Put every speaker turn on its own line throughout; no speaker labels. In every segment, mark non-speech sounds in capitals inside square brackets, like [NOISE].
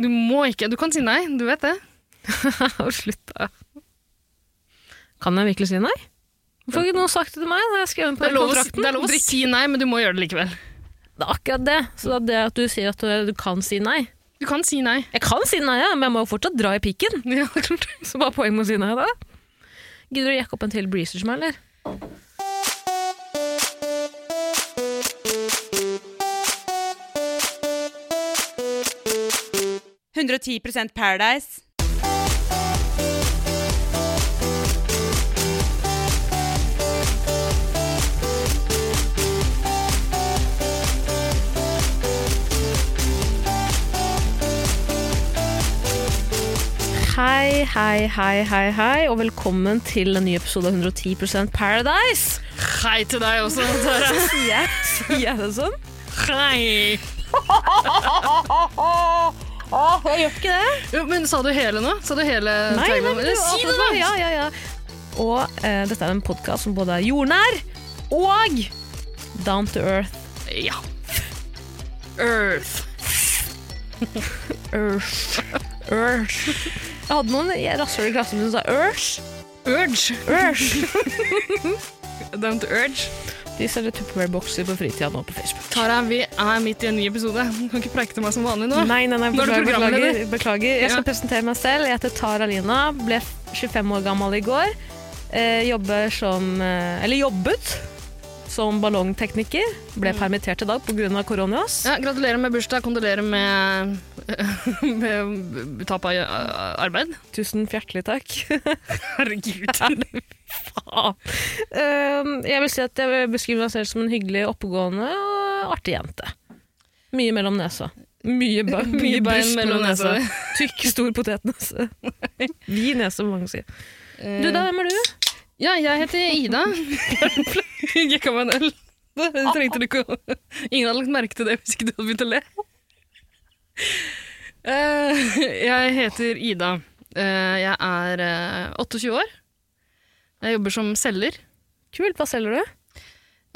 Du må ikke Du kan si nei, du vet det.
[LAUGHS]
Slutt, da.
Kan jeg virkelig si nei? Hvorfor har ikke noen sagt det til meg? når jeg skrev den på
Det er
den
lov å,
kontrakten?
det er lov å si nei, men du må gjøre det likevel.
Det er akkurat det. Så det at du sier at du kan si nei
Du kan si nei. [LAUGHS]
Jeg kan si nei, ja, men jeg må jo fortsatt dra i pikken. [LAUGHS]
Ja, det er klart.
Så hva er poenget med å si nei da? Gidder du å jekke opp en til breezer som meg, eller?
Paradise.
Hei, hei, hei, hei, hei, og velkommen til en ny episode av 110
[LAUGHS]
Paradise.
Hei til deg også, Tara.
Sier jeg- sier jeg det sånn?
Hei.
Jeg gjør ikke det.
Jo, men sa du hele nå? Sa du hele
Nei,
tagline?
nei, men du,
Si det,
altså,
da!
Ja, ja, ja. Og eh, dette er en podkast som både er jordnær og down to earth.
Ja. Earth.
Earth. Earth. Jeg hadde noen i- rasshøl i klassen min som sa Earth.
Urge.
Earth.
Down to urge.
De selger Tupperware-bokser på fritida nå på Facebook.
Tara, vi er midt i en ny episode. Du kan ikke preike til meg som vanlig nå.
Nei, nei, nei,
Nå er du
beklager. beklager,
programleder.
beklager. Jeg skal presentere meg selv. Jeg heter Tara Lina. Ble 25 år gammel i går. Eh, jobber som eh, Eller jobbet som ballongtekniker.
Mm.
Ble permittert i dag pga. koronas.
Ja, gratulerer med bursdag. Kondolerer med, [LAUGHS] med tap av eh, arbeid.
Tusen hjertelig takk. [LAUGHS]
[LAUGHS] Herregud.
Ah. Um, jeg vil si at jeg beskriver meg selv som en hyggelig, oppegående og artig jente. Mye mellom nesa. [LAUGHS] Mye, ba-
Mye bein
bryst
mellom nesa.
[LAUGHS] Tykk, stor [LAUGHS] potetnese. Vid nese, som mange sier. Du da, hvem er du?
Ja, jeg heter Ida. [LAUGHS] Gikk av meg en øl. Det trengte du ikke å Ingen hadde lagt merke til det hvis ikke du hadde begynt å le. Eh, Jeg heter Ida. Eh, Jeg er eh, 28 år. Jeg jobber som selger.
Kult, hva selger du?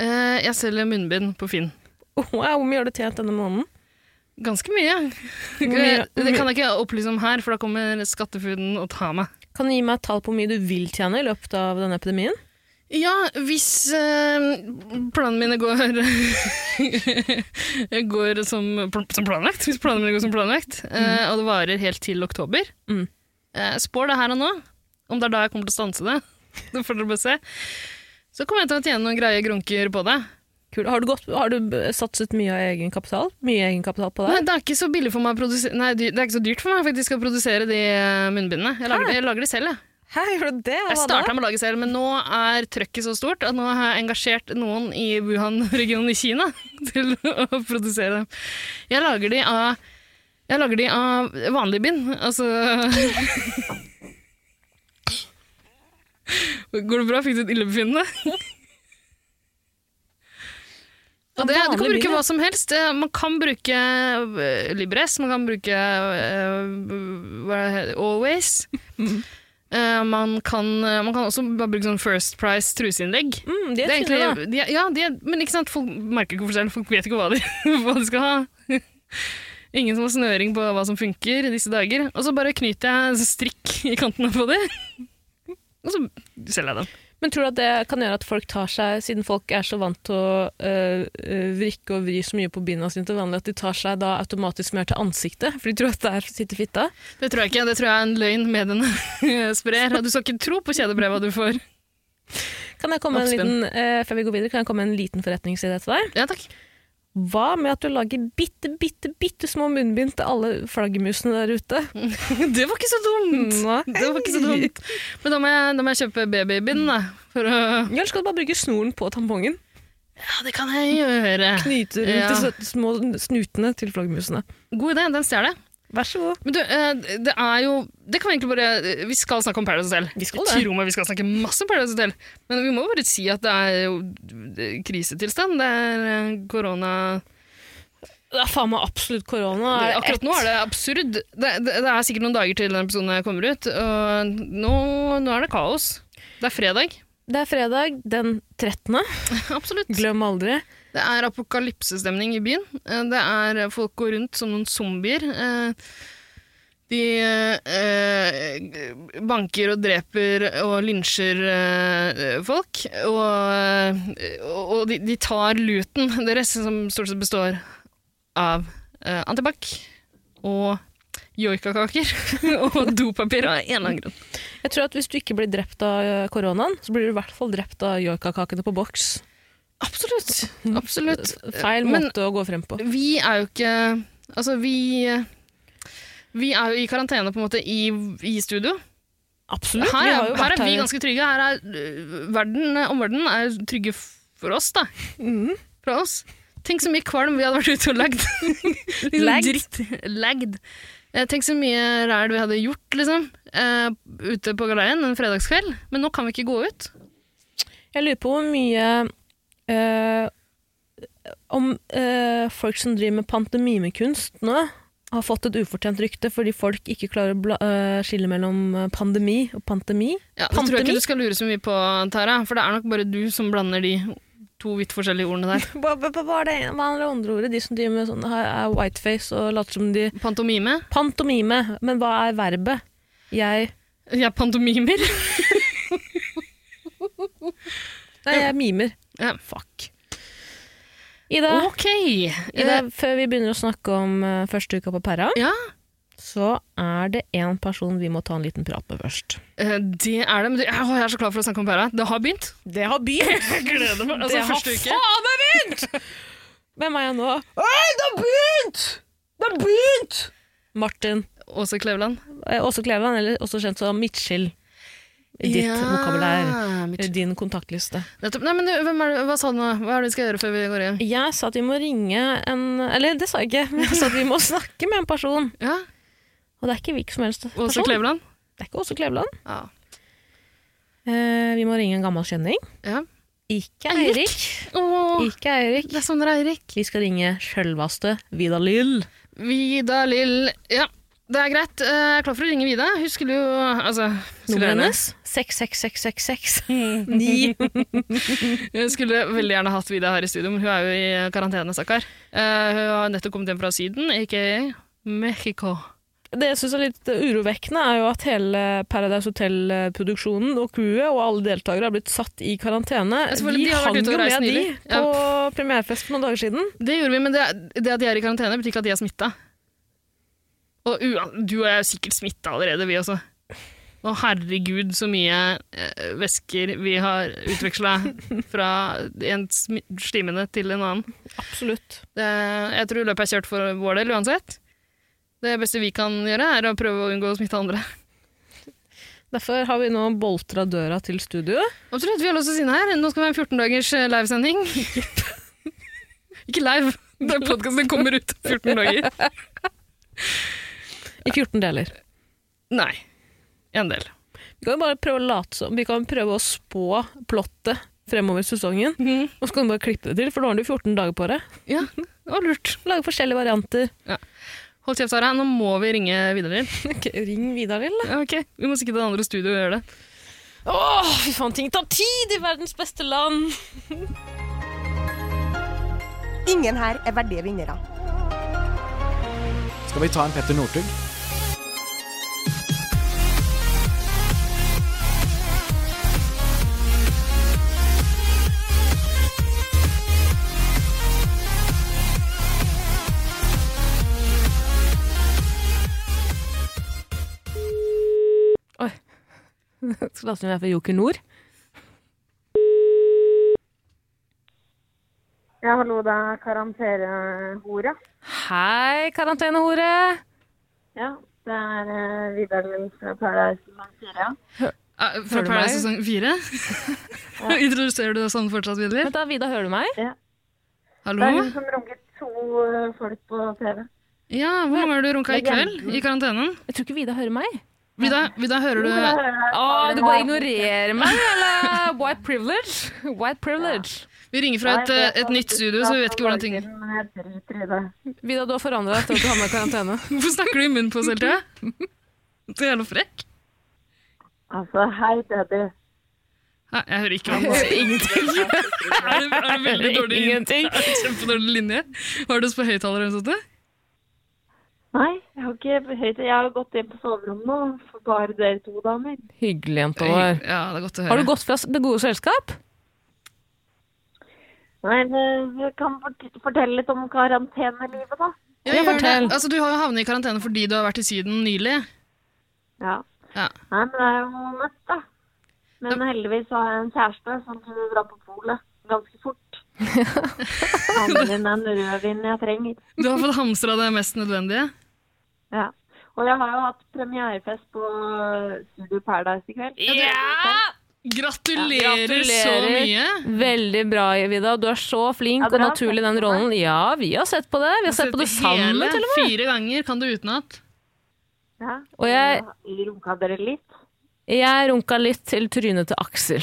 Eh, Jeg selger munnbind på Finn.
Oh, wow, hvor mye har du tjent denne måneden?
Ganske mye. Eh,
mye-
Det kan jeg ikke opplyse om her, for da kommer skattefuden og tar meg.
Kan du gi meg et tall på hvor mye du vil tjene i løpet av denne epidemien?
Ja, hvis eh, planene mine går [LAUGHS] Går som, pl- som planlagt. Hvis planene mine går som planlagt, eh, og det varer helt til oktober
Mm.
eh, Spår det her og nå, om det er da jeg kommer til å stanse det, [LAUGHS] det får dere bare se. Så kommer jeg til å tjene noen greie grunker på det.
Kult. Har, du gått, har du b- satset mye av egen kapital? Mye egenkapital på
Nei,
deg?
det er ikke så billig for meg å produsere Nei, dy- det er ikke så dyrt for meg faktisk å produsere de eh, munnbindene. Jeg lager,
Hæ?
de- jeg lager de selv, jeg.
Hæ, gjør du det?
Jeg
Hva da?
starta med å lage selv, men nå er trøkket så stort at nå har jeg engasjert noen i Wuhan-regionen i Kina [LAUGHS] til å produsere dem. Jeg lager de av jeg lager de av vanlig bind, altså Går det bra? Fikk du et illebefinnende? Og det, du kan
Vanlig
bruke
bind,
hva som helst. Eh, Man kan bruke eh, Libress, man kan bruke eh, hva er det, Always.
Mm.
Eh, man, kan, eh, man kan også bare bruke sånn First Price truseinnlegg.
Mm, de
Det
er
er egentlig,
tynne, da.
de, er- ja, de er, men ikke sant, folk merker ikke forskjell. Folk vet ikke hva de, [LAUGHS] hva de skal ha. Ingen som har snøring på hva som funker i disse dager. Og så bare knyter jeg strikk i kantene på de. Og så selger jeg dem.
Men tror du at det kan gjøre at folk tar seg, siden folk er så vant til å øh, øh, vrikke og vri så mye på binda sine til vanlig, at de tar seg da automatisk mer til ansiktet? For de tror at der sitter fitta?
Det tror jeg ikke. Det tror jeg er en løgn mediene [LAUGHS] sprer. Og Du skal ikke tro på kjedebreva du får.
Kan jeg komme med en
Oppspinn.
liten, øh, før vi går videre, kan jeg komme med en liten forretningsidé til deg?
Ja, takk.
Hva med at du lager bitte, bitte, bitte små munnbind til alle flaggermusene der ute?
[LAUGHS]
[LAUGHS]
Det var ikke så dumt!
Nei.
Det var ikke så dumt. Men da må jeg, da må jeg kjøpe babybind, da. For å
Eller skal du bare bruke snoren på tampongen?
Ja, det kan jeg gjøre.
Knyte rundt
Ja.
de søte små snutene til flaggermusene.
God idé, den stjeler jeg.
Vær så god.
Men du, eh, det er jo Det kan vi egentlig bare eh, Vi skal snakke om Paradise Hotel.
Vi skal
Jeg
det.
tror meg vi skal snakke masse om Paradise Hotel. Men vi må bare si at det er jo det er krisetilstand. Det er eh, korona
Det er faen meg absolutt korona.
Det-
Er det
Akkurat
ett?
nå er det absurd. Det, det, det er sikkert noen dager til den episoden her kommer ut. Og nå, nå er det kaos. Det er fredag. [LAUGHS]
det er fredag den 13.
Absolutt.
Glem aldri.
Det er apokalypsestemning i byen. Eh, Det er Folk går rundt som noen zombier. Eh, De eh, banker og dreper og lynsjer eh, folk. Og, eh, og de, de tar luten [LAUGHS] deres, som stort sett består av eh, antibac og joikakaker [LAUGHS] og dopapir av en eller annen grunn.
Jeg tror at Hvis du ikke blir drept av eh, koronaen, så blir du i hvert fall drept av joikakakene på boks.
Absolutt. Absolutt.
Feil
Men-
måte å gå frem på.
Vi er jo ikke Altså, vi vi er jo i karantene på en måte i, i studio.
Absolutt.
Her,
vi
er,
har jo
her
vært
er vi ganske trygge. Her er øh, verden, omverdenen er trygge for oss, da.
[LAUGHS] Mhm.
Fra oss. Tenk så mye kvalm vi hadde vært ute og lagd. Liksom
[LAUGHS] Lagd?
Dritt. Lagd. Eh, Tenk så mye ræl vi hadde gjort, liksom. eh, ute på galeien en fredagskveld. Men nå kan vi ikke gå ut.
Jeg lurer på hvor mye eh, Om eh, folk som driver med pantomimekunst nå, har fått et ufortjent rykte fordi folk ikke klarer å bla, eh, skille mellom pandemi og pantemi.
Ja, det tror jeg
Pantemi?
ikke du skal lure så mye på, Tara. For det er nok bare du som blander de to vidt forskjellige
[LAUGHS]
ordene der.
Hva, hva, hva er det hva er det andre ordet? De som driver med sånn, har- er whiteface og later som de
Pantomime.
Pantomime. Men hva er verbet? Jeg
Jeg pantomimer.
Nei, jeg mimer.
Ja.
Fuck. Ida,
Ok. Eh,
Ida, før vi begynner å snakke om eh, første uka på Perra,
Ja.
så er det én person vi må ta en liten prat med først.
Eh, Det er det, men det, Åh, jeg er så klar for å snakke om Pæra. Det har begynt.
Det har [LAUGHS] begynt!
Jeg gleder meg. Altså,
Det har
første uke.
faen meg begynt! Hvem er jeg nå? Oi, det har begynt! Det har begynt! Martin.
Åse Kleveland.
Eh, Åse Kleveland, eller også kjent som Mitchell. I ditt
Ja,
vokabulær.
mitt-
I Din kontaktliste.
Nettopp. Nei, men du, hvem er, det- hva sa du nå? Hva er det vi skal gjøre før vi går igjen?
Jeg sa at vi må ringe en Eller det sa jeg ikke, men jeg sa at vi må snakke med en person.
Ja,
Og det er ikke hvilken som helst person.
Åse Kleveland.
Det er ikke Åse Kleveland.
Ja.
Eh, vi må ringe en gammel kjenning.
ja.
Ikke
Eirik.
Eirik.
Åh,
Ikke Eirik.
det er Sondre Eirik.
Vi skal ringe sjølvaste Vidar Lill.
Vida Lill. Ja, det er greit. Eh, Jeg er klar for å ringe Vida. Hun skulle jo Altså skulle
Nummeret
gjerne-
hennes
[LAUGHS]
66666 9.
Hun skulle veldig gjerne hatt Vida her i studio, men hun er jo i karantene, stakkar. Eh, Hun har nettopp kommet hjem fra Syden, aka Mexico.
Det jeg syns er litt urovekkende, er jo at hele Paradise Hotel-produksjonen og crewet og alle deltakere har blitt satt i karantene.
selvfølgelig, de har vært ute og reist
de
nylig.
på premierefest for noen dager siden.
Det gjorde vi, men det, det at de er i karantene, betyr ikke at de er smitta. Og ua- du og jeg er jo sikkert smitta allerede, vi også. Å herregud, så mye eh, væsker vi har utveksla fra en smi- slimende til en annen.
Absolutt.
Det, jeg tror løpet er kjørt for vår del uansett. Det beste vi kan gjøre, er å prøve å unngå å smitte andre.
Derfor har vi nå boltra døra til studio.
Absolutt, vi har låst oss inne her. Nå skal vi ha en 14 dagers eh, livesending. ikke live. Den podkasten kommer ut om 14 dager.
I 14 deler.
Nei. En del.
Vi kan jo bare prøve å late som. Vi kan prøve å spå plottet fremover i sesongen. Og så kan du bare klippe det til, for nå har du 14 dager på det.
Ja, det var lurt.
Lage forskjellige varianter. [LAUGHS]
Hold kjeft, Sara. Nå må vi ringe videre til.
Ok, Ring Vidar Lill.
Ja, ok. Vi må sikkert til det andre studioet og gjøre det.
Åh, fy faen, ting tar tid i verdens beste land!
Ingen her er verdige vinnere.
Skal vi ta en Petter Northug?
Skal late som jeg er fra Joker Nord.
Ja, hallo, det er karantenehora.
Hei, karantenehore!
Ja, det er eh, Vidar Lund fra Paradise Hotel, ja.
Eh, Fra
Hører
Paradise
du meg?
sesong [LAUGHS] fire. Introduserer du det sånn fortsatt, Vidar?
Vent da, Vidar, hører du meg?
Det er
Hallo?
hun som runket to eh, folk på TV.
Ja, hvor mange har du runka i kveld? I karantenen?
Jeg tror ikke Vidar hører meg.
Vida, Vida hører du
Åh, du bare ignorerer meg, [LAUGHS] eller? White privilege? White privilege.
Vi ringer fra et, eh, et nytt studio, så vi vet ikke hvordan ting
Men jeg driter i det.
Vidar, du har forandra deg etter at du har med karantene.
Hvorfor snakker du i munnen på oss hele tida? [LAUGHS] Så jævla frekk.
Altså, hei, daddy.
Nei, jeg hører ikke noe.
Ingenting.
[LAUGHS] Er det, er det [LAUGHS] veldig dårlig
Ingenting.
Kjempedårlig linje. Har du oss på høyttaler eller noe sånt?
Nei, jeg har ikke høyt. Jeg har gått hjem på soverommet nå, for bare dere to damer.
Hyggelig, jenta
Ja,
vår.
det er godt å høre.
Har du gått fra det gode selskap?
Nei, men jeg kan fort- fortelle litt om karantenelivet, da.
Ja,
Ja,
gjør det.
fortell.
Altså, du har jo havnet i karantene fordi du har vært i Syden nylig.
Ja.
Ja.
Nei, men det er jo møtt, da. Men heldigvis har jeg en kjæreste som kunne dra på polet ganske fort. Han er den rødvinen jeg trenger.
Du har fått hamstra det mest nødvendige.
Ja. Og jeg har jo hatt premierefest på Studio Paradise i kveld. Ja!
Gratulerer,
Ja, gratulerer.
så mye!
Veldig bra, Vida. Du er så flink
Ja,
og
dere har
naturlig i
sett
den
på det.
rollen. Ja, vi har sett på det. Vi har sett på det sammen,
hele
til og med.
Fire ganger kan du utenat.
ja.
Og jeg-
Runka dere litt?
Jeg runka litt til trynet til Aksel.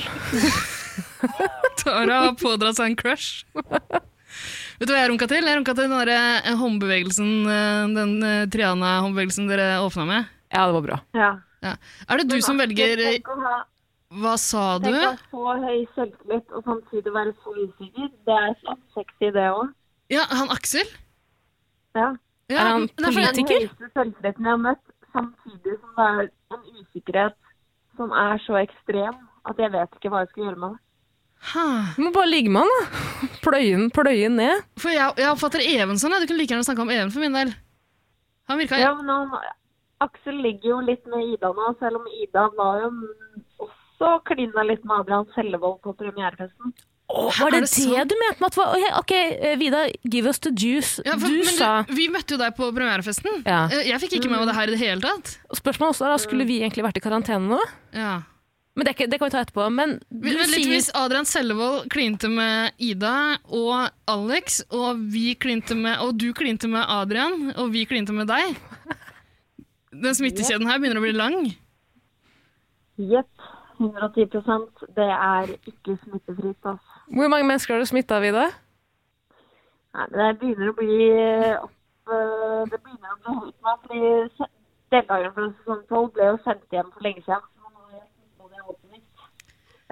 Tara har pådratt seg en crush. [LAUGHS] Vet du hva jeg runka til? Jeg runka til den der, eh, håndbevegelsen, eh, den eh, Triana-håndbevegelsen dere åpna med.
Ja, det var bra.
Ja.
Ja. Er det du som velger eh,
Tenk å ha-
Hva sa du?
tenk å ha så høy selvtillit og samtidig være så usikker. Det er så sexy, det òg.
Ja, han Aksel?
Ja.
Ja,
Er han
men det er fordi-
politi- Politiker?
Den høyeste selvtilliten jeg har møtt, samtidig som det er en usikkerhet som er så ekstrem at jeg vet ikke hva jeg skal gjøre med det.
Hæ.
Du må bare ligge med han, da. Pløye den- pløye den ned.
For jeg, jeg oppfatter Even sånn. ja. Du kunne like gjerne snakka om Even for min del. Han virka
Ja, men han, Aksel ligger jo litt med Ida nå, selv om Ida var jo også klina litt med Adrian Sellevold på premierefesten.
Å,
er
var
det
det det,
sant?
du mente med at var, Ok, eh, Vida, give us the juice.
Ja, for,
du
men
sa
Vi møtte jo deg på premierefesten.
Ja.
Eh, Jeg fikk ikke med meg det her i det hele tatt.
Spørsmålet også er da, skulle vi egentlig vært i karantene nå?
Ja.
Men det, er ikke- det kan vi ta etterpå. Men du
Men, men litt,
sier
hvis Adrian Sellevold klinte med Ida og Alex, og, vi klinte med, og du klinte med Adrian, og vi klinte med deg Den smittekjeden her begynner å bli lang.
Jepp. 110 Det er ikke smittefritt, altså.
Hvor mange mennesker har du smitta, Vida?
Nei, men det begynner å bli opp eh, Det begynner å bli høyt nå, fordi se- deltakerne fra sesong 12 ble jo sendt hjem for lenge siden. Så nå er jeg smittet, jeg håper ikke.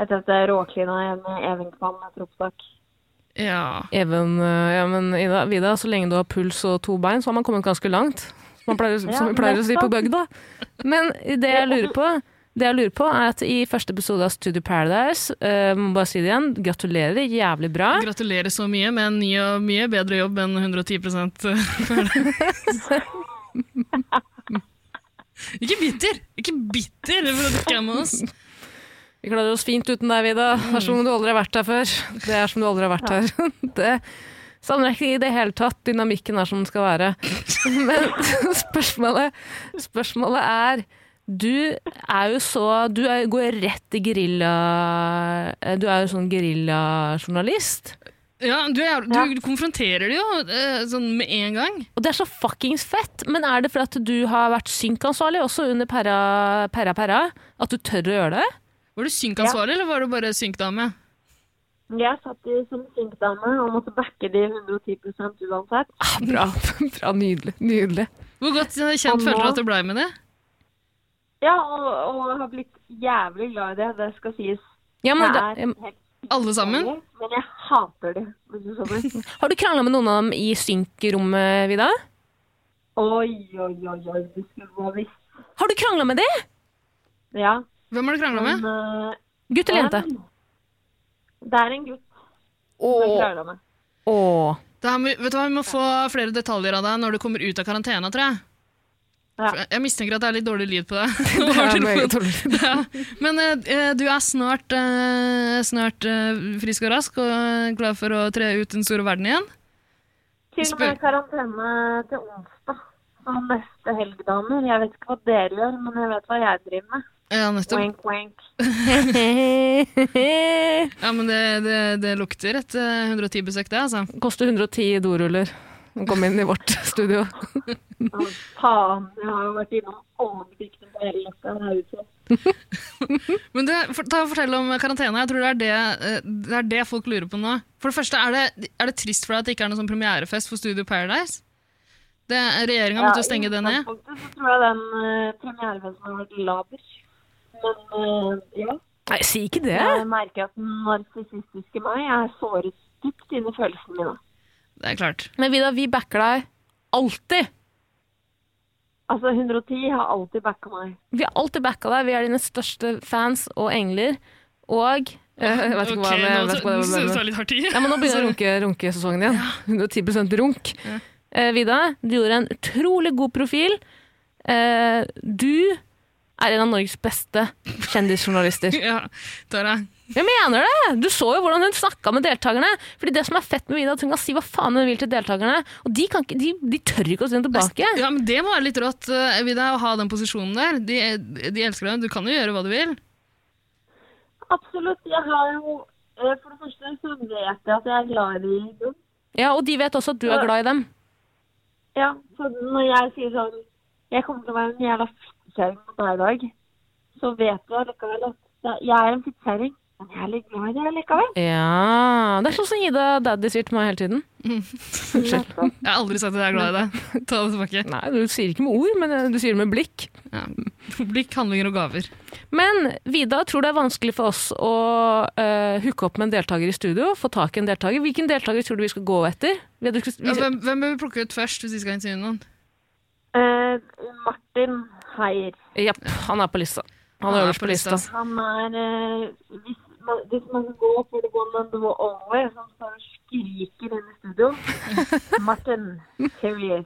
Etter at jeg råklina igjen med Even Kvam etter opptak.
Ja.
Even, eh, ja, men Ida, Vida, så lenge du har puls og to bein, så har man kommet ganske langt. Som man pleier, å- som vi pleier å si på bygda. Men det jeg lurer på, det jeg lurer på er at i første episode av Studio Paradise, eh, må bare si det igjen, gratulerer, jævlig bra.
Gratulerer så mye med en ny og mye bedre jobb enn 110 Ikke bitter! Ikke bitter for at du ikke er med oss.
Vi klarer oss fint uten deg, Vida. Det er som om du aldri har vært her før. Det er som du aldri har vært her. [LAUGHS] Det savner jeg ikke i det hele tatt. Dynamikken er som den skal [LAUGHS] være. Men spørsmålet, spørsmålet er Du er jo så Du er, går rett i gerilja... Du er jo sånn geriljajournalist.
Ja, du, er, du, du konfronterer det jo eh, sånn med en gang.
Og det er så fuckings fett! Men er det fordi at du har vært synkansvarlig også under Perra Perra, perra at du tør å gjøre det?
Var du synkansvarlig, eller var du bare synkdame?
Jeg satt i som synkdame og måtte backe de 110 uansett.
Ah, bra. [LAUGHS] bra. Nydelig. Nydelig.
Hvor godt eh,
Og
kjent
nå-
føler du at du blei med det?
Ja, og, og har blitt jævlig glad i det. Det skal sies.
Ja, men,
Jeg
da-
er helt
Alle sammen?
enig, Men jeg hater det, hvis du
[LAUGHS]
skjønner.
Har du krangla med noen av dem i synkrommet, Vida?
Oi, oi, oi, oi. Du skulle bare visst.
Har du krangla med det?
Ja.
Hvem har du krangla
Men
med?
eh,
Gutt eller
det
jente?
er en- Det er en gutt som jeg klarer meg.
Åh. [LAUGHS]
Det her, med- vet du hva, Vi må få flere detaljer av deg når du kommer ut av karantena, tror jeg.
Ja.
For Jeg mistenker at det er litt dårlig lyd på deg.
[LAUGHS] Det
Har
er
du
meget
noen-
dårlig.
Ja. Men eh, du er snart, eh, snart eh, frisk og rask og klar for å tre ut den store verden igjen.
Til og med karantene til onsdag. Og neste helg, damer. Jeg vet ikke hva dere gjør, men jeg vet hva jeg driver med.
Ja, nettopp.
Wink, wink.
Ja, men det, det, det lukter et eh, 110-besøk, det, altså.
Koster 110 doruller å komme inn i vårt studio.
Å, Faen, jeg har jo vært innom alle butikkene på hele løkka. Det er jo så-
Men det, for, ta og Fortell om karantena. Jeg tror det er det, eh, det er det folk lurer på nå. For det første, Er det, er det trist for deg at det ikke er noen sånn premierefest for Studio Paradise? Regjeringa måtte jo stenge det
I
ned.
utgangspunktet så tror jeg den eh, premierefesten har vært laber. Men eh, ja,
Nei, si ikke det.
jeg merker at den narsissistiske meg er såret dypt inn i følelsene mine.
Det er klart.
Men Vida, vi backer deg alltid.
Altså, 110 har alltid backa meg.
Vi har alltid backa deg. Vi er dine største fans og engler. Og [LAUGHS] eh, Jeg vet ikke hva
Ok,
det
nå
vet ikke hva det
synes
var.
jeg det var litt hardt i.
Ja, men nå begynner runke, runkesesongen igjen. 110 runk. Eh, Vida, du gjorde en utrolig god profil. Eh, du er en av Norges beste [LAUGHS] kjendisjournalister.
Ja, Tara.
Jeg mener det! Du så jo hvordan hun snakka med deltakerne. Fordi det som er fett med Vida, er at hun kan si hva faen hun vil til deltakerne. Og de, kan ikke, de, de tør ikke å si henne tilbake.
Ja, men det må være litt rått, eh, Vida, å ha den posisjonen der. De, eh, de elsker deg. Du kan jo gjøre hva du vil.
Absolutt. Jeg har jo eh, For det første så vet jeg at jeg er glad i dem.
Ja, Og de vet også at du er glad i dem.
Ja, så når jeg sier sånn Jeg kommer til å være en jævla fittekjerring mot deg i dag, så vet du allikevel at det- jeg er en fittekjerring. Men jeg er litt glad i deg likevel.
Ja, Det er sånn som Ida Daddy sier til meg hele tiden.
Jeg har aldri sagt at jeg er glad i deg. [LAUGHS] Ta det tilbake.
Nei, du sier ikke med ord, men eh, du sier det med blikk.
Ja. Blikk, handlinger og gaver.
Men Vida, tror det er vanskelig for oss å eh, hooke opp med en deltaker i studio? Få tak i en deltaker. Hvilken deltaker tror du vi skal gå etter? Vi, vi,
Ja, Altså, hvem, hvem bør vi plukke ut først hvis vi skal intervjue noen?
Eh, Martin Heier.
Japp, han er på lista. Han er øverst på lista.
Han er eh, hvis, man, hvis man går for the one and the only, som står og skriker inn i
[LAUGHS]
studio. Martin, serious.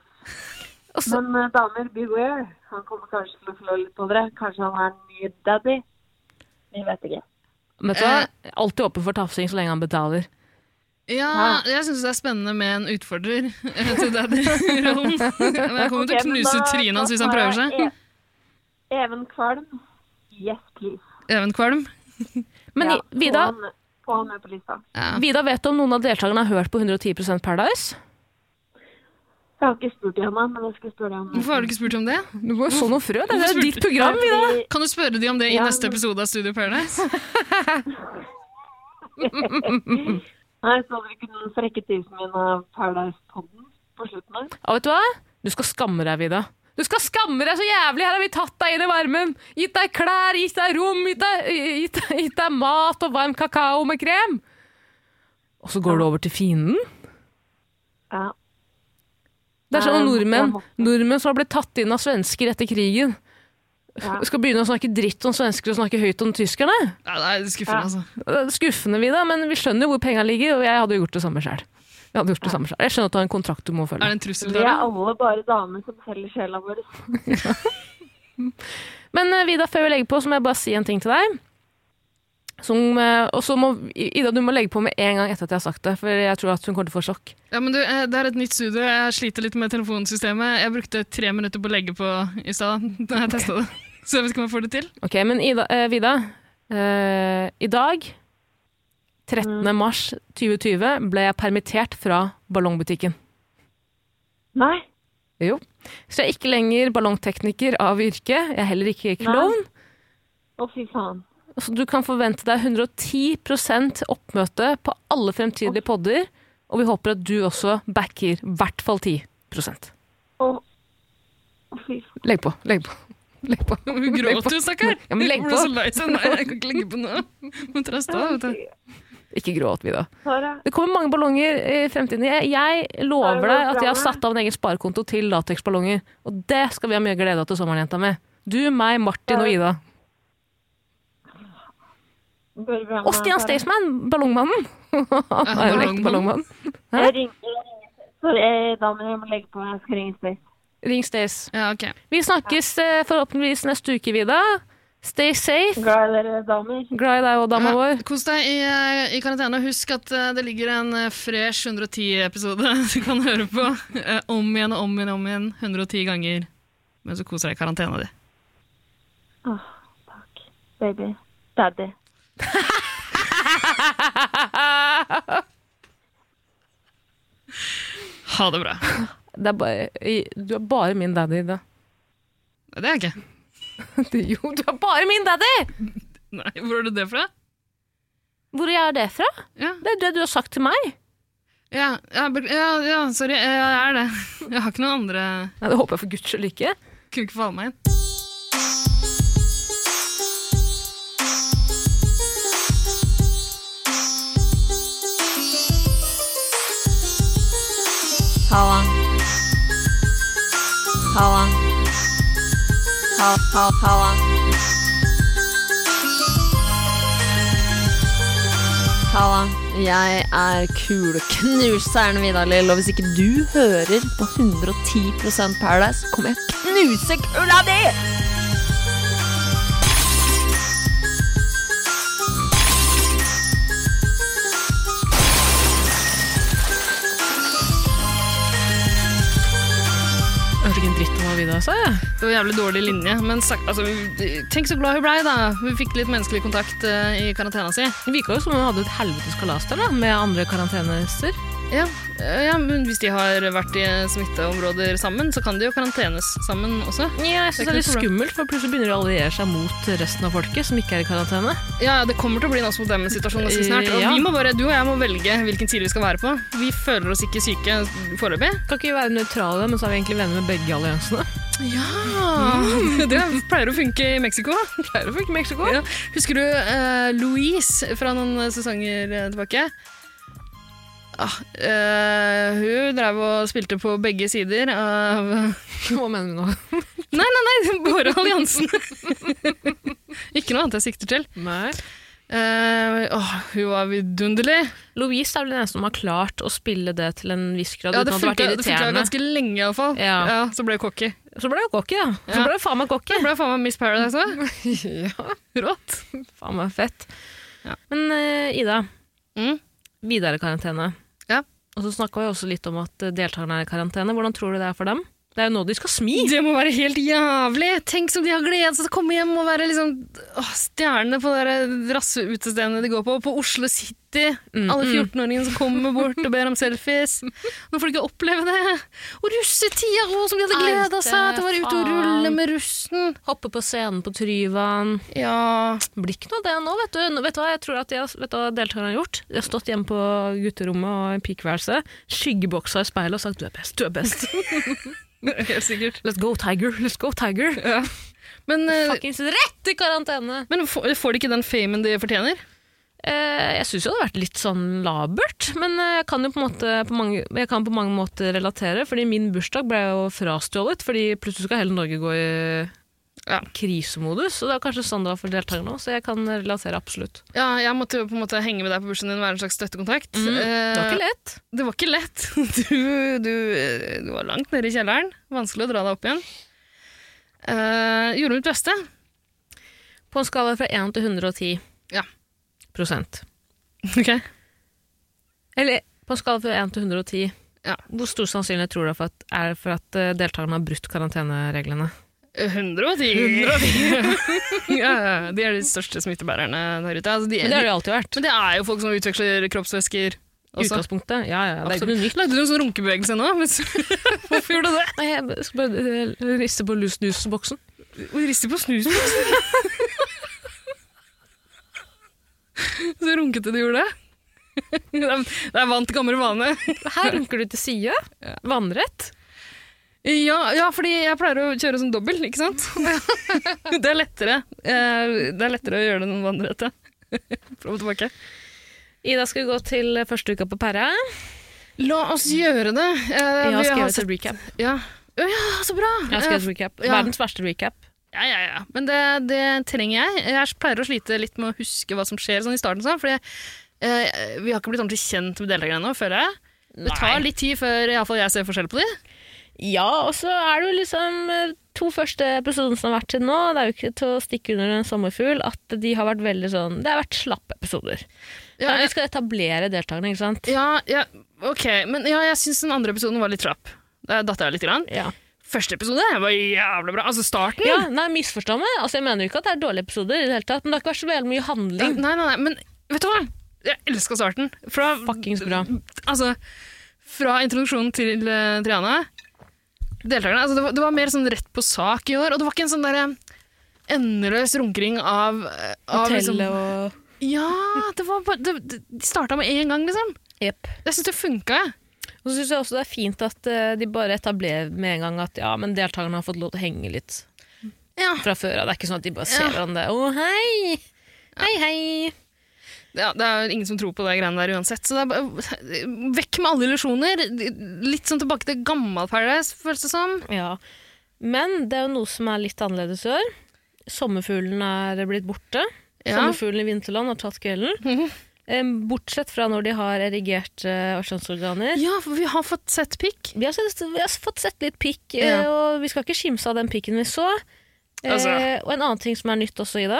Og så-
Men eh, damer, beware. Han kommer kanskje til å slå litt på dere. Kanskje han er en ny daddy. Vi vet ikke.
Vet du hva? Alltid åpen for tafsing så lenge han betaler.
Ja, jeg syns det er spennende med en utfordrer eh, til daddy-rollen. Men jeg kommer til å
Ok, men
knuse
da-
trynet hans hvis
da
han
tar
prøver
jeg
seg.
E- Even Kvalm. Yes, please.
Even Kvalm.
Men
Ja,
i- Vida,
Få han, få han med på lista.
Ja.
Vida vet du om noen av deltakerne har hørt på 110 Paradise?
Jeg har ikke spurt ham, men jeg skal spørre ham.
Hvorfor har du ikke spurt om det?
Du må jo så noen frø. Det er
Hvorfor
jo ditt program, Vida.
Kan du spørre de om det i
Ja,
neste
men-
episode av Studio Paradise?
Nei, så dere ikke noen frekke tusen min av Paradise-podden på slutten her?
Ja, vet du hva? Du skal skamme deg, Vida. Du skal skamme deg så jævlig! Her har vi tatt deg inn i varmen! Gitt deg klær, gitt deg rom, gitt deg, gitt, deg- gitt deg mat og varm kakao med krem! Og så går du over til fienden?
Ja.
Det er sånn
Nei,
nordmenn,
jeg håper-
nordmenn som har blitt tatt inn av svensker etter krigen.
Ja.
Skal begynne å snakke dritt om svensker og snakke høyt om tyskerne.
Ja, det er skuffende, altså.
Det er Skuffende, Vida, men vi skjønner jo hvor penga ligger, og jeg hadde jo gjort det samme sjøl. Jeg hadde gjort det samme selv. Jeg skjønner at du har en kontrakt du må
Er
følge.
det en trussel
Vi er
der?
alle bare damer som selger sjela vår.
Men eh, Vida, før vi legger på, så må jeg bare si en ting til deg. Som, eh, og så må, Ida, du må legge på med en gang etter at jeg har sagt det, for jeg tror at hun kommer til å få sjokk.
Ja, men du, eh, det er et nytt studio. Jeg sliter litt med telefonsystemet. Jeg brukte tre minutter på å legge på i stad [LAUGHS] da jeg testa det. Så jeg vet ikke om jeg får det til.
Ok, men Ida, eh, Vida, eh, i dag, 13. mars 2020, ble jeg permittert fra ballongbutikken.
Nei,
Jo. Så jeg er ikke lenger ballongtekniker av yrke, jeg er heller ikke klovn.
å fy faen.
Så du kan forvente deg 110 oppmøte på alle fremtidige podder, og vi håper at du også backer i hvert fall 10
Å, å fy faen.
Legg på, legg på. [LAUGHS] Legg på.
Hun gråt jo, stakkar.
Ja, men legg
Hun
på.
ble så lei seg. Nei, jeg kan ikke legge på nå. Hun trøsta. vet du.
Ikke gråt, Vida.
Sara,
Det kommer mange ballonger i fremtiden. Jeg, jeg lover deg at jeg har satt av en egen sparekonto til lateksballonger. Og det skal vi ha mye glede av til sommeren, jenta mi. Du, meg, Martin og Ida.
går det bra med
Og Stian
Sara?
Staysman, ballongmannen! [LAUGHS] Han er jo en ekte
ballongmann.
ballongmann.
Jeg ringer, jeg ringer. Sorry, eh, damer, jeg må legge på. Jeg skal ringe Space.
Ring Stays.
Ja, ok.
Vi snakkes eh, forhåpentligvis neste uke, Vida. Stay safe.
Glad i dere, damer.
Glad i deg og dama
Ja, [LAUGHS]
vår.
Kos deg i, eh, i karantene. Husk at eh, det ligger en eh, fresh 110-episode [LAUGHS] du kan høre på eh, om igjen og om igjen og om igjen 110 ganger. Men så koser deg i karantena di.
Åh, takk. Baby. Daddy.
Ha det bra.
Det er bare, i- du er bare min daddy, Ida.
Det er jeg ikke.
[LAUGHS] Jo, du er bare min daddy!
Nei, hvor har du det fra?
Hvor er det fra?
Ja,
Det er det du har sagt til meg.
ja, ja, be- ja, ja sorry. eh, Jeg er det. [LAUGHS] Jeg har ikke noen andre
Nei, det håper jeg for guds skyld ikke.
Kunne ikke falle meg inn.
Halla. Halla.
Ha, ha, halla. Halla.
Jeg er kuleknuseren Vidar Lill, og hvis ikke du hører på 110 Paradise, kommer jeg til å knuse kula di!
Jeg hørte ikke en dritt om hva Vida sa, jeg.
Det var en jævlig dårlig linje, men sak, altså, vi- tenk så glad hun blei, da. Hun fikk litt menneskelig kontakt eh, i karantena si.
Det virka jo som hun hadde et helvetes kalas der, da, med andre karantenehester.
Ja, eh, ja, men hvis de har vært i eh, smitteområder sammen, så kan de jo karantenes sammen også.
Ja, jeg synes det er litt
ikke noe
skummelt, for plutselig begynner de å alliere seg mot resten av folket som ikke er i karantene.
Ja, det kommer til å bli en oss mot dem-situasjon ganske snart. Og
Ja.
vi må bare, du og jeg må velge hvilken side vi skal være på. Vi føler oss ikke syke foreløpig.
Kan ikke vi være nøytrale, men så er vi egentlig venner med begge [LAUGHS] alliansene?
Mm. [LAUGHS] Det pleier å funke i Mexico.
Pleier å funke Mexico.
Ja. Husker du eh, Louise fra noen sesonger eh, tilbake? Ah, eh, hun drev og spilte på begge sider av [LAUGHS]
Hva mener du nå?
Nei, nei, [LAUGHS] nei, bare alliansen! ikke noe annet jeg sikter til.
Nei.
Eh, åh, hun var vidunderlig.
Louise er vel den eneste som har klart å spille det til en viss grad
Ja, det
uten at det har
funka
vært
det funka
irriterende.
ganske lenge, iallfall. Ja.
Ja.
Ja, så ble hun cocky.
Så ble det jo cocky, da. Så
Ja.
ble det faen meg cocky.
Hun ble faen meg Miss Paradise òg.
[LAUGHS] ja,
Rått.
faen meg fett.
Ja.
Men eh, Ida,
Mm.
videre karantene.
Ja.
Og så snakka vi også litt om at eh, deltakerne er i karantene. Hvordan tror du det er for dem? Det er jo nå de skal smi!
Det må være helt jævlig! Tenk som de har gledet seg til å komme hjem og være liksom, åh, stjernene på de der rasseutestedene de går på. På Oslo City. Alle 14-åringene som kommer bort og ber om selfies. Nå får de ikke oppleve det! Og russetida òg, som de hadde gleda
Alte
seg til å være ute og rulle
faen.
med russen.
Hoppe på scenen på Tryvann.
Ja,
Blir ikke noe av det nå, vet du. Nå- Vet du hva jeg tror at de har, vet du hva deltakerne har gjort? De har stått hjemme på gutterommet og i pikeværelset, skyggeboksa i speilet og sagt 'du er best, du er best'.
helt sikkert.
[LAUGHS] Let's go, Tiger! Let's go, Tiger!
Men, eh,
Fuckings rett i karantene!
men får får de ikke den famen de fortjener?
Eh, jeg syns jo det har vært litt sånn labert, men eh, jeg kan jo på, en måte, på, mange, jeg kan på mange måter relatere. Fordi min bursdag ble jo frastjålet, fordi plutselig skal hele Norge gå i
Ja.
krisemodus. Og det er kanskje sånn det var for deltakerne òg, så jeg kan relatere absolutt.
Ja, jeg måtte jo på en måte henge med deg på bursdagen din, være en slags støttekontakt.
Det var
Eh,
ikke lett.
Det var ikke lett. [LAUGHS] Du, du, du var langt nede i kjelleren. Vanskelig å dra deg opp igjen. Eh, gjorde mitt
[LAUGHS]
beste.
På en skala fra 1 til 110
Ja.
prosent.
Ok.
Eller på en skala fra 1 til 110
Ja.
Hvor stor sannsynlighet tror du det er for at, er for at eh, deltakerne har brutt karantenereglene?
110. 110. [LAUGHS] ja, ja, de er de største smittebærerne der ute. Altså, de,
Men det har det jo alltid vært.
men det er jo folk som utveksler kroppsvæsker. Også.
Utgangspunktet? Ja, ja. Det er ikke noe
Absolutt. Lagde du en sånn runkebevegelse nå? Mens, [LAUGHS] hvorfor gjorde du det?
Nei, jeg skal bare eh, riste på lus-nus-boksen.
Du rister på snusen. [LAUGHS] Så runkete du gjorde det. Det [LAUGHS] er- Det er vant til gammel vane.
Her runker du til side. Vannrett.
Ja, ja, fordi jeg pleier å kjøre sånn dobbel, ikke [LAUGHS] sant? det er lettere. Eh, Det er lettere å gjøre det enn vannrette. [LAUGHS] Fram og tilbake.
Ida skal gå til første uka på pære.
La oss gjøre det. Eh,
Jeg har
vi
skrevet
sett-
et recap.
Ja. Å ja, så bra!
Jeg har skrevet et recap.
ja.
Verdens verste recap.
Ja, ja, ja. Men det, det trenger jeg. Jeg pleier å slite litt med å huske hva som skjer sånn i starten. Sånn, fordi eh, vi har ikke blitt ordentlig kjent med deltakerne ennå, føler jeg. Det tar litt tid før i alle fall jeg ser forskjell på de.
Ja, og så er det jo liksom eh, to første episoder som har vært til nå. Det er jo ikke til å stikke under en sommerfugl at de har vært veldig sånn Det har vært slappe episoder.
Ja,
Der
jeg-
vi skal etablere deltakerne, ikke sant?
Eh, ja, ja, ok. Men ja, jeg syns den andre episoden var litt trapp. Der datt jeg litt. Grann.
Ja.
Første episode var jævla bra. Altså starten.
ja nei, misforstå meg. Altså, jeg mener jo ikke at det er dårlige episoder, i det hele tatt, men det har ikke vært så veldig mye
Nei,
handling.
nei, nei, men vet du hva? Jeg elska starten. Fra,
Fuckings bra.
altså, fra introduksjonen til eh, Triana. Deltakerne. Altså, det, var, det var mer sånn rett på sak i år, og det var ikke en sånn derre endeløs runkering av, eh, av liksom-
Hotellet og
Ja, det var bare det, det, De starta med én gang, liksom.
Jepp.
Jeg syns det funka, jeg.
Og så syns jeg også det er fint at eh, de bare etablerer med en gang at ja, men deltakerne har fått lov til å henge litt
Ja.
fra før av. Det er ikke sånn at de bare ser
Ja.
hverandre. Å, hei! Hei, hei!
Ja, det er jo ingen som tror på det greiene der uansett. Så det er bare, vekk med alle illusjoner. Litt sånn tilbake til gammel Paradise, føles det som.
Ja. Men det er jo noe som er litt annerledes i år. Sommerfuglen er blitt borte.
Ja.
Sommerfuglen i vinterland har tatt kvelden.
[LAUGHS] Mhm.
Eh, Bortsett fra når de har erigerte eh, kjønnsorganer.
ja, for vi har fått sett pikk.
Vi har, sett, vi har fått sett litt pikk, eh,
Ja.
og vi skal ikke skimse av den pikken vi så. Eh,
Altså.
Og en annen ting som er nytt også, Ida,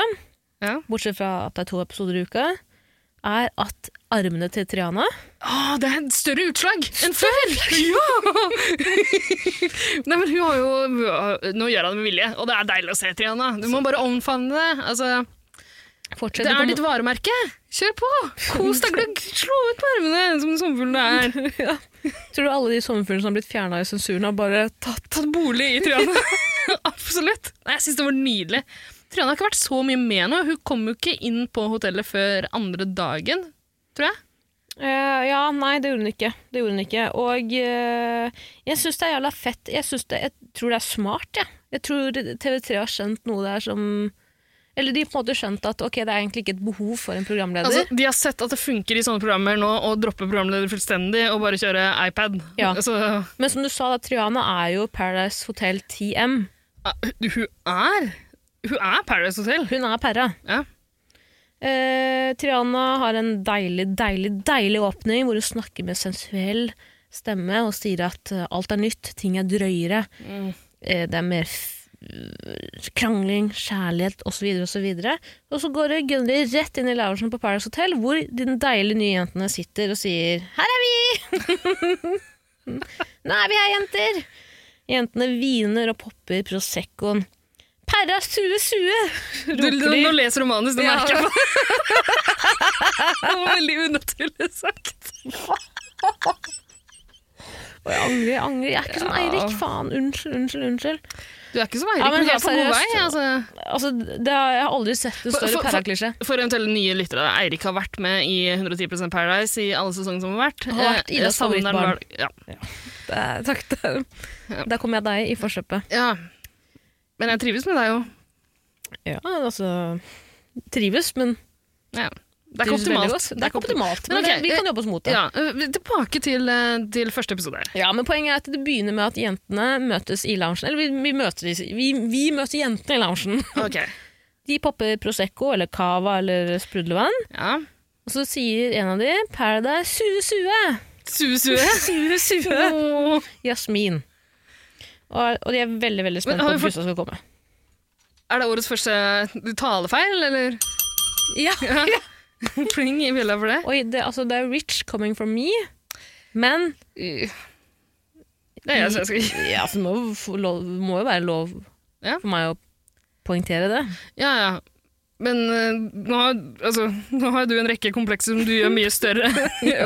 Ja.
bortsett fra at det er to episoder i uka, er at armene til Triana
Å, det er et større utslag enn før! Ja! [LAUGHS] Nei, men hun har jo Nå gjør hun det med vilje, og det er deilig å se, Triana. Du må bare omfavne det. Altså,
fortsetter
det
å
er
komme-
ditt varemerke. Kjør på! Kos deg, gløgg! Slå ut på armene som sommerfuglen det [LAUGHS] er.
Tror du alle de sommerfuglene som har blitt fjerna i sensuren, har bare tatt
Tatt bolig i Triana. [LAUGHS] Absolutt. Nei, jeg syns det var nydelig. Triana har ikke vært så mye med nå. Hun kom jo ikke inn på hotellet før andre dagen, tror jeg.
Eh, ja, nei, det gjorde hun ikke. Det gjorde hun ikke. Og eh, jeg syns det er jævla fett. Jeg, synes det, jeg tror det er smart, jeg. Jeg tror TV3 har skjønt noe der som Eller de har på en måte skjønt at ok, det er egentlig ikke et behov for en programleder.
Altså, de har sett at det funker i sånne programmer nå å droppe programleder fullstendig og bare kjøre iPad.
Ja.
Altså,
Men som du sa, da, Triana er jo Paradise Hotel TM.
du, ah, hun er Hun er Paradise Hotel.
Hun er Perra.
Ja.
Eh, Triana har en deilig, deilig, deilig åpning hvor hun snakker med sensuell stemme og sier at eh, alt er nytt, ting er drøyere. Eh, det er mer f eh, krangling, kjærlighet osv. Og, så videre. og så går det Gunnli rett inn i loungen på Paradise Hotel, hvor de deilige nye jentene sitter og sier 'Her er vi!' Nå er vi [LAUGHS] her, jenter! Jentene hviner og popper Proseccoen. Perra sue sue!
Du,
roper
du,
de.
nå leser du manus, det
Ja.
merker
[LAUGHS]
jeg på. [LAUGHS] det var veldig unaturlig sagt.
Og jeg angrer, jeg angrer. Jeg er ikke som
Ja.
Eirik, faen. Unnskyld, unnskyld, unnskyld.
Du er ikke som Eirik,
Ja, men
men du er
helt
på god vei.
seriøst.
Altså.
Altså, det har, jeg har aldri sett en
For-
større
for- for-
perraklisjé.
For eventuelle nye lyttere, da, Eirik har vært med i 110 Paradise i alle sesongene som har vært.
Han har vært
Eh,
Idas
jeg savner den
favorittbarn.
hver- Ja. Eh,
Takk. Der, der kom jeg deg i forkjøpet.
ja. Men jeg trives med deg jo.
Ja, altså Trives, men
Ja. Det er ikke
trives veldig
optimalt.
godt. Det er ikke optimalt, men,
Men ok, eh,
det, vi kan jobbe oss mot det. Ja.
Ja, øh, tilbake til, øh, til første episode her.
men Poenget er at det begynner med at jentene møtes i loungen. Eller vi, vi, møter, de- vi, vi møter jentene i loungen. [LAUGHS]
Ok.
De popper Prosecco eller Cava eller sprudlevann.
Ja.
Og så sier en av de Paradise sue sue.
Sue, sue.
Sure sue.
Åh.
Jasmin. Og, og de er veldig veldig spent
Men
på
har
at
vi fått-
Gustav skal komme.
Er det årets første talefeil, eller?
Ja.
[LAUGHS] Ja. Pling i bjella for det.
Oi, det, altså, det er rich coming from me, men
Det er jeg som skal gi.
ja, altså, det må, jo få lov, må jo være lov
Ja.
for meg å poengtere det.
Ja, ja. Men øh, nå, har, altså, nå har du en rekke komplekser som du gjør mye [LAUGHS] større,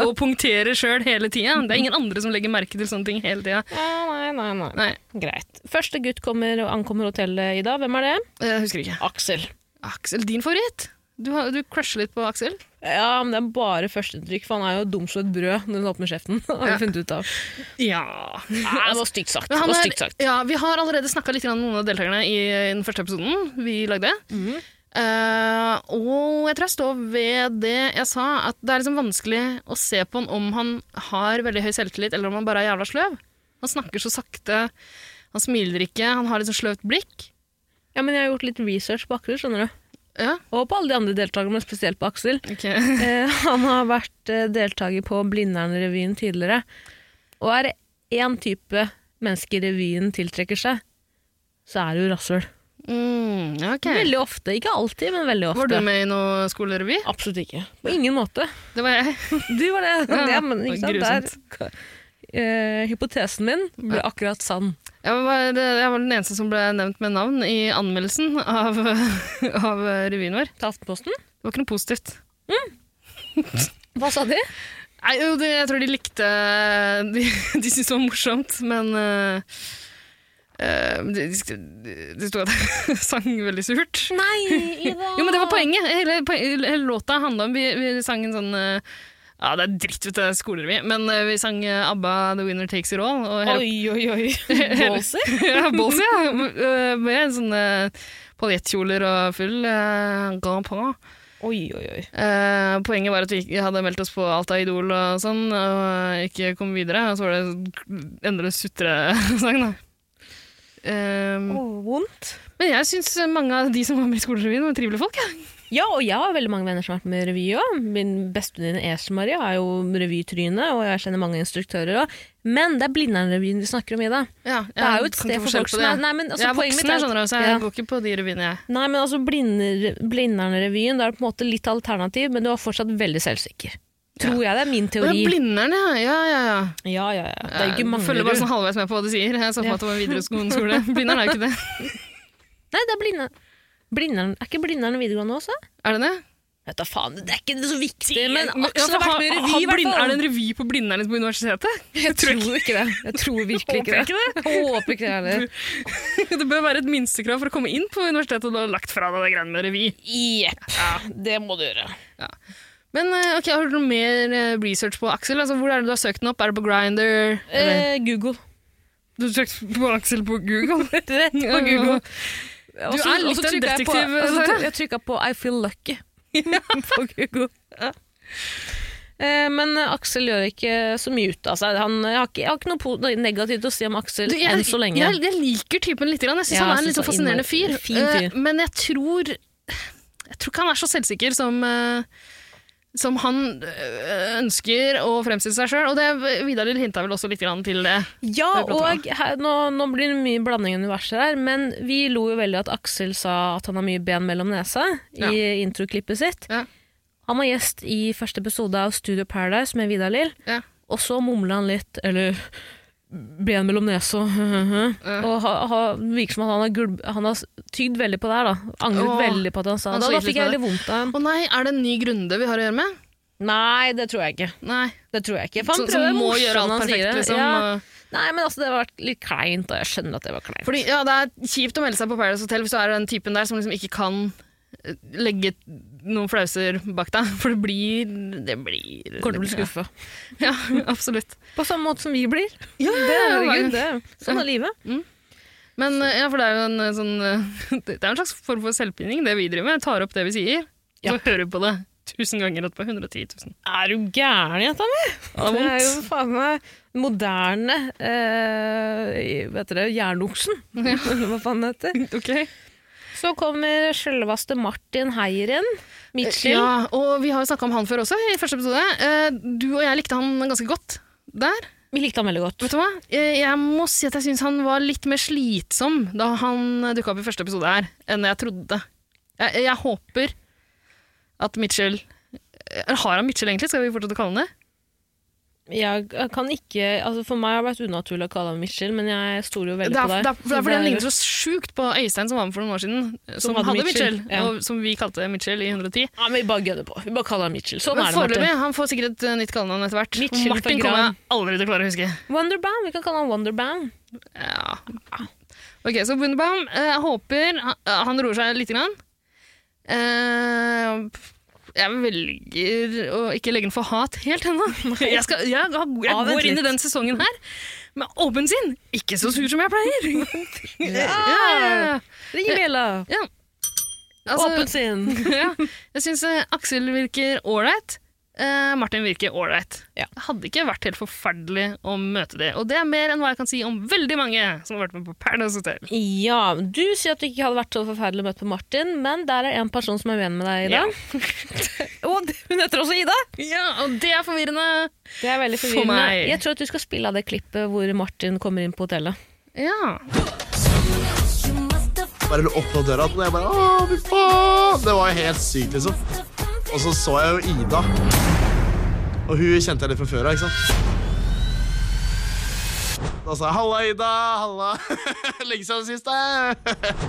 og punkterer sjøl hele tida. Det er ingen andre som legger merke til sånne ting hele tida.
nei, nei, nei.
Nei,
Greit. Første gutt kommer og ankommer hotellet i dag. Hvem er det?
jeg husker ikke.
Aksel.
Aksel, din favoritt? Du, har- du crusher litt på Aksel.
Ja, men det er bare førsteinntrykk, for han er jo dum som et brød når han åpner kjeften. [LAUGHS] har vi funnet ut av.
[LAUGHS] Ja.
Nei, det var stygt sagt.
Men
Det
han
var
er-
stygt sagt.
Ja, vi har allerede snakka litt om noen av deltakerne i, i den første episoden vi lagde.
Mhm.
Eh, og jeg tror jeg står ved det jeg sa, at det er liksom vanskelig å se på han om han har veldig høy selvtillit, eller om han bare er jævla sløv. Han snakker så sakte, han smiler ikke, han har litt sånn sløvt blikk.
Ja, men jeg har gjort litt research på Aksel, skjønner du.
Ja,
Og på alle de andre deltakerne, men spesielt på Aksel. [LAUGHS]
ok.
Eh, han har vært eh, deltaker på Blindern-revyen tidligere. Og er det én type menneske revyen tiltrekker seg, så er det jo rasshøl.
Mm, ja, ok.
Veldig ofte. Ikke alltid, men veldig ofte.
Var du med i noe skolerevy?
Absolutt ikke. På ingen måte.
Det var jeg.
Du var det. [LAUGHS]
Ja,
ja, men
det
ikke
var
sant, der eh, Hypotesen min ble akkurat sann.
Jeg var, jeg var den eneste som ble nevnt med navn i anmeldelsen av, [LAUGHS] av revyen vår.
Til Aftenposten.
Det var ikke noe positivt.
Hva sa de?
Nei, jo, det, jeg tror de likte [LAUGHS] De, de syntes det var morsomt, men øh, øh, de, de, de sto at jeg [LAUGHS] sang veldig surt. [LAUGHS]
Nei, Ida!
Jo, men det var poenget! Hele, poen- hele låta handla om vi, vi sang en sånn øh, Ja, det er dritt, vet du, skolerevy, men øh, vi sang øh, ABBA 'The Winner Takes It All'. Og [LAUGHS] hele,
Oi, oi, oi. Båser?
[LAUGHS] ja, Bolsy, ja. øh, Med sånne paljettkjoler og full øh, grand prix.
Oi, oi, oi.
Eh, poenget var at vi ikke hadde meldt oss på alt av Idol og sånn, og ikke kom videre. Og så var det endelig sutresang, da. Ehm,
Åh, vondt.
Men jeg syns mange av de som var med i skolerevyen, var trivelige folk. Ja.
Ja, og jeg har veldig mange venner som har vært med i revy òg. Min bestevenninne Else-Maria er jo revytryne, og jeg kjenner mange instruktører òg. Men det er Blindern-revyen vi snakker om, Ida. Det er jo et sted for folk som er Nei, men altså,
Jeg er
poenget
voksen,
mitt
jeg skjønner du, så jeg
Ja.
går ikke på de revyene, jeg.
Nei, men altså Blinder- Blindern-revyen, da er det på en måte litt alternativ, men du er fortsatt veldig selvsikker. Tror jeg det er
Å,
min
ja,
teori.
Blindern, ja. Ja, ja, ja.
Ja, ja, ja. Det er jo
Jeg
ikke
følger bare
Manglerud.
sånn halvveis med på hva de sier. Jeg så for meg at det var en videregående skole. Blindern er jo ikke
[LAUGHS]
det.
Nei, det er Blindern. Blindern. Er ikke Blindern videregående også?
Er det det?
Vet da faen, det er ikke så viktig, men
Ja,
Aksel
for altså, har-
har vært med i revy,
har
i hvert
blind- Er
fall.
det en revy på Blindern på universitetet?
[LAUGHS] Jeg tror ikke det. Jeg
[LAUGHS]
tror virkelig ikke det. Jeg håper ikke det heller.
Det bør være et minstekrav for å komme inn på universitetet og du har lagt fra deg det greiene med revy.
Jepp. Det må du gjøre.
Men eh, ok, har du noe mer eh, research på Aksel? Altså, hvor er det du har søkt den opp? Er det på Grinder?
Eh, Google.
Du har søkt på Aksel på
[LAUGHS]
Google? [LAUGHS]
Rett på
Ja,
Google.
Du er litt en detektiv, altså. Sara.
altså, Jeg trykka på I feel lucky [LAUGHS] på Google. Ja. Eh, Men Aksel gjør ikke så mye ut av seg. Han, jeg, har ikke, jeg har ikke noe po- negativt å si om Aksel
Du, jeg,
enn så lenge.
Jeg, jeg liker typen litt. Grann. Jeg syns
Ja,
han er
jeg
en litt
synes
sånn
han er
fascinerende fyr.
innmari fin fyr.
Eh, men jeg tror Jeg tror ikke han er så selvsikker som eh, som han øh, ønsker å fremstille seg sjøl. Og det Vidar Lill hinta vel også litt grann til det.
Ja,
Det er bra
og her, nå, nå blir det mye blanding i universet her, men vi lo jo veldig at Aksel sa at han har mye ben mellom nesa
Ja.
i introklippet sitt.
Ja.
Han var gjest i første episode av Studio Paradise med Vidar Lill,
Ja.
og så mumla han litt, eller ben mellom nesa, [LAUGHS] og ha, ha, virker som at han har, gulb, han har tygd veldig på det her, da. Angret
Åh,
veldig på at han sa
han
det, og
slet
da fikk
litt
jeg
med
veldig vondt av ham.
Å nei, er det en ny Grunde vi har å gjøre med?
Nei, det tror jeg ikke.
Nei.
Det tror jeg ikke. For han
Sånn som
prøver
må
morsomt,
gjøre
han
alt perfekt,
sier det.
liksom.
Ja.
og-
Nei, men altså, det har vært litt kleint, og jeg skjønner at det var kleint.
Fordi, ja, det er kjipt å melde seg på Paradise Hotel hvis du er den typen der som liksom ikke kan eh, legge noen flauser bak deg. [LAUGHS] For det blir Det blir
Kommer til å bli skuffa.
Ja, [LAUGHS] absolutt.
På samme måte som vi blir.
Ja,
Det er, herregud,
herregud.
det. Sånn er livet.
Men eh, ja, for det er jo en eh, sånn eh, [LAUGHS] Det er en slags form for selvpining, det vi driver med. Tar opp det vi sier,
Ja.
så hører vi på det tusen ganger etterpå. 110
[LAUGHS]
000.
Er du gæren, jenta mi?
Ja, det
Det
er
er jo
vondt.
faen meg moderne eh, Vet dere, [LAUGHS] jernoksen. Eller hva faen det heter.
Ok.
Så kommer sjølveste Martin Heieren.
Eh,
Mitchell.
Ja, og vi har jo snakka om han før også, i første episode. Eh, Du og jeg likte han ganske godt der.
Vi likte han veldig godt.
Vet du hva? Eh, Jeg må si at jeg syns han var litt mer slitsom da han dukka opp i første episode her, enn jeg trodde. Jeg, jeg håper at Mitchell Eller Har han Mitchell, egentlig? Skal vi fortsette å kalle han det?
Jeg kan ikke, altså For meg har det vært unaturlig å kalle ham Mitchell, men jeg stoler jo veldig
det er,
på deg.
det, er, det er fordi han ligner så sjukt på Øystein som var med for noen år siden, som,
hadde
hadde,
Mitchell,
Mitchell,
ja.
og som vi kalte Mitchell i 110.
Ja, men Vi bare gønner på. Vi bare kaller ham Mitchell. Sånn
Men
er det, Martin.
foreløpig, han får sikkert et eh, nytt kallenavn etter hvert.
Mitchell for
Martin
Gran.
kommer jeg aldri til å klare å huske.
Wonderbound. Vi kan kalle ham Wonderbound.
Ja. Ok, så Wunderbaum, eh, jeg håper han, han roer seg litt. Grann. Eh, jeg velger å ikke legge den for hat helt ennå. Jeg, skal, jeg, jeg,
Ja, vent
går inn
litt.
i den sesongen her med åpen sinn, ikke så sur som jeg pleier. ja,
Ring bjella.
ja. Altså,
Åpent sinn.
[LAUGHS] ja. Jeg syns Aksel virker ålreit. Eh, Martin virker ålreit.
Ja.
Det hadde ikke vært helt forferdelig å møte det. Og det er mer enn hva jeg kan si om veldig mange som har vært med på Paradise Hotel.
[LAUGHS] Ja, du sier at det ikke hadde vært så forferdelig å møte på Martin, men der er en person som er uenig med deg, Ida. [LAUGHS] og det- hun heter også Ida!
Ja, og det er forvirrende!
Det er veldig
For
forvirrende.
meg.
Jeg tror at du skal spille av det klippet hvor Martin kommer inn på hotellet.
Ja.
bare lå oppå døra, og jeg bare Å, fy faen! Det var jo helt sykt, liksom. Og så så jeg jo Ida. Og hun kjente jeg litt fra før av, ikke sant. Da sa jeg 'halla, Ida', 'halla'. [LAUGHS] Lenge siden sist, da.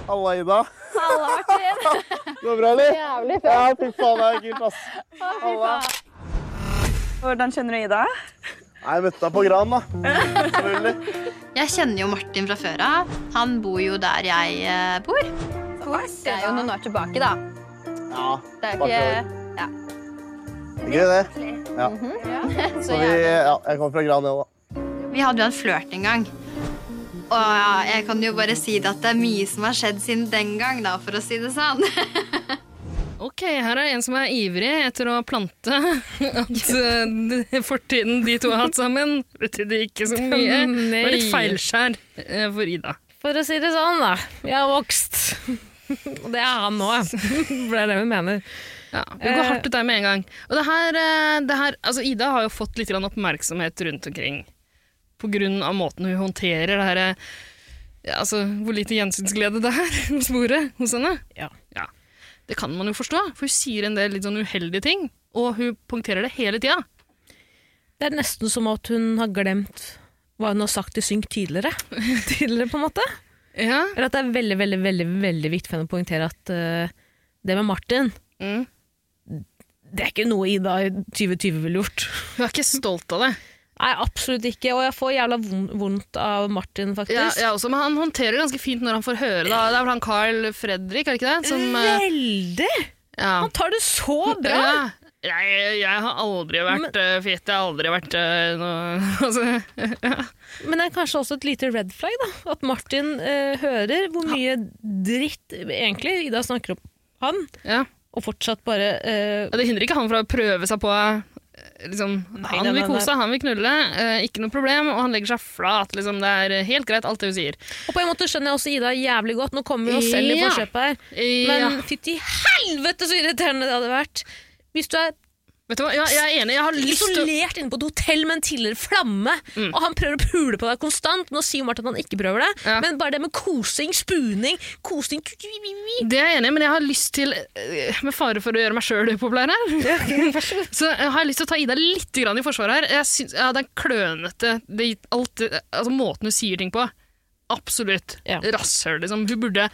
Halla, Ida. [LAUGHS] Det går bra, eller? Jævlig fett. Ja, fy faen, det er kult, ass. Halla.
Hvordan kjenner du Ida?
Nei, jeg møtte deg på Gran, da.
[LAUGHS]
Selvfølgelig.
Jeg kjenner jo Martin fra før av. Han bor jo der jeg eh, bor.
Det er jo noen år tilbake, da.
Ja,
Det er jo
Bare
ikke...
det er gøy, det. Ja. Så vi, ja, jeg kommer fra Gran, jeg òg, da.
Vi hadde jo en flørt en gang. Og ja, jeg kan jo bare si det at det er mye som har skjedd siden den gang, da, for å si det sånn.
Ok, her er en som er ivrig etter å plante [LAUGHS] at eh, det-
[LAUGHS]
fortiden de to har hatt sammen, betydde ikke så mye. Det var litt feilskjær eh, for Ida.
For å si det sånn, da. Jeg har vokst. [LAUGHS] Og det er han [LAUGHS] nå, for det er det hun mener.
Ja, vi går
Eh.
hardt ut der med en gang. Og det her, eh, det her altså Ida har jo fått litt grann oppmerksomhet rundt omkring på grunn av måten hun håndterer det her eh, ja, Altså, hvor lite gjensynsglede det er [LAUGHS] hos bordet hos henne.
Ja.
Det kan man jo forstå, for hun sier en del litt sånn uheldige ting, og hun punkterer det hele tida.
Det er nesten som at hun har glemt hva hun har sagt til Synk [LAUGHS] tidligere. tidligere på en måte.
Ja.
Eller at det er veldig veldig, veldig, veldig viktig for henne å poengtere at eh, det med Martin
Mm.
det er ikke noe Ida i 2020 ville gjort.
Hun er ikke stolt av det.
Nei, absolutt ikke. Og jeg får jævla vond- vondt av Martin,
Ja,
faktisk.
ja, også, men han håndterer det ganske fint når han får høre det. Det er vel han Carl Fredrik, er det ikke det? Som, eh,
Veldig!
ja.
Han tar det så bra!
Ja. Jeg, jeg har aldri vært uh, fet, jeg har aldri vært eh, noe [LAUGHS] altså,
Men det er kanskje også et lite red flag, da. At Martin eh, hører hvor mye dritt egentlig Ida snakker om han,
ja.
og fortsatt bare eh,
Ja, Det hindrer ikke han fra å prøve seg på eh, liksom, Han
nei,
vil
nei,
kose, han vil knulle, eh, ikke noe problem, og han legger seg flat. Liksom. Det er helt greit, alt det hun sier.
Og på en måte skjønner jeg også Ida jævlig godt. Nå kommer vi oss selv i
Ja.
forkjøpet her. Men
Ja.
fytti helvete så irriterende det hadde vært! Hvis du er
Vet du hva? Ja, jeg er enig, jeg har lyst til Mm. å
isolert inne på et hotell med en tidligere flamme, og han prøver å pule på deg konstant Nå sier jo Martin at han ikke prøver det,
Ja.
men bare det med kosing, spuning, kosing
Det er jeg enig i, men jeg har lyst til, eh, med fare for å gjøre meg sjøl upopulær her, [LAUGHS] så jeg har lyst til å ta Ida litt grann i forsvaret her. Jeg syns- ja, det er klønete, det, alt, det- altså måten hun sier ting på. Absolutt.
Ja.
Rasshøl, liksom. Hun burde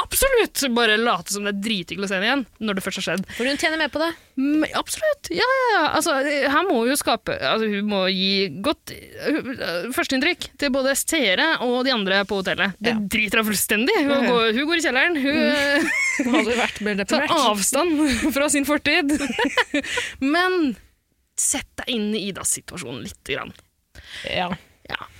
absolutt bare late som det er drithyggelig å se henne igjen, når det først har skjedd.
For hun tjener mer på det.
Men Mm, absolutt. Ja, ja, ja. Altså, her må hun jo skape altså, Hun må gi godt eh, førsteinntrykk til både seere og de andre på hotellet. Det
Ja. Mm.
driter hun fullstendig. Hun går, hun går i kjelleren. Hun
Hun hadde vært mer
tar avstand [LAUGHS] fra sin fortid. Men sett deg inn i Idas situasjon lite grann.
Ja.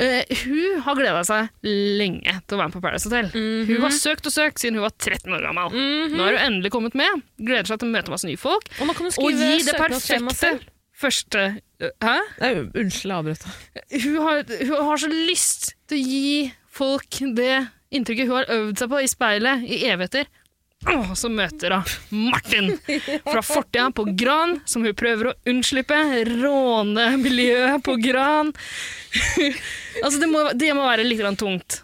Eh, hun har gleda seg lenge til å være med på Paradise Hotel.
Mhm.
Hun har søkt og søkt siden hun var 13 år gammel. Nå har hun endelig kommet med. Gleder seg til å møte masse nye folk.
Og man kan jo
Og
skrive
gi det
søknadsskjema
perfekte
selv.
første Hæ?
Nei, unnskyld, jeg avbrøt.
Hun har, hun har så lyst til å gi folk det inntrykket hun har øvd seg på i speilet i evigheter. Åh, så møter hun Martin fra fortida på Gran, som hun prøver å unnslippe. Råne miljøet på Gran. altså, det må, det må være litt grann tungt.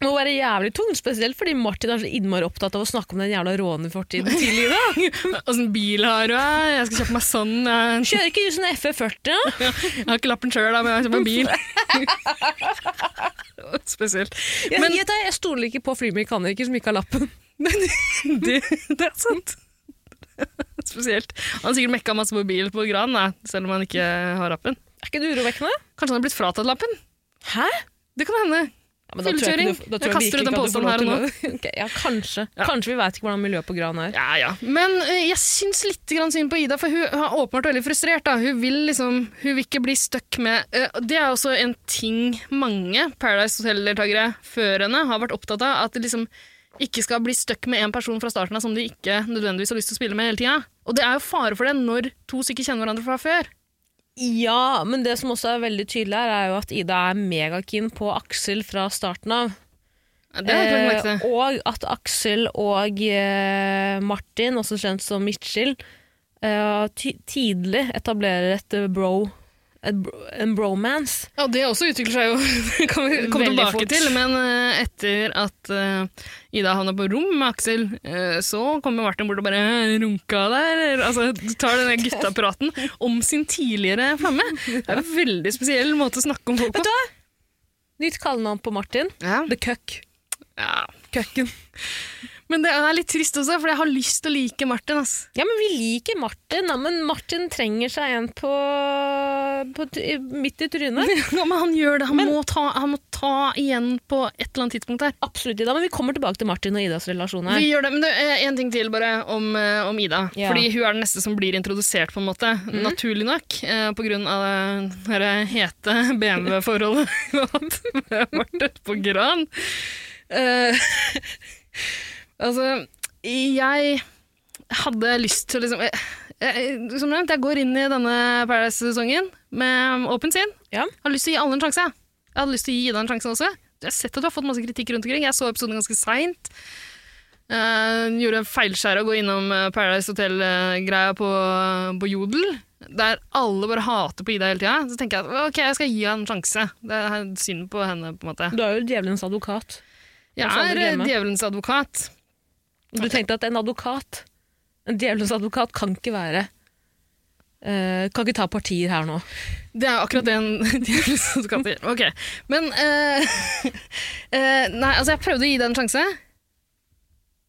Det må være jævlig tung, spesielt fordi Martin er så innmari opptatt av å snakke om den jævla rånefortiden til Ida.
Åssen bil har du? Jeg skal kjøpe meg sånn. Jeg
Kjører ikke du sånn FE40? da?
jeg har ikke lappen sjøl, men jeg har kjøpt meg bil. [LAUGHS] Spesielt.
Jeg,
Men-
jeg, jeg stoler ikke på flymekaniker som ikke har lappen.
Det, det er sant. Spesielt. Han har sikkert mekka masse på bil på Gran, da, selv om han ikke har lappen.
Er ikke det urovekkende?
Kanskje han har blitt fratatt lappen?
Hæ?
Det kan hende.
Ja, men da tror jeg ikke du- da
Fyllekjøring.
tror
Jeg kaster
virkelig
ut en
ikke at du får lov
påstand her og
til å- Ok, ja, kanskje.
Ja.
Kanskje vi veit ikke hvordan miljøet på Gran er.
Ja, ja. Men eh, jeg syns litt grann synd på Ida, for hun har åpenbart veldig frustrert. Da. Hun vil liksom, hun vil ikke bli stuck med eh, og Det er også en ting mange Paradise Hotel-deltakere før henne har vært opptatt av. At de liksom ikke skal bli stuck med en person fra starten av som de ikke nødvendigvis har lyst til å spille med hele tida. Og det er jo fare for det når to stykker kjenner hverandre fra før.
Ja, men det som også er veldig tydelig her, er jo at Ida er megakeen på Aksel fra starten av.
Det har jeg ikke lagt merke
Eh,
til.
og at Aksel og eh, Martin, også kjent som Mitchell, eh, ty tidlig etablerer et eh, bro, et bro, en bromance.
Ja, det også utvikler seg jo, [LAUGHS] det kan vi komme
Veldig
tilbake
fort.
til. Men eh, etter at eh, Ida havna på rom med Aksel, eh, så kommer Martin bort og bare "Eh, runka der. Altså, du tar den der guttapraten om sin tidligere flamme. Det er en veldig spesiell måte å snakke om folk på.
Nytt kallenavn på Martin.
Ja.
The Cuck.
Ja.
Køkken.
Men det er litt trist også, for jeg har lyst til å like Martin. Ass.
Ja, men vi liker Martin, da, men Martin trenger seg en på, på t- midt i [LAUGHS] trynet.
Ja, men han gjør det. Han, må ta, han må ta igjen på et eller annet tidspunkt her.
Absolutt, Ida, men vi kommer tilbake til Martin og Idas relasjon her.
Vi gjør det, men det er en ting til bare om, eh, om Ida.
Ja. Mhm.
Fordi hun er den neste som blir introdusert, på en måte. Naturlig nok, eh, på grunn av det her hete [LAUGHS] BMW-forholdet vi [LAUGHS] har hatt med Marte på Gran. Eh, [LAUGHS] altså, jeg hadde lyst til å liksom jeg, jeg, Som nevnt, jeg går inn i denne Paradise-sesongen med åpent sinn.
Ja.
Har lyst til å gi alle en sjanse. Jeg hadde lyst til å gi Ida en sjanse også. jeg har sett at du har fått masse kritikk rundt omkring. Jeg så episoden ganske seint. Eh, gjorde en feilskjær å gå innom eh, Paradise Hotel-greia på, på Jodel. Der alle bare hater på Ida hele tida. Så tenker jeg at ok, jeg skal gi henne en sjanse. Det er synd på henne, på en måte.
Du er jo djevelens advokat.
Jeg
Hva sa
er
du,
eh,
Glemme?
djevelens advokat.
Du tenkte at en advokat, en djevelens advokat, kan ikke være eh, Kan ikke ta partier her nå.
Det er jo akkurat det en [LAUGHS] djevelens advokat gjør. Ok, Men eh, [LAUGHS] eh, Nei, altså, jeg prøvde å gi deg en sjanse.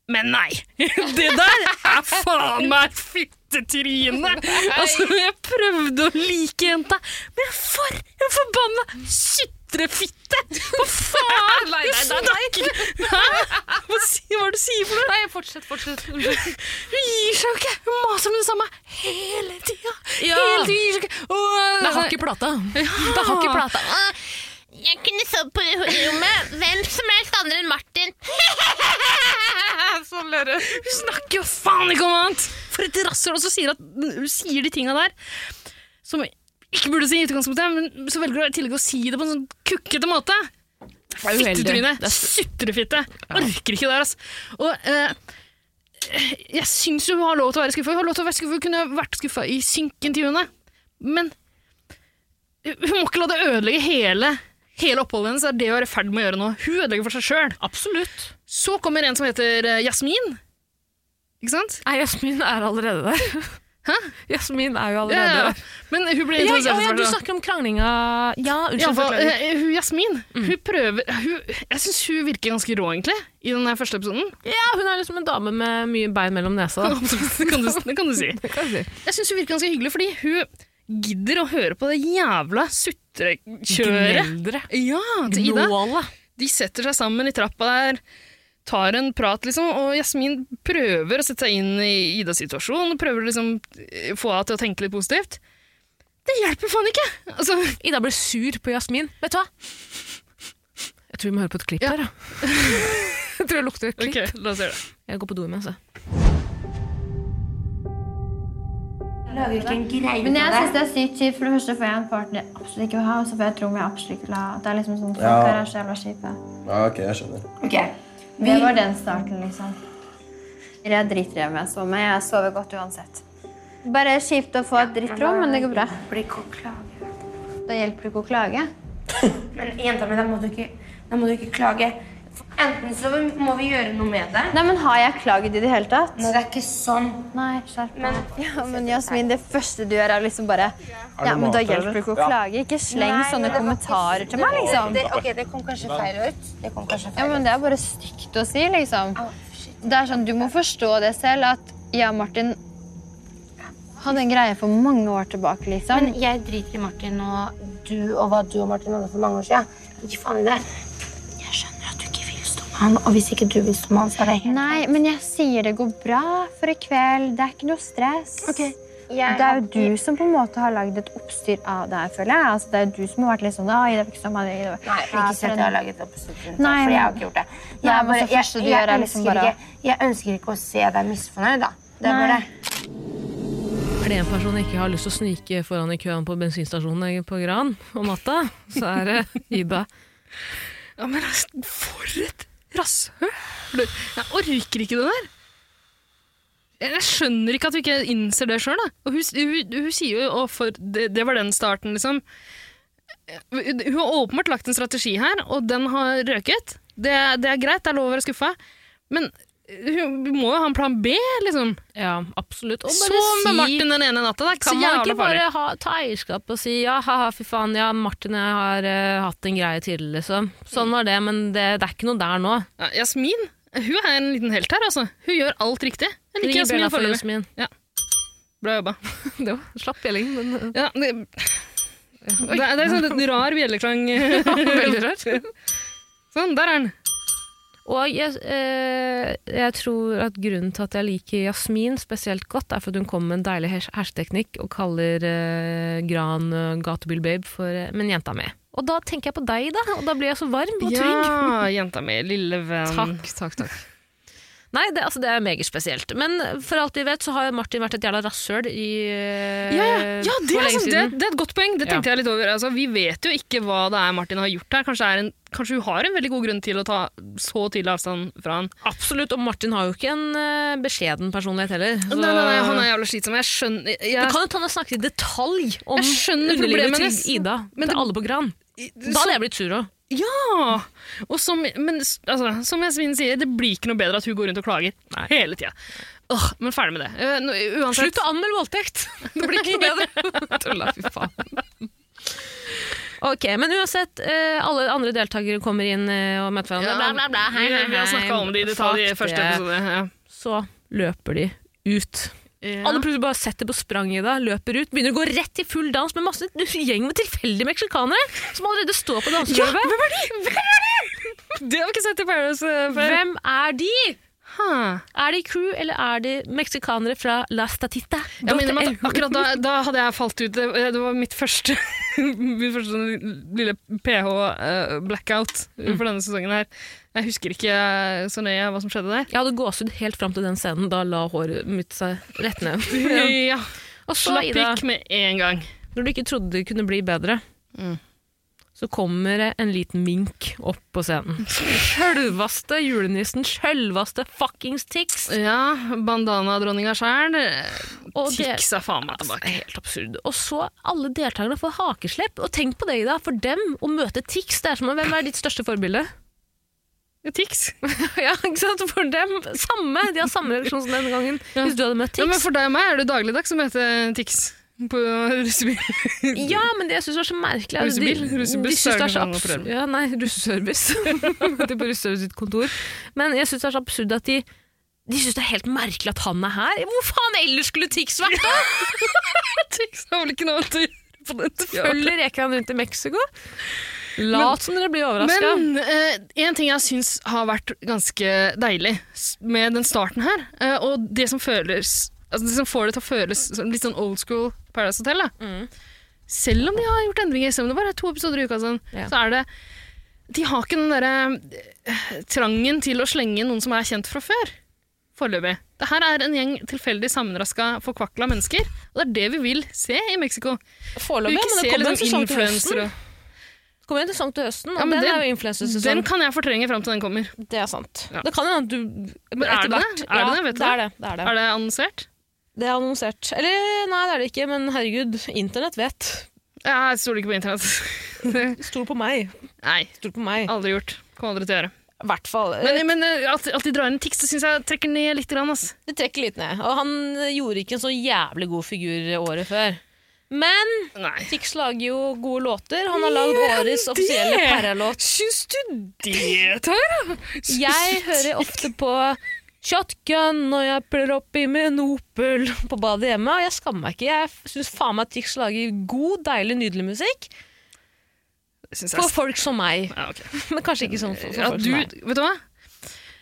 Men nei! [LAUGHS] Det der er faen meg fittetryne! Altså, jeg prøvde å like jenta, men for en forbanna sutrefitte! Hva faen?
Nei,
Du
nei, nei,
snakker Hæ? Hva si- hva er det du sier for noe?
Nei, fortsett, fortsett. Unnskyld.
Hun gir seg jo ikke! Hun maser om det samme hele tida!
Ja.
Hele tida gir seg ikke! altså, Åh,
Det har ikke plata. Det har ikke plata. Jeg kunne sovet på rommet hvem som helst andre enn Martin. [LAUGHS] sånn ler hun.
Hun snakker jo faen ikke om annet! For et rasshøl! Og så sier at- hun sier de tinga der som hun ikke burde si i utgangspunktet, men så velger hun i tillegg å si det på en sånn kukkete måte.
er uheldig.
Fittetryne!
Det er s-
Sutrefitte! Orker ikke det der, altså. Og eh, jeg syns hun har lov til å være skuffa. Hun har lov til å være skuffa. Hun kunne vært skuffa i synkintervjuene. Men hun må ikke la det ødelegge hele, hele oppholdet hennes. Det er det hun er i ferd med å gjøre nå. Hun ødelegger for seg sjøl.
Absolutt.
Så kommer en som heter eh, Jasmin. Ikke sant?
Nei, Jasmin er allerede der. [LAUGHS]
Hæ?
Jasmin er jo
Ja,
allerede
ja. ja.
der.
Men hun ble
Ja, ja,
introdusert
ja,
først,
du
da.
snakker om kranglinga Ja,
Ja,
unnskyld. Mm.
hva,
forklager.
eh, hun Jasmin hun prøver hun, Jeg syns hun virker ganske rå, egentlig, i den her første episoden. [LAUGHS]
ja, hun er liksom en dame med mye bein mellom nesa. da.
Det kan du, det kan du si.
[LAUGHS] Det kan jeg si.
Jeg syns hun virker ganske hyggelig, fordi hun gidder å høre på det jævla sutrekjøret.
Gneldre.
Ja, til Ida.
Gnålet.
De setter seg sammen i trappa der, tar en prat, liksom, og Jasmin prøver å sette seg inn i Idas situasjon, prøver å liksom eh, få henne til å tenke litt positivt. Det hjelper faen ikke! Altså,
Ida ble sur på Jasmin. Vet du hva? Jeg tror vi må høre på et klipp her. da. [LAUGHS] jeg tror jeg lukter et
ok,
klipp.
la oss gjøre det.
Jeg går på do altså. imens. jeg.
Men jeg syns det er sykt kjipt. For det første får jeg en partner jeg absolutt ikke vil ha, og så får jeg et rom jeg absolutt ikke vil ha. Det er liksom sånn, folk
Ja.
her er så jævla kjipe.
Ja, ok, jeg skjønner.
Det var den starten, liksom. Jeg driter i hvem jeg sover med. Jeg sover godt uansett. Bare kjipt å få et drittrom, men det går bra. Da hjelper det ikke å klage.
Men jenta mi, da må du ikke, da må du ikke klage. Enten så må vi gjøre noe med det.
Nei, men har jeg klaget i det hele tatt?
Men det er ikke sånn.
Nei, skjerp deg. Ja, men Jasmin, det første du gjør, er liksom bare Ja, men da hjelper det ikke å klage. Ikke sleng sånne kommentarer til meg, liksom.
Det, ok, det kom kanskje feil ut. Det kom kanskje
Ja,
feil
men det er bare stygt å si, liksom. Det er sånn, Du må forstå det selv, at jeg og Martin hadde en greie for mange år tilbake, liksom.
Men jeg driter i Martin og du og hva du og Martin hadde for mange år siden. Ikke faen i det. Jeg skjønner at du ikke vil stå med han, og hvis ikke du vil stå med han, så er det helt
Nei, men jeg sier det går bra for i kveld. Det er ikke noe stress.
Jeg
Det er jo du som på en måte har lagd et oppstyr av det her, føler jeg. Altså, det er jo du som har vært litt sånn «Å, Ida fikk sånn, Ida
Nei,
fikk sånn». Ja,
ikke si
for
at
en-
jeg har laget episode rundt det,
Nei,
for jeg har
men-
ikke gjort det.
Nei,
Jeg,
men
bare,
det
jeg,
første du
jeg,
gjør er liksom
ønsker
bare å-
ikke, jeg ønsker ikke å se deg misfornøyd, da. Det var
Nei.
det.
Er det en person jeg ikke har lyst til å snike foran i køen på bensinstasjonen på Gran om natta, så er [LAUGHS] det Ida.
Ja, men altså, for et rasshøl! Du, Jeg orker ikke det der. Jeg jeg skjønner ikke at hun ikke innser det sjøl. Hun, hun, hun sier jo å, for det, det var den starten, liksom. Hun hun har åpenbart lagt en strategi her, og den har røket. Det, det er greit, det er lov å være skuffa. Men hun hun må jo ha en plan B, liksom.
Ja, absolutt. Og
Så
bare si-
med Martin den ene natta. Det er ikke så
Kan man
jævla
ikke
farlig.
bare ha, ta eierskap og si ja, haha, fy faen, ja, Martin og jeg har eh, hatt en greie til, liksom. Sånn var det, men det, det er ikke noe der nå.
Ja, Jasmin hun er en liten helt her, altså. Hun gjør alt riktig. Jeg liker
Ring bjella
Jasmin
for
foreløpig.
Jasmin.
Bra jobba.
Det var slapp bjelling, men
Ja, det, det, er- det er sånn en rar bjelleklang. [LAUGHS]
veldig rart.
Sånn, der er den.
Og jeg, eh, jeg tror at grunnen til at jeg liker Jasmin spesielt godt, er for at hun kommer med en deilig hers- hersketeknikk og kaller eh, Gran eh, Gatebil Babe for eh, Men jenta mi. Og da tenker jeg på deg, da. Og da blir jeg så varm og trygg.
Ja, jenta mi, lille venn.
Takk, takk, takk. Nei, det, altså, det er megaspesielt. Men for alt vi vet, så har Martin vært et jævla rasshøl i eh,
Ja, ja. ja det,
for
er
lenge
sant. det,
siden.
det er et godt poeng. Det tenkte
Ja.
jeg litt over. Altså, vi vet jo ikke hva det er Martin har gjort her. Kanskje, er en, kanskje hun har en veldig god grunn til å ta så tidlig avstand fra han.
Absolutt, og Martin har jo ikke en eh, beskjeden personlighet heller. så-
Nei, nei, nei, han er jævla slitsom. Jeg skjønner jeg,
Det kan jo ta han har snakket i detalj om
Jeg skjønner problemet
underlivet
hennes.
til Ida.
Men det-
til alle på Gran. Da
så-
hadde jeg blitt sur òg.
Ja! Og som, men s- altså, som Jasmin sier, det blir ikke noe bedre at hun går rundt og klager hele tida. Åh, men ferdig med det. Eh, nå- Uansett.
Slutt å anmelde voldtekt! [LAUGHS] Det blir ikke noe
[LAUGHS]
bedre. Tulla, fy faen. Ok, Men uansett, eh, alle andre deltakere kommer inn eh, og møter hverandre. Bla, bla, bla. Hei, hei,
Vi- Vi har
hei.
snakka om det i detalj i
Fuck
første
det.
episode. Ja.
Så løper de ut. Alle plutselig bare setter på sprang i deg, løper ut, begynner å gå rett i full dans med masse en gjeng med tilfeldige meksikanere som allerede står på dansegulvet.
Ja, hvem er de? Hvem er de? Det har vi ikke sett i Paradise eh, før.
Hvem er de?
Huh.
Er de crew, eller er de meksikanere fra La Statita?
Jeg minner meg at akkurat da, da hadde jeg falt ut. Det, eh, det var mitt første, [LAUGHS] min første sånn lille ph-blackout
Mm.
for denne sesongen her. Jeg husker ikke eh, så nøye hva som skjedde der.
Jeg hadde gåsehud helt fram til den scenen. Da la håret mitt seg rett ned.
[LAUGHS] Ja.
Og så,
Slapp
Ida,
pikk med en gang.
når du ikke trodde det kunne bli bedre,
Mm.
så kommer det en liten mink opp på scenen. Sjølvaste julenissen, sjølvaste fuckings Tix.
Ja, bandana-dronninga sjæl.
Og det-
Eh, Tix er faen meg
Altså,
tilbake.
helt absurd. Og så alle deltakerne får hakeslepp. Og tenk på det, Ida. For dem å møte Tix det er som å- Hvem er ditt største forbilde?
Tix.
[LAUGHS] ja, ikke sant? For dem samme. De har samme reaksjon som den gangen. Hvis du hadde møtt Tix.
Ja, men for deg og meg er det dagligdags som heter Tix på russebil.
Ja, men det jeg syns var så merkelig er at
Russebil?
de-
Russebuss
de synes
er
det er så
noe annet å prøve.
absurd. Ja, nei,
[LAUGHS]
russeservice. det er på russeservice sitt kontor. Men jeg syns det er så absurd at de de syns det er helt merkelig at han er her. Hvor faen ellers skulle Tix vært,
[LAUGHS]
da?!
[LAUGHS] Tix har vel ikke noe annet å gjøre på den tida.
Følger Ekan rundt i Mexico? Lat som dere blir overraska.
Men eh, en ting jeg syns har vært ganske deilig s- med den starten her, eh, og det som føles altså Det som får det til å føles som litt sånn old school Paradise Hotel, da.
Mm.
Selv om de har gjort endringer, selv om det bare er to episoder i uka, og sånn,
Ja.
så er det De har ikke den derre eh, trangen til å slenge noen som er kjent fra før. Foreløpig. Det her er en gjeng tilfeldig sammenraska, forkvakla mennesker. Og det er det vi vil se i Mexico. Vi
Foreløpig,
vil
men
ikke se
det kommer en
liksom
sesong til høsten.
influencer og
Det kommer en sesong til høsten, og
Ja, men
den,
den-
er jo
Den
influensesesong.
kan jeg fortrenge fram til den kommer.
Det er sant.
Ja.
Det kan hende at du
Men er det det? Er det det? Vet du
det? Er
det?
det. Det, er det.
Er det annonsert?
det er annonsert. Eller nei, det er det ikke, men herregud, internett vet.
Jeg stoler ikke på internett.
[LAUGHS] Stol på meg.
Nei,
Stol på meg.
aldri gjort. Kommer aldri til å gjøre.
I hvert fall.
Men, men eh, at, at de drar inn Tix, det syns jeg trekker ned litt. Grann, ass.
Eh, Det trekker litt ned. Og han eh, gjorde ikke en så jævlig god figur året før. Men
Nei.
Tix lager jo gode låter. Han har lagd årets offisielle
det?
paralåt.
Syns du det, Tara?
Jeg hører ofte på Shotgun når jeg pler opp i min Opel på badet hjemme. Og jeg skammer meg ikke. Jeg syns faen meg Tix lager god, deilig, nydelig musikk
Syns jeg
for folk som meg.
ja, ok.
Men kanskje ikke sånn for, for
Ja,
folk
du,
som meg.
vet du hva?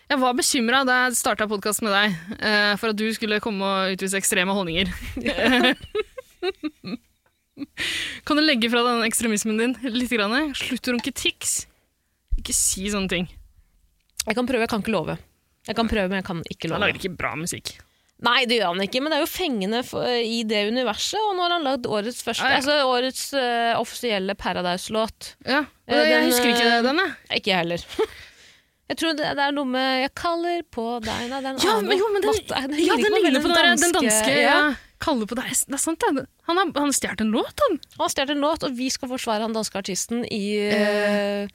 Jeg var bekymra da jeg starta podkasten med deg, eh, for at du skulle komme og utvise ekstreme holdninger. kan du legge fra deg den ekstremismen din litt? Grann? Slutt å runke Tix. Ikke si sånne ting.
Jeg kan prøve, jeg kan ikke love. Jeg kan prøve, men jeg kan ikke
Han
love.
lager ikke bra musikk.
Nei, det gjør han ikke, men det er jo fengende for, i det universet. Og nå har han lagd årets første,
Ah, Ja, ja.
altså årets eh, offisielle Paradise-låt.
Ja, og
Eh,
jeg
den,
husker ikke
eh,
den, [LAUGHS] jeg.
Ikke jeg heller. [LAUGHS] jeg tror det, det er noe med 'Jeg kaller på deg' Nei, den
Ja,
annen
men jo, men den-
låt. Nei, den
Ja,
ligner
den
på
ligner
veldig
på den, der- den danske
ja.
ja. Kalle på deg. Det er sant, det. Han har, han har stjålet en låt, han.
Han har stjålet en låt, og vi skal forsvare han danske artisten i eh,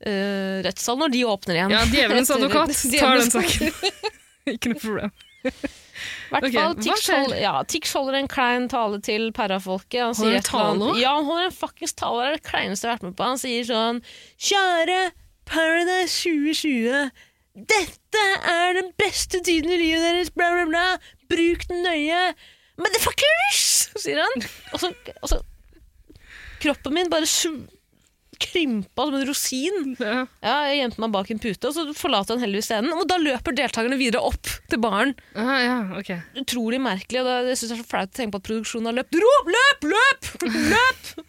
eh, rettssalen når de åpner
[LAUGHS]
igjen.
Ja, Djevelens
Etter-
advokat tar den
Djevelens-
saken. [LAUGHS] ikke noe problem.
hvert
Ok,
fall,
hva
Tix,
skjer?
hold, ja, Tix holder en klein tale til parafolket. Han
Holder en
sier et eller annet-
tale også?
Ja, han holder en fuckings tale. Det er det kleineste jeg har vært med på. Han sier sånn Kjære Paradise 2020. Dette er den beste tiden i livet deres, bla, bla, bla. Bruk den nøye. Motherfuckers! sier han. Og så, og så Kroppen min bare sv- krympa som en rosin. Ja. jeg gjemte meg bak en pute, og så forlater han heldigvis scenen. Og da løper deltakerne videre opp til baren. Utrolig merkelig. Og da, jeg synes det er så flaut å tenke på at produksjonen har løpt. Rop, løp, løp! Løp!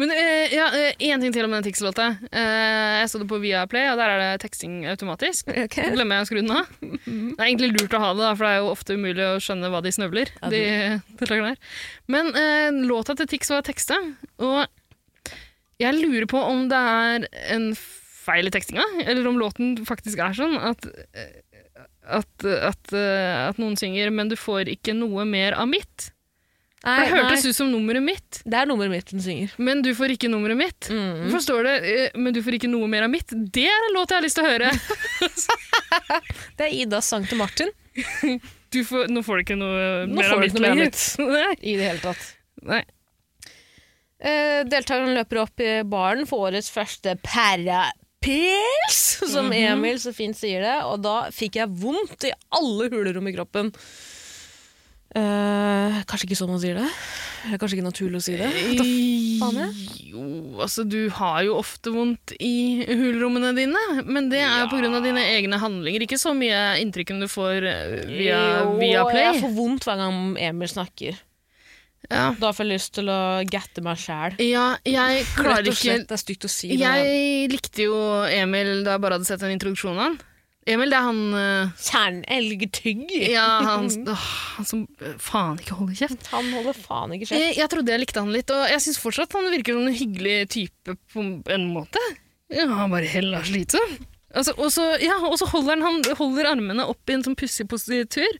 Men eh, ja, eh, en ting til om den Tix-låta. Eh, jeg så det på Viaplay, og der er det teksting automatisk.
Okay.
Glemmer jeg å skru den
[LAUGHS]
av. Det er egentlig lurt å ha det, da, for det er jo ofte umulig å skjønne hva de snøvler.
Ja,
de,
det-
[LAUGHS] deltakerne her. Men eh, låta til Tix var teksta, og jeg lurer på om det er en feil i tekstinga, eller om låten faktisk er sånn at eh, at, at, eh, at noen synger 'Men du får ikke noe mer av mitt'.
Nei,
for det hørtes
nei.
ut som nummeret mitt.
Det er nummeret mitt hun synger.
Men du får ikke nummeret mitt.
Mm.
Hvorfor står det eh, 'Men du får ikke noe mer av mitt'? Det er en låt jeg har lyst til å
[LAUGHS]
høre!
Det er Idas sang til Martin.
Du får, nå får du ikke noe
Nå
mer
får
av
du
mitt
ikke noe mer av
lenger.
mitt.
[LAUGHS] Nei.
I det hele tatt.
Nei.
Eh, deltakerne løper opp i baren for årets første parapils, som
Mhm.
Emil så fint sier det, og da fikk jeg vondt i alle hulerom i kroppen. Eh, kanskje ikke sånn man sier det? Det er kanskje ikke naturlig å si det? Hva faen er det?
Jo, altså du har jo ofte vondt i hulrommene dine, men det er jo på grunn av dine egne handlinger, ikke så mye inntrykk du får eh, via,
Jo,
via
Jeg
Play.
får vondt hver gang Emil snakker. Da får jeg lyst til å gatte meg sjæl.
Ja, jeg klarer
Rett og slett,
ikke
det er stygt å si. men-
Jeg likte jo Emil da jeg bare hadde sett en introduksjon av han. Emil, det er han eh,
Kjernelgetygg.
Ja,
[LAUGHS]
han, åh, han som eh, faen ikke holder kjeft.
Han holder faen ikke
Jeg,
kjeft.
jeg trodde jeg likte han litt, og jeg syns fortsatt han virker som en hyggelig type på en måte. Ja, han bare heller slitsom. Altså, og så ja, og så holder han, han holder armene opp i en sånn pussig positur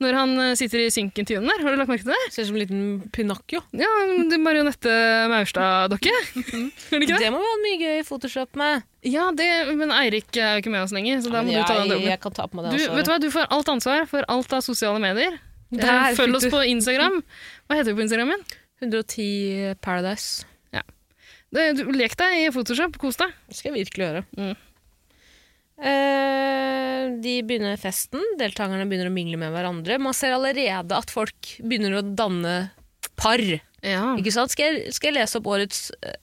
når han eh, sitter i synkintervjuene der. Har du lagt merke til det?
Ser ut som en liten pinocchio.
Ja, det er Marionette Maurstad-dokke. Er det ikke det?
Det må vi ha mye gøy Photoshop med.
Ja, det, men Eirik er jo ikke med oss lenger, så da
men
må
jeg-
du ta den jobben.
jeg kan ta på meg det
du,
ansvaret.
Vet du hva, du får alt ansvar for alt av sosiale medier.
Der
Eh,
fikk
Følg oss
du.
på Instagram. Hva heter du på Instagram min?
110 Paradise.
Det- Du, lek deg i Photoshop, kos deg.
Det skal jeg virkelig gjøre.
Mm.
Eh, de begynner festen, deltakerne begynner å mingle med hverandre. Man ser allerede at folk begynner å danne par.
Mm.
Ikke sant? Skal, jeg, skal jeg lese opp årets eh,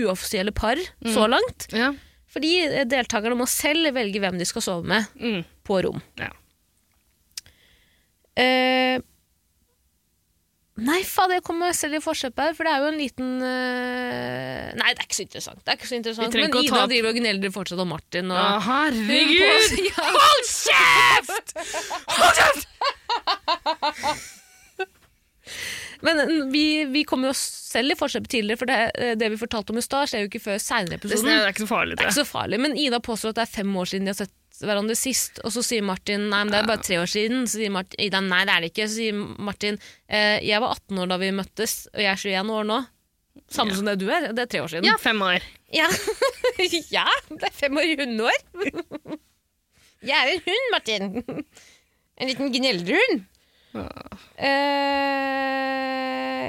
uoffisielle par så
Mm.
langt?
Ja.
Fordi eh, deltakerne må selv velge hvem de skal sove med
Mm.
på rom.
Ja.
Eh, nei, faen, jeg kommer selv i forkjøpet her, for det er jo en liten eh, Nei, det er ikke så interessant. Det er ikke så
Vi
interessant
trenger
men
ikke å ta
Ida
opp-
driver og gneller fortsatt om Martin. Og...
Ja, herregud!
[LAUGHS] Hun på- Hold kjeft! Hold kjeft! Men n- vi, vi kom jo selv i forskjell tidligere, for det, eh, det vi fortalte om i stad, skjer jo ikke før seinere i
Det
episoden.
er ikke så farlig,
Det er ikke så farlig, men Ida påstår at det er fem år siden de har sett hverandre sist, og så sier Martin nei, men det er bare tre år siden. Så sier Martin, Ida nei, det er det ikke. Så sier Martin eh, jeg var 18 år da vi møttes, og jeg er 21 år nå. Samme som det du er. Det er tre år siden.
Ja, fem år.
Ja, [LAUGHS] ja det er fem år [LAUGHS] i hundeår. Jeg er en hund, Martin. [LAUGHS] En liten gneldrehund. Eh,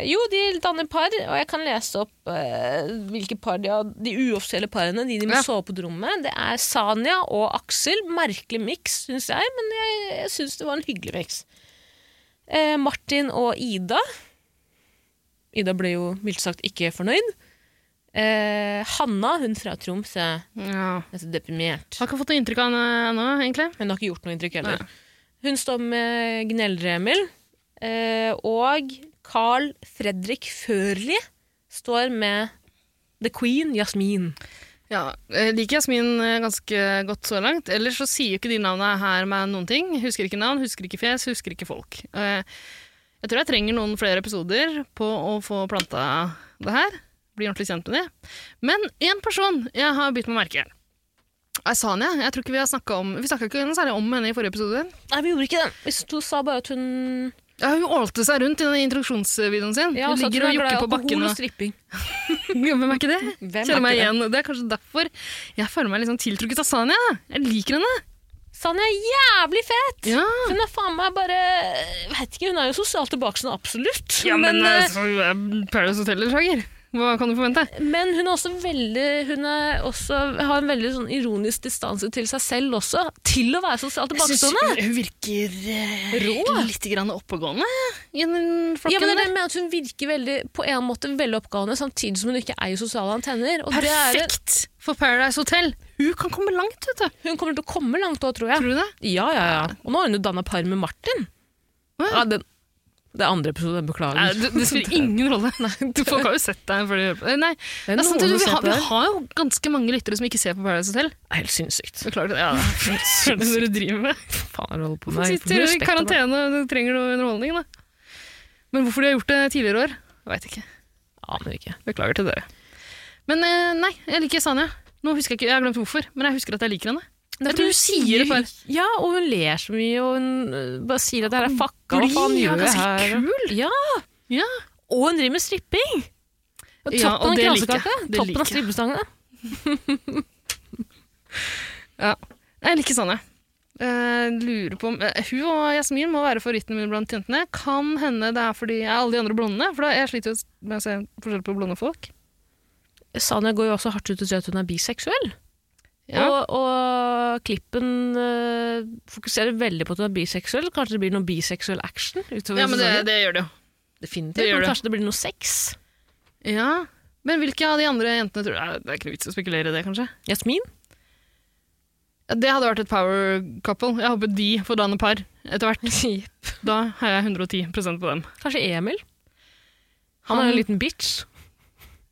jo, de danner par, og jeg kan lese opp eh, hvilke par de har. De uoffisielle parene, de de må
Ja.
sove på rommet. Det er Sanja og Aksel. Merkelig miks, syns jeg, men jeg, jeg syns det var en hyggelig miks. Eh, Martin og Ida. Ida ble jo mildt sagt ikke fornøyd. Eh, Hanna, hun fra Tromsø,
Ja.
er så deprimert.
Har ikke fått noe inntrykk av henne ennå, egentlig.
Hun har ikke gjort noe inntrykk heller. Hun står med Gneldre-Emil, eh, og Carl Fredrik Førli står med The Queen Jasmin.
Ja, eh, Liker Jasmin eh, ganske godt så langt. Ellers så sier jo ikke de navnene her meg noen ting. Husker ikke navn, husker ikke fjes, husker ikke folk. Eh, Jeg tror jeg trenger noen flere episoder på å få planta det her. Bli ordentlig kjent med det. Men én person jeg har bitt meg merke i. er Sanja. Jeg tror ikke Vi har snakket om, vi snakka ikke noe særlig om henne i forrige episode.
Nei, vi gjorde ikke det. Vi sto- sa bare at hun
Ja, hun ålte seg rundt i den introduksjonsvideoen sin.
Ja,
hun
så at
ligger og
hun er glad i
jokker på
alkohol
bakken.
og
og-
stripping.
[LAUGHS] Hvem er ikke det?
Hvem
Kjenner
er
meg
ikke det?
igjen. Det er kanskje derfor jeg føler meg litt sånn tiltrukket av Sanja. Jeg liker henne.
Sanja er jævlig fet!
Ja.
Hun er faen meg bare Vet ikke, hun er jo sosialt tilbakestående, absolutt.
Ja, men,
eh,
eh, så er Paradise Hotel-deltaker. Hva kan du forvente?
Men hun, er også veldig, hun er også, har en veldig sånn ironisk distanse til seg selv også. Til å være sosialt
Jeg synes
tilbakestående.
hun- hun virker eh,
Rå.
litt grann oppegående i den flokken
Ja, men det er det
der.
jeg mener at Hun virker veldig, på en måte veldig oppgående, samtidig som hun ikke eier sosiale antenner. Og
Perfekt for Paradise Hotel! Hun kan komme langt, vet du.
Hun kommer til å komme langt òg, tror jeg.
Tror du det?
Ja, ja, ja. Og nå har hun jo danna par med Martin. Ja, den, det er andre episode, jeg beklager.
Nei, det, det
[LAUGHS]
spiller ingen rolle. Du Folk har jo sett deg før de hører på. Eh, Nei, det er
noen
sant, du, vi,
som ser
har,
på
vi
det.
har jo ganske mange lyttere som ikke ser på Paradise Hotel.
Helt sinnssykt.
Beklager det. Ja, [LAUGHS] det er det dere driver med.
Faen, jeg holder
De
på med Jeg får
sitter i
respekt av meg.
karantene og de trenger noe underholdning. Da. Men hvorfor de har gjort det tidligere år, veit ikke.
Aner ikke.
Beklager til dere. Men eh, nei, jeg liker Sanja. Nå husker Jeg ikke, jeg har glemt hvorfor, men jeg husker at jeg liker henne.
Nei,
Jeg tror hun sier det bare.
Ja, og hun ler så mye, og hun øh, bare sier at det her er fucka, hva
blir
faen gjør jeg
ganske
her? Kul. Ja. Og hun driver med stripping! Og toppen
Ja, og
av
det liker jeg.
kransekaka.
Det
Toppen
liker
av
jeg.
strippestangene.
Ja. Jeg liker Sanja. Eh, lurer på om eh, Hun og Jasmin må være favorittene mine blant jentene. Kan hende det er fordi jeg er alle de andre blonde, for da jeg sliter jo med å se forskjell på blonde folk.
Sanja går jo også hardt ut og sier at hun er biseksuell.
Ja.
Og, og klippen øh, fokuserer veldig på at hun er biseksuell. Kanskje det blir noe biseksuell action utover
Ja, men det,
sesongen.
det gjør det jo.
Definitivt.
det gjør
men
det.
kanskje det blir noe sex.
Ja. Men hvilke av de andre jentene tror du Nei, Det er ikke noe vits å spekulere i det, kanskje?
Jasmin?
Ja, Det hadde vært et power couple. Jeg håper de får danne par etter hvert. da har jeg 110 på dem.
Kanskje Emil? Han er jo en liten bitch.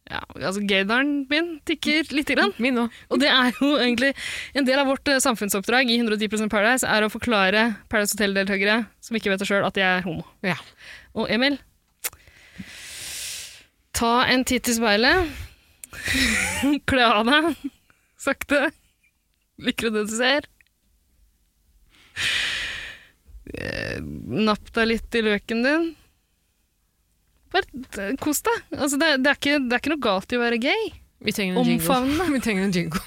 Ja, altså Gaydaren min tikker lite grann.
Min òg.
Og det er jo egentlig en del av vårt eh, samfunnsoppdrag i 110 Paradise er å forklare Paradise Hotel-deltakere som ikke vet det sjøl, at de er homo.
Ja.
Og Emil, ta en titt i speilet. [LAUGHS] Kle av deg sakte. Liker du det du ser? Eh, Napp deg litt i løken din. Bare eh, kos deg. Altså, det, det, er ikke, det er ikke noe galt i å være gay.
Vi trenger en jingle.
Omfavne.
[LAUGHS] Vi trenger en jingle.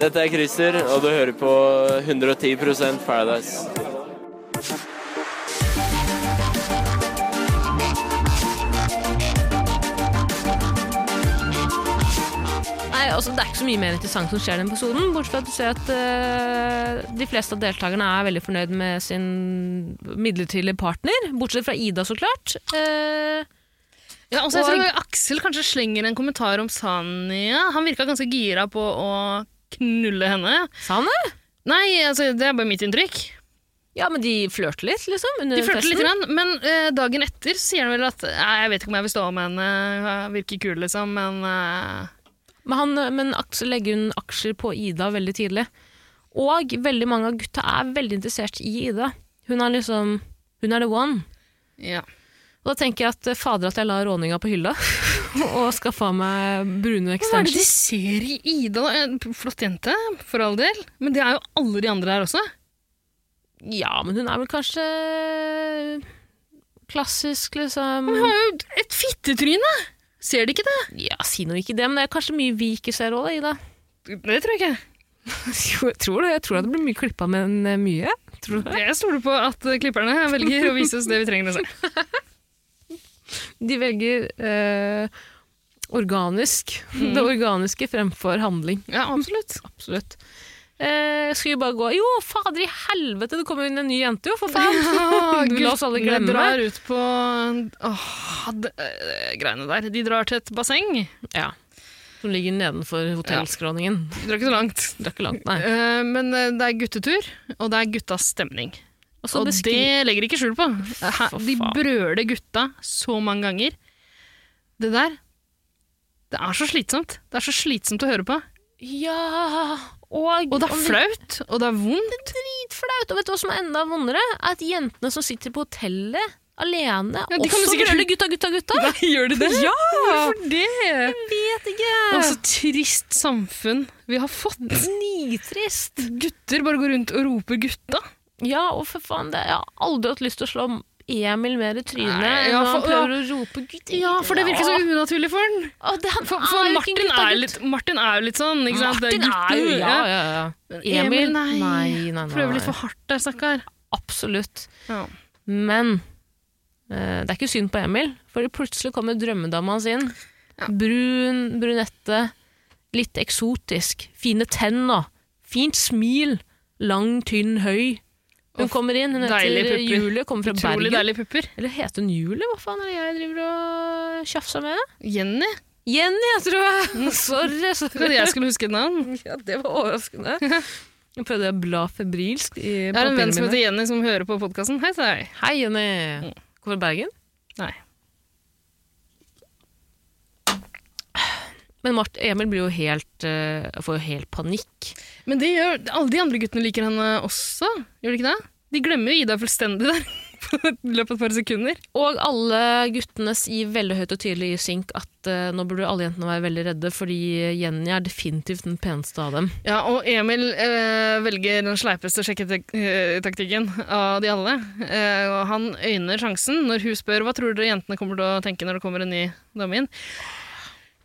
Dette er [LAUGHS] Christer, og du hører på 110 Paradise.
Nei, altså Det er ikke så mye mer interessant som skjer i den episoden, bortsett fra at du ser at eh, de fleste av deltakerne er veldig fornøyd med sin midlertidige partner. Bortsett fra Ida, så klart. Eh,
Ja, altså, jeg
Og-
tror Aksel kanskje slenger en kommentar om Sanja. Han virka ganske gira på å knulle henne.
sa han det?
Nei, altså, det er bare mitt inntrykk.
Ja, men de flørter litt, liksom. Under
De flørter
festen.
litt, grann, men eh, dagen etter så sier han vel at Nei, jeg vet ikke om jeg vil stå med henne, hun virker kul, liksom, men eh,
Men, han, men Aksel legger hun aksjer på Ida veldig tidlig. Og veldig mange av gutta er veldig interessert i Ida. Hun er liksom Hun er the one.
ja.
Og da tenker jeg at eh, fader at jeg la råninga på hylla, [LAUGHS] og skal få meg brune
Hva er det de
extensions.
ser i Ida? da? En Flott jente, for all del, men det er jo alle de andre her også.
Ja, men hun er vel kanskje klassisk, liksom.
Hun har jo et fittetryne! Ser de ikke det?
Ja, si nå ikke det, men det er kanskje mye vi ikke ser òg, Ida.
Det tror jeg ikke.
[LAUGHS] Jo, jeg tror det. Jeg tror det blir mye klippa, men eh, mye. Tror du det?
Jeg stoler på at klipperne velger å vise oss det vi trenger å [LAUGHS] se.
De velger eh, organisk. [LAUGHS] Det organiske fremfor handling.
Ja, Mm. absolutt.
[LAUGHS] Absolutt. Eh, skal vi bare gå Jo, fader i helvete, det kommer inn en ny jente, jo, for
[LAUGHS]
[LAUGHS] faen! Du La oss alle
Guttene
glemme
drar
det.
ut på Åh, det, eh, greiene der. De drar til et basseng.
Ja. Som ligger nedenfor hotellskråningen.
De drar ikke så langt.
Det er ikke langt, nei.
Eh, men eh, det er guttetur, og det er guttas stemning.
Og så
Og
beskri-
det legger de ikke skjul på. Hæ,
For
De
faen.
brøler gutta så mange ganger. Det der Det er så slitsomt. Det er så slitsomt å høre på.
Ja
Og
Og,
det er flaut, og det er vondt.
Dritflaut! Og vet du hva som er enda vondere? Er At jentene som sitter på hotellet alene,
Ja, de kan jo
også
sikkert-
brøler 'gutta, gutta, gutta'.
[LAUGHS] Nei, gjør de det?
Ja!
Hvorfor det?
Vet ikke!
Og så trist samfunn vi har fått.
[LAUGHS] Nitrist!
Gutter bare går rundt og roper 'gutta'.
Ja, og for faen, det, jeg har aldri hatt lyst til å slå Emil mer i trynet
Nei,
enn
ja,
når han
for-
prøver å rope gutt.
Ja, for det virker så unaturlig for den.
Å, det, han
For,
er
for
jo ikke en
Martin,
gutt, han
er Ah, litt, Martin er jo litt sånn, ikke sant? Det
Martin er jo
gutten,
ja, ja, ja.
Emil, nei.
nei, nei, nei,
Prøver litt
nei.
for hardt der, stakkar.
Absolutt. Men eh, det er ikke synd på Emil, for plutselig kommer drømmedama hans inn. Brun, brunette, litt eksotisk. Fine tenner. Fint smil. Lang, tynn, høy. Hun
Uff,
kommer inn, hun
deilige
heter
pupper.
Julie, kommer fra
Utrolig
Bergen.
deilige pupper.
Eller heter hun Julie? Hva faen er det jeg driver og tjafser med?
[LAUGHS] Jenny?
Jenny, jeg tror jeg! Sorry, sorry.
[LAUGHS] Trodde jeg skulle huske et navn.
Ja, det var [LAUGHS] overraskende. Jeg prøvde å bla febrilsk i
Jeg har en
papirene
venn som
mine.
heter Jenny, som hører på podkasten. Hei til deg.
Hei, Jenny. Kommer fra Bergen?
Nei.
Men Mart, Emil blir jo helt, eh, får jo helt panikk.
Men det gjør, alle de andre guttene liker henne også, gjør de ikke det? De glemmer jo Ida fullstendig der [LAUGHS] på løpet av et par sekunder.
Og alle guttene sier veldig høyt og tydelig i synk at eh, nå burde alle jentene være veldig redde, fordi Jenny er definitivt den peneste av dem.
Ja, og Emil eh, velger den sleipeste sjekketaktikken av de alle. Eh, og han øyner sjansen når hun spør hva tror dere jentene kommer til å tenke når det kommer en ny dame inn.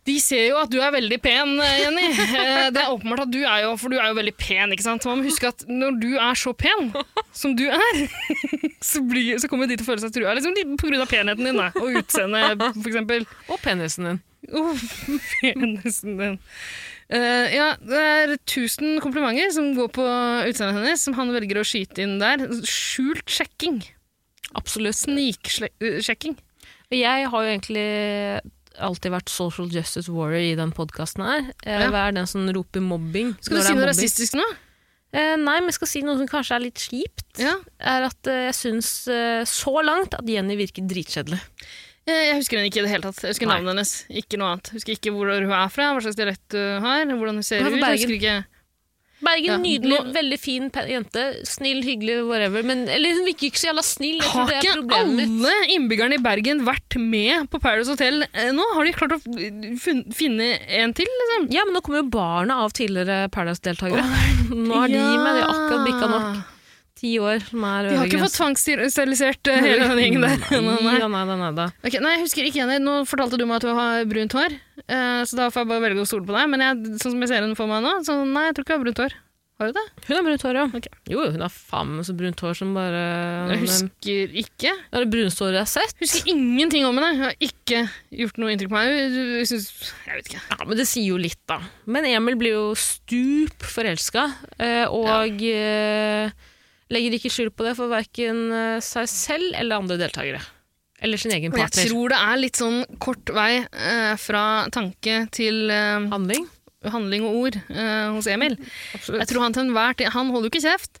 De ser jo at du er veldig pen, eh, Jenny. Eh, Det er åpenbart at du er jo, for du er jo veldig pen, ikke sant? Man må huske at når du er så pen som du er, [LAUGHS] så, blir, så kommer de til å føle seg trua. Liksom de, på grunn av penheten din, da, og utseendet, for eksempel.
Og penisen din.
Oh, penisen din. Eh, ja, det er 1000 komplimenter som går på utseendet hennes, som han velger å skyte inn der. Skjult sjekking.
Absolutt.
Sniksjekking.
Og jeg har jo egentlig alltid vært social justice warrior i den podkasten her. Jeg
Ja.
er den som roper mobbing.
Skal du
når det
si
er
noe
mobbing.
rasistisk nå?
Eh, nei, men jeg skal si noe som kanskje er litt kjipt. Er at eh, jeg syns eh, så langt at Jenny virker dritkjedelig.
Eh, Jeg husker henne ikke i det hele tatt. Jeg husker
Nei.
navnet hennes. Ikke noe annet. Jeg husker ikke hvor hun er fra, hva slags dialekt hun har, hvordan hun ser
Hun er
ut.
fra
Jeg husker
Bergen.
ikke.
Bergen,
Ja,
nydelig,
nå-
veldig fin pe- jente. Snill, hyggelig, whatever. Men, eller hun virker ikke så jævla snill. Jeg tror
Har
det er
ikke
problemet mitt.
alle innbyggerne i Bergen vært med på Paradise Hotel eh, nå? Har de klart å fun- finne en til, liksom?
Ja, men nå kommer jo barna av tidligere Paradise-deltakere. [LAUGHS] Nå er de med, de har akkurat bikka nok. Ti år, som er
De har ikke
øvre
fått tvangssterilisert eh,
grense.
hele den gjengen der. Nei,
[LAUGHS] Nei, da, nei, da, nei, da.
Ok, nei, jeg husker ikke Jenny. Nå fortalte du meg at du har brunt hår, eh, så da får jeg bare velge å stole på deg. Men jeg, sånn som jeg ser henne for meg nå, så nei, jeg tror ikke jeg har brunt hår. Har du det?
Hun har brunt hår, ja. Jo, jo, hun har faen meg så brunt hår som bare
Jeg husker ikke.
Det er det bruneste håret jeg har sett.
Husker ingenting om henne. Hun har ikke gjort noe inntrykk på meg. Jeg- Jeg synes, jeg vet ikke.
Ja, men det sier jo litt, da. Men Emil blir jo stup forelska, eh, og eh, legger ikke skjul på det for verken eh, seg selv eller andre deltakere. Eller sin egen
Men jeg
partner.
tror det er litt sånn kort vei eh, fra tanke til eh,
handling.
og ord eh, hos Emil. Jeg tror han til enhver tid Han holder jo ikke kjeft.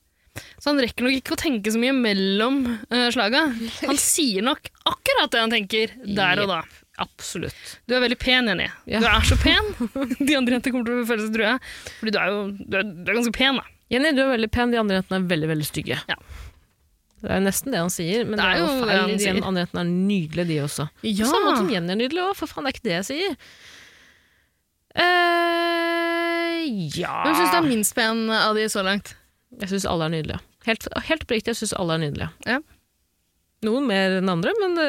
Så han rekker nok ikke å tenke så mye mellom eh, slaga. [LAUGHS] Han sier nok akkurat det han tenker, der og da.
Absolutt.
Du er veldig pen, Jenny. Du er så [LAUGHS] pen! De andre jentene kommer til å føle seg trua. Fordi du er jo du er, du er ganske pen, da.
Jenny, du er veldig pen. De andre jentene er veldig veldig stygge. Det er nesten det han sier, men det er, jo
det
feil.
han
De
sier.
andre jentene er nydelige, de også.
Ja.
På samme måte som Jenny er nydelig òg, for faen, det er ikke det jeg sier. Eh, ja
Hvem syns du er minst pen av de så langt?
Jeg syns alle er nydelige. Helt, helt oppriktig, jeg syns alle er nydelige.
Ja.
Noen mer enn andre, men det,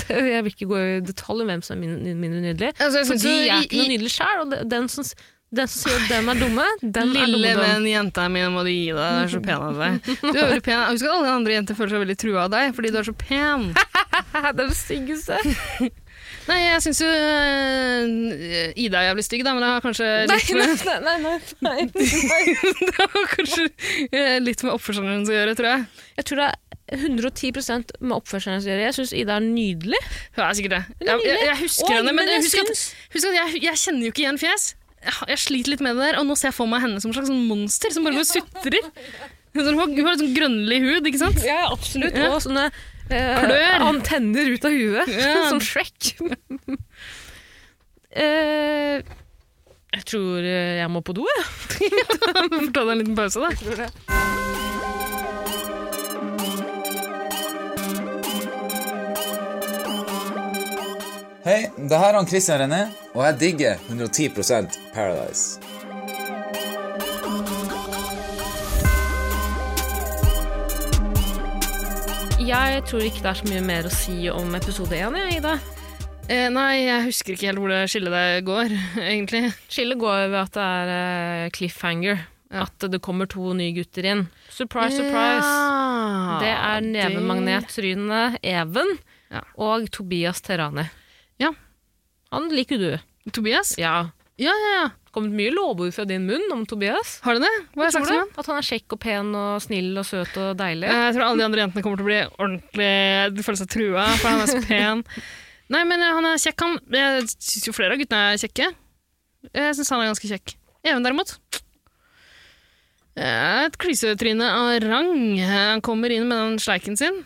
det, [LAUGHS] jeg vil ikke gå i detalj om hvem som er min- mindre nydelig.
Altså, jeg synes
Fordi
jo
jeg er
i-
ikke noe
i-
nydelig sjæl, og det- den som, s- den som sier at dem er
[LAUGHS]
dumme, den er
Lille
dumme.
venn, jenta mi, nå må du gi deg. Du er så pen av [LAUGHS] deg. Du er veldig pen. Husk at alle andre jenter føler seg veldig trua av deg fordi du er så pen.
[LAUGHS] det er det styggeste.
Nei, jeg syns jo øh, Ida er jævlig stygg, da, men det har kanskje
Nei,
litt
nei,
med,
nei, nei, nei, nei, nei.
[LAUGHS] det har kanskje øh, litt med oppførselen hennes å gjøre, tror jeg.
Jeg tror det er 110 med oppførselen hennes å gjøre. Jeg syns Ida er nydelig.
Hun er sikkert det.
Hun er
Jeg, jeg,
nydelig.
jeg husker
Oi,
henne, men,
men jeg
husk,
syns-
at, husk at jeg, jeg kjenner jo ikke igjen fjes. Jeg, har- jeg sliter litt med det der, og nå ser jeg for meg henne som et slags sånn monster som bare går og sutrer. Hun har, hun har litt sånn grønnlig hud, ikke sant?
Ja, absolutt.
Ja.
Og sånne eh,
Klør.
antenner ut av huet,
Ja.
[LAUGHS] som Shrek. Eh, jeg tror eh, jeg må på do, jeg. [LAUGHS]
Vi får ta deg en liten pause, da.
Hei, det her er han Christian René, og jeg digger 110 Paradise.
Jeg tror ikke det er så mye mer å si om episode én, jeg, Ida.
Eh, nei, jeg husker ikke helt hvor det skillet der går, [LAUGHS] egentlig.
Skillet går ved at det er eh, cliffhanger. At det kommer to nye gutter inn. Surprise, surprise.
Ja.
Det
Ah,
er nevemagnetrynet Even og Tobias Terrani.
Ja.
Han liker du.
Tobias?
Ja.
Ja, ja, ja.
kommet mye lovord fra din munn om Tobias.
Har du det? Hva har jeg
Tror
sagt til
du?
ham?
At han er kjekk og pen og snill og søt og deilig.
Eh, Jeg tror alle de andre jentene kommer til å bli ordentlig De føler seg trua, for han er så pen. Nei, men eh, han er kjekk, han. Jeg syns jo flere av guttene er kjekke. Jeg syns han er ganske kjekk. Even, derimot eh, Et klysetryne av rang. Han kommer inn med den sleiken sin.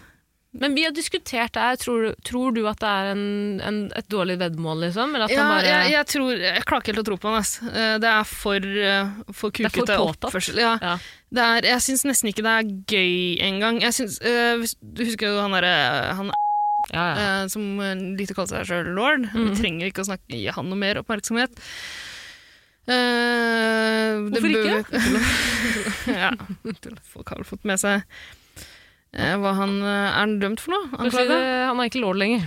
Men vi har diskutert det her. Tror, du- tror du at det er en, en, et dårlig veddemål, liksom? Eller at
Ja,
han bare
jeg, jeg, tror, jeg klarer ikke helt å tro på han. Ass. Eh, Det er for, eh, for
Det er for
kukete
påtatt.
oppførsel. Ja. Det er, jeg syns nesten ikke det er gøy engang. Jeg syns, eh, hvis- du husker jo han derre han eh, som eh, likte å kalle seg sjøl lord.
Mhm.
Vi trenger ikke å snakke, gi han noe mer oppmerksomhet. Eh, det
Hvorfor ikke?
bør- [LAUGHS] ja, folk har vel fått med seg eh, hva han eh, er han dømt for noe?
Kanskje det-
er ikke lord [LAUGHS] lenger.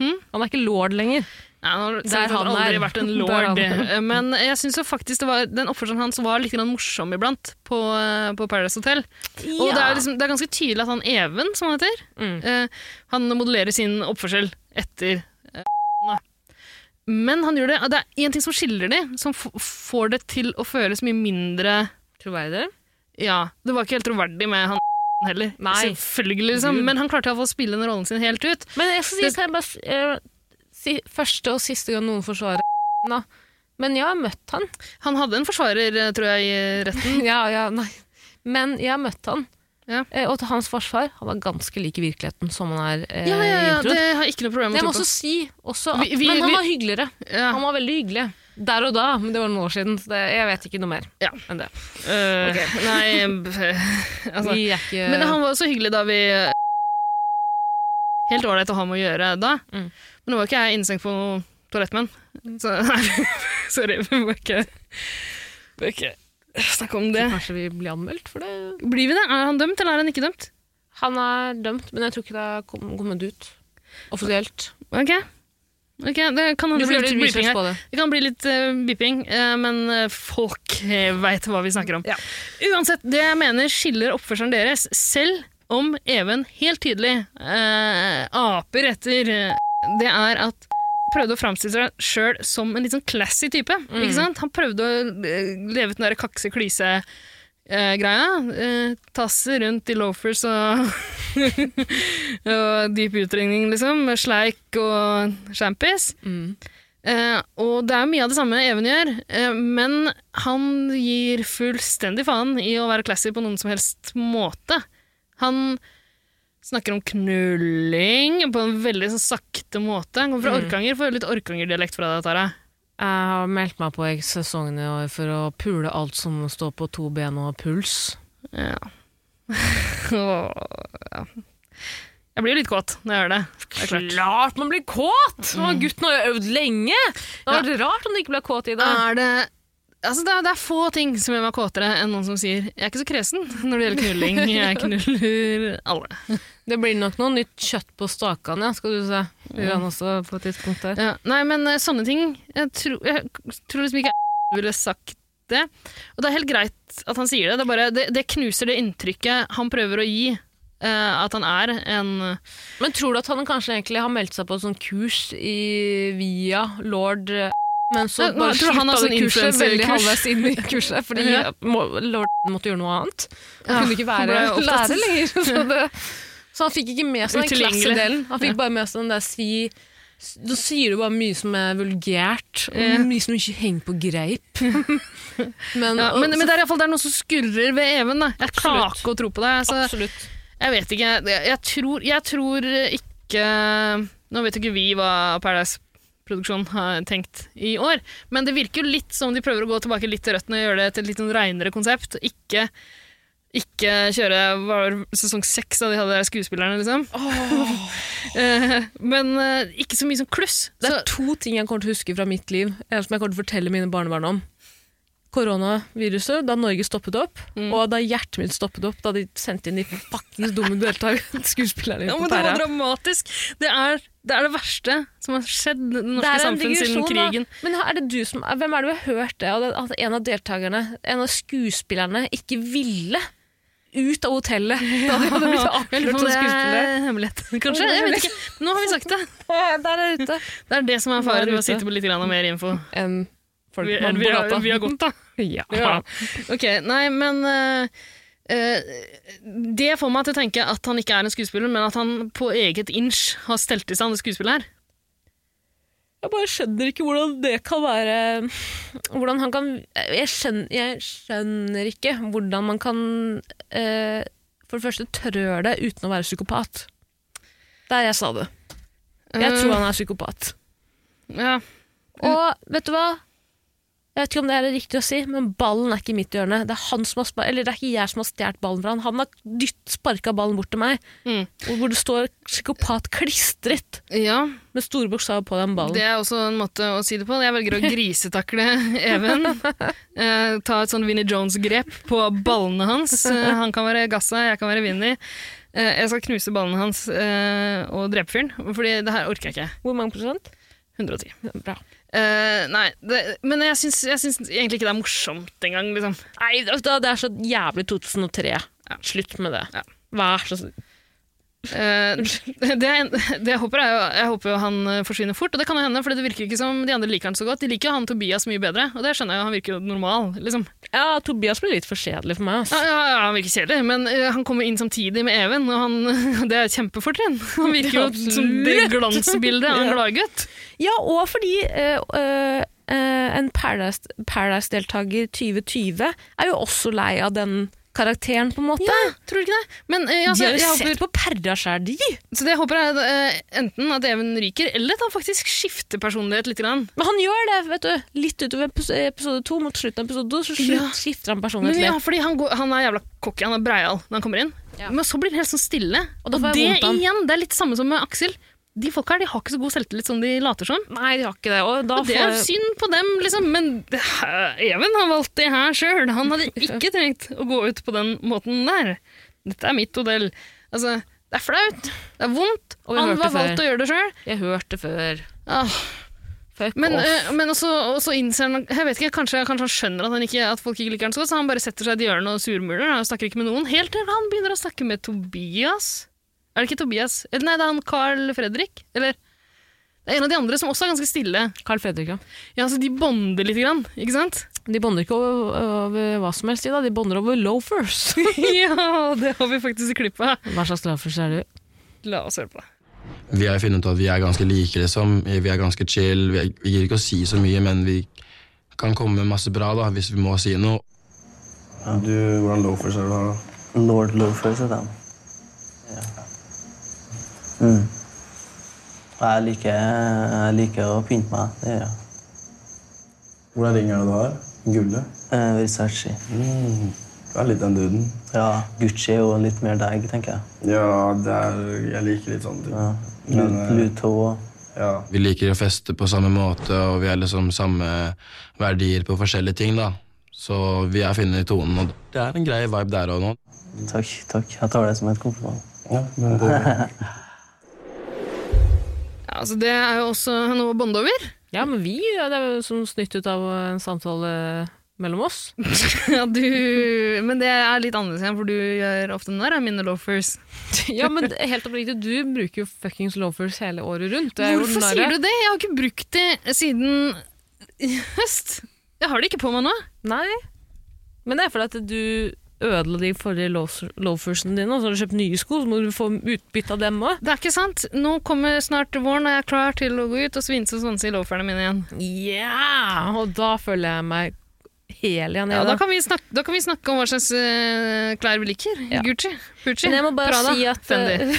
Han er ikke lord lenger. Nei, han har
Der
selvsagt
han
aldri
er.
vært en
Der
lord. [LAUGHS]
han er.
Men jeg syns faktisk det var, den oppførselen hans var litt grann morsom iblant på, eh, på Paradise Hotel. Og
Ja. Mm.
det er, liksom, det er ganske tydelig at han Even, som han heter, eh, han modellerer sin oppførsel etter eh, da. Men han gjør det, det er én ting som skiller de, som f får det til å føles mye mindre Troverdig? Ja. Det var ikke helt troverdig med han heller.
Nei.
Selvfølgelig, liksom.
Gud.
Men han klarte i hvert fall å spille den rollen sin helt ut.
Men jeg skal si, kan jeg bare s- eh, si første og siste gang noen forsvarer da. Men jeg har møtt han.
Han hadde en forsvarer, eh, tror jeg, i retten.
[LAUGHS] ja, ja, nei. Men jeg har møtt han. Eh, og til hans forsvar, han var ganske lik i virkeligheten som han er eh,
Ja, ja, ja,
i introen.
det har jeg ikke noe problem med
Men jeg
å
må
tro på.
også si også at,
Vi- vi-
Men han
vi-
var hyggeligere.
Ja.
Han var veldig hyggelig. Der og da, men det var noen år siden, så det, jeg vet ikke noe mer enn det.
Eh,
Ok.
[LAUGHS] Nei, b- altså.
Vi er ikke-
Men han var også hyggelig da vi eh, Helt ålreit å ha med å gjøre da. Men nå var ikke jeg innestengt på noe toalettmenn. Så [LAUGHS] nei, sorry. Vi må ikke, vi må ikke snakke om det.
Kanskje vi blir anmeldt for det?
Blir vi det? Er han dømt, eller er han ikke dømt?
Han er dømt, men jeg tror ikke det er kom- kommet ut offisielt.
Ok. Ok, det kan hende
Du
det
får
blir
gjøre
litt
litt
beeping
research
her.
på det.
Det kan bli litt eh, beeping, eh, men eh, folk eh, vet hva vi snakker om. Uansett, det jeg mener skiller oppførselen deres, selv om Even helt tydelig eh, aper etter eh, det er at prøvde å framstille seg sjøl som en litt sånn classy type.
Mm.
ikke sant? Han prøvde å eh, leve ut den der kakse klyse eh, greia. Eh, tasse rundt i loafers og, [LAUGHS] og dyp utringning, liksom. med Sleik og sjampis. Eh, og det er mye av det samme Even gjør, eh, men han gir fullstendig faen i å være classy på noen som helst måte. Han snakker om knulling på en veldig sånn sakte måte. Han kommer fra
Mm.
Orkanger, får litt Orkanger-dialekt fra deg, Tara. [LAUGHS]
Jeg har meldt meg på sesongen i år for å pule alt som står på to ben og puls.
Ja. ja. Jeg blir jo litt kåt når jeg hører det. det er klart. Mm.
Klart man blir kåt! Og gutten har jo øvd lenge! Det var rart om du ikke ble kåt i det.
Er det Altså, det, er, det er få ting som gjør meg kåtere enn noen som sier 'jeg er ikke så kresen' [LAUGHS] når det gjelder knulling. Jeg knuller alle.
Det blir nok noe nytt kjøtt på stakene, ja, skal du se. Blir han også på et tidspunkt der.
Ja, nei, men eh, sånne ting Jeg, tro, jeg tror liksom ikke jeg ville sagt det. Og det er helt greit at han sier det. Det, er bare, det, det knuser det inntrykket han prøver å gi. eh, at han er en
Men tror du at han kanskje egentlig har meldt seg på et sånt kurs i, via lord eh, men så
Nei, nå
bare
tror jeg han
slutta
har sånn
det kurset veldig
influencer-kurs.
halvveis inn i kurset, fordi
[LAUGHS] Ja.
må, lord måtte gjøre noe annet. Han
Ja,
kunne ikke
han
være
[LAUGHS] ble opptatt.
lærer lenger. Så, det, så han fikk ikke med seg den
Utilgjengelig.
klassedelen. Han
Ja.
fikk bare med seg den der si Da sier du bare mye som er vulgært, og
Ja.
mye som ikke henger på
[LAUGHS]
greip. men,
ja,
og-
men,
så-
men det er iallfall noe som skurrer ved Even. Da. Jeg klarer ikke å tro på det. Så Jeg vet ikke. Jeg, jeg, tror, jeg tror ikke Nå vet jo ikke vi hva Paradise-produksjonen har tenkt i år, men det virker jo litt som de prøver å gå tilbake litt til røttene og gjøre det til et litt sånn reinere konsept. og Ikke, ikke kjøre var det sesong seks da de hadde de der skuespillerne, liksom. [LAUGHS] Eh, men eh, ikke så mye som kluss.
Det er to ting jeg kommer til å huske fra mitt liv, eller som jeg kommer til å fortelle mine barnebarn om. Koronaviruset, da Norge stoppet opp,
Mm.
og da hjertet mitt stoppet opp, da de sendte inn de fuckings dumme deltakerne, [LAUGHS] skuespillerne
Ja,
inn
men
på
det var
pæra.
dramatisk. Det er, det er det verste som har skjedd det norske
Det er en
samfunnet siden
digresjon, da.
krigen.
Men er det du som, hvem er det vi har hørt det? Og det- At en av deltakerne, en av skuespillerne, ikke ville ut av hotellet da de hadde
[LAUGHS]
blitt
Jeg lurer på om
avslørt som
det er
skuespiller.
Hemmelighet, kanskje? Jeg vet ikke. Nå har vi sagt det.
[LAUGHS] Der er ute.
Det er det som er faren
Der
ved
ute.
å sitte på litt grann mer info.
Enn folk
vi,
man
vi,
på
har,
gata.
vi har gått, da.
Ja.
Ok, nei, men eh, eh, Det får meg til å tenke at han ikke er en skuespiller, men at han på eget inch har stelt i stand det skuespillet her.
Jeg bare skjønner ikke hvordan det kan være Hvordan han kan Jeg skjønner, jeg skjønner ikke hvordan man kan eh, for det første trør det uten å være psykopat. Der jeg sa det. Jeg tror han er psykopat.
Ja.
Og vet du hva? Jeg vet ikke om det er riktig å si, men ballen er ikke i mitt hjørne. Det er, han som har spa- eller det er ikke jeg som har stjålet ballen fra han. Han har dytt, sparka ballen bort til meg. Og Hvor det står 'psykopat' klistret med store bokstaver på den ballen.
Det er også en måte å si det på. Jeg velger å grisetakle Even. Eh, ta et sånn Vinnie Jones-grep på ballene hans. Eh, han kan være Gassa, jeg kan være Vinnie. Eh, jeg skal knuse ballene hans eh, og drepe fyren, Fordi det her orker jeg ikke.
Hvor mange prosent?
110.
Bra.
Eh, nei, det, men jeg syns, jeg syns egentlig ikke det er morsomt engang, liksom.
Nei, det er- det er så jævlig 2003. Slutt med det. Vær så snill.
Eh, det, jeg- det jeg håper, er jo, jeg håper jo han eh, forsvinner fort, og det kan jo hende, for det virker ikke som de andre liker han så godt. De liker jo han Tobias mye bedre, og det skjønner jeg jo, han virker jo normal, liksom.
Ja, Tobias blir litt for kjedelig for meg. ass.
Ja, ja, ja, han virker kjedelig, men eh, han kommer inn samtidig med Even, og han, [LAUGHS] det er et kjempefortrinn. Han virker jo
[LAUGHS] Ja,
som det
absolutt.
glansbildet av en
[LAUGHS] Ja.
gladgutt.
Ja, og fordi eh, eh, eh, en Paradise- Paradise-deltaker 2020 er jo også lei av den karakteren, på en måte.
Tror du ikke det? Men, eh, altså,
de har jo
jeg håper-
sett på Perra sjæl, de!
Så det jeg håper er eh, enten at Even ryker, eller at han faktisk skifter personlighet litt. Grann.
Men han gjør det, vet du. Litt utover epis- episode to, mot slutten av episode to, så slutt,
Ja.
skifter han
Men,
personlighet
ja,
litt.
fordi han, går, han er jævla cocky, han er breial når han kommer inn. Men så blir det helt sånn stille.
Og
Og,
da får
det
jeg vondt av han.
igjen, det er litt samme som med Aksel. De folka her de har ikke så god selvtillit som de later som.
Nei, de har ikke det. Og, da
Og det er
får-
synd på dem, liksom, men det, Even har valgt det her sjøl. Han [LAUGHS] hadde ikke trengt å gå ut på den måten der. Dette er mitt modell. Altså, det er flaut, det er vondt.
Og vi
Han
hørte
var valgt
før.
å gjøre det sjøl.
Jeg hørte før.
Ah.
Fuck
Men,
off.
eh, men også, også innser han jeg vet ikke, kanskje, kanskje han skjønner at, han ikke, at folk ikke liker han så godt, så han bare setter seg i et hjørne og surmuler da, og snakker ikke med noen, helt til han begynner å snakke med Tobias. Er det ikke Tobias? Eller Nei, det er han Carl Fredrik. Eller det er en av de andre som også er ganske stille.
Carl Fredrik, ja.
Ja, så de bonder litt, grann, ikke sant?
De bonder ikke over, over hva som helst, de da. De bonder
[LAUGHS]
over loafers.
ja, det har vi faktisk i klippet.
Hva slags loafers er du?
La oss høre på det.
Vi har funnet ut at vi er ganske like, liksom. Vi er ganske chill. Vi, er, vi gir ikke å si så mye, men vi kan komme med masse bra da, hvis vi må si noe.
Du, hvordan loafers er det du har, da? Lord loafers er den. Mm. Jeg liker, jeg liker å pynte meg. Det gjør jeg. Hvordan ring er det du har? Gullet? Eh, Versace. Du er litt den duden. Ja. Gucci er jo litt mer deg, tenker jeg. Ja, jeg liker litt sånne ting. Ja. Lut,
Men, eh,
Luthå.
Vi liker å feste på samme måte, og vi har liksom samme verdier på forskjellige ting, da. Så vi er funnet i tonen, og det er en grei vibe der og nå.
Takk, takk. Jeg tar det som et kompliment.
Ja, altså, det er jo også noe å bonde over. [LAUGHS]
Ja, men vi ja, det er jo som snytt ut av en samtale mellom oss.
ja, du, men det er litt annerledes igjen, for du gjør ofte den der, er mine loafers.
ja, men helt oppriktig, du bruker jo fuckings loafers hele året rundt.
Hvorfor sier du det? Jeg har ikke brukt det siden i høst. Jeg har det ikke på meg nå.
Nei. Men det er fordi at du ødela de forrige loafers- loafersene dine, og så har du kjøpt nye sko, så må du få utbytte av dem òg.
Det er ikke sant. Nå kommer snart våren, og jeg er klar til å gå ut og svinse og svanse i loaferne mine igjen.
Ja! Og da føler jeg meg hel igjen.
Ja, da, kan vi snakke, da kan vi snakke om hva slags eh, klær vi liker.
Ja.
Gucci, Gucci,
Men jeg må bare
Prada,
si at
Fendi.
eh,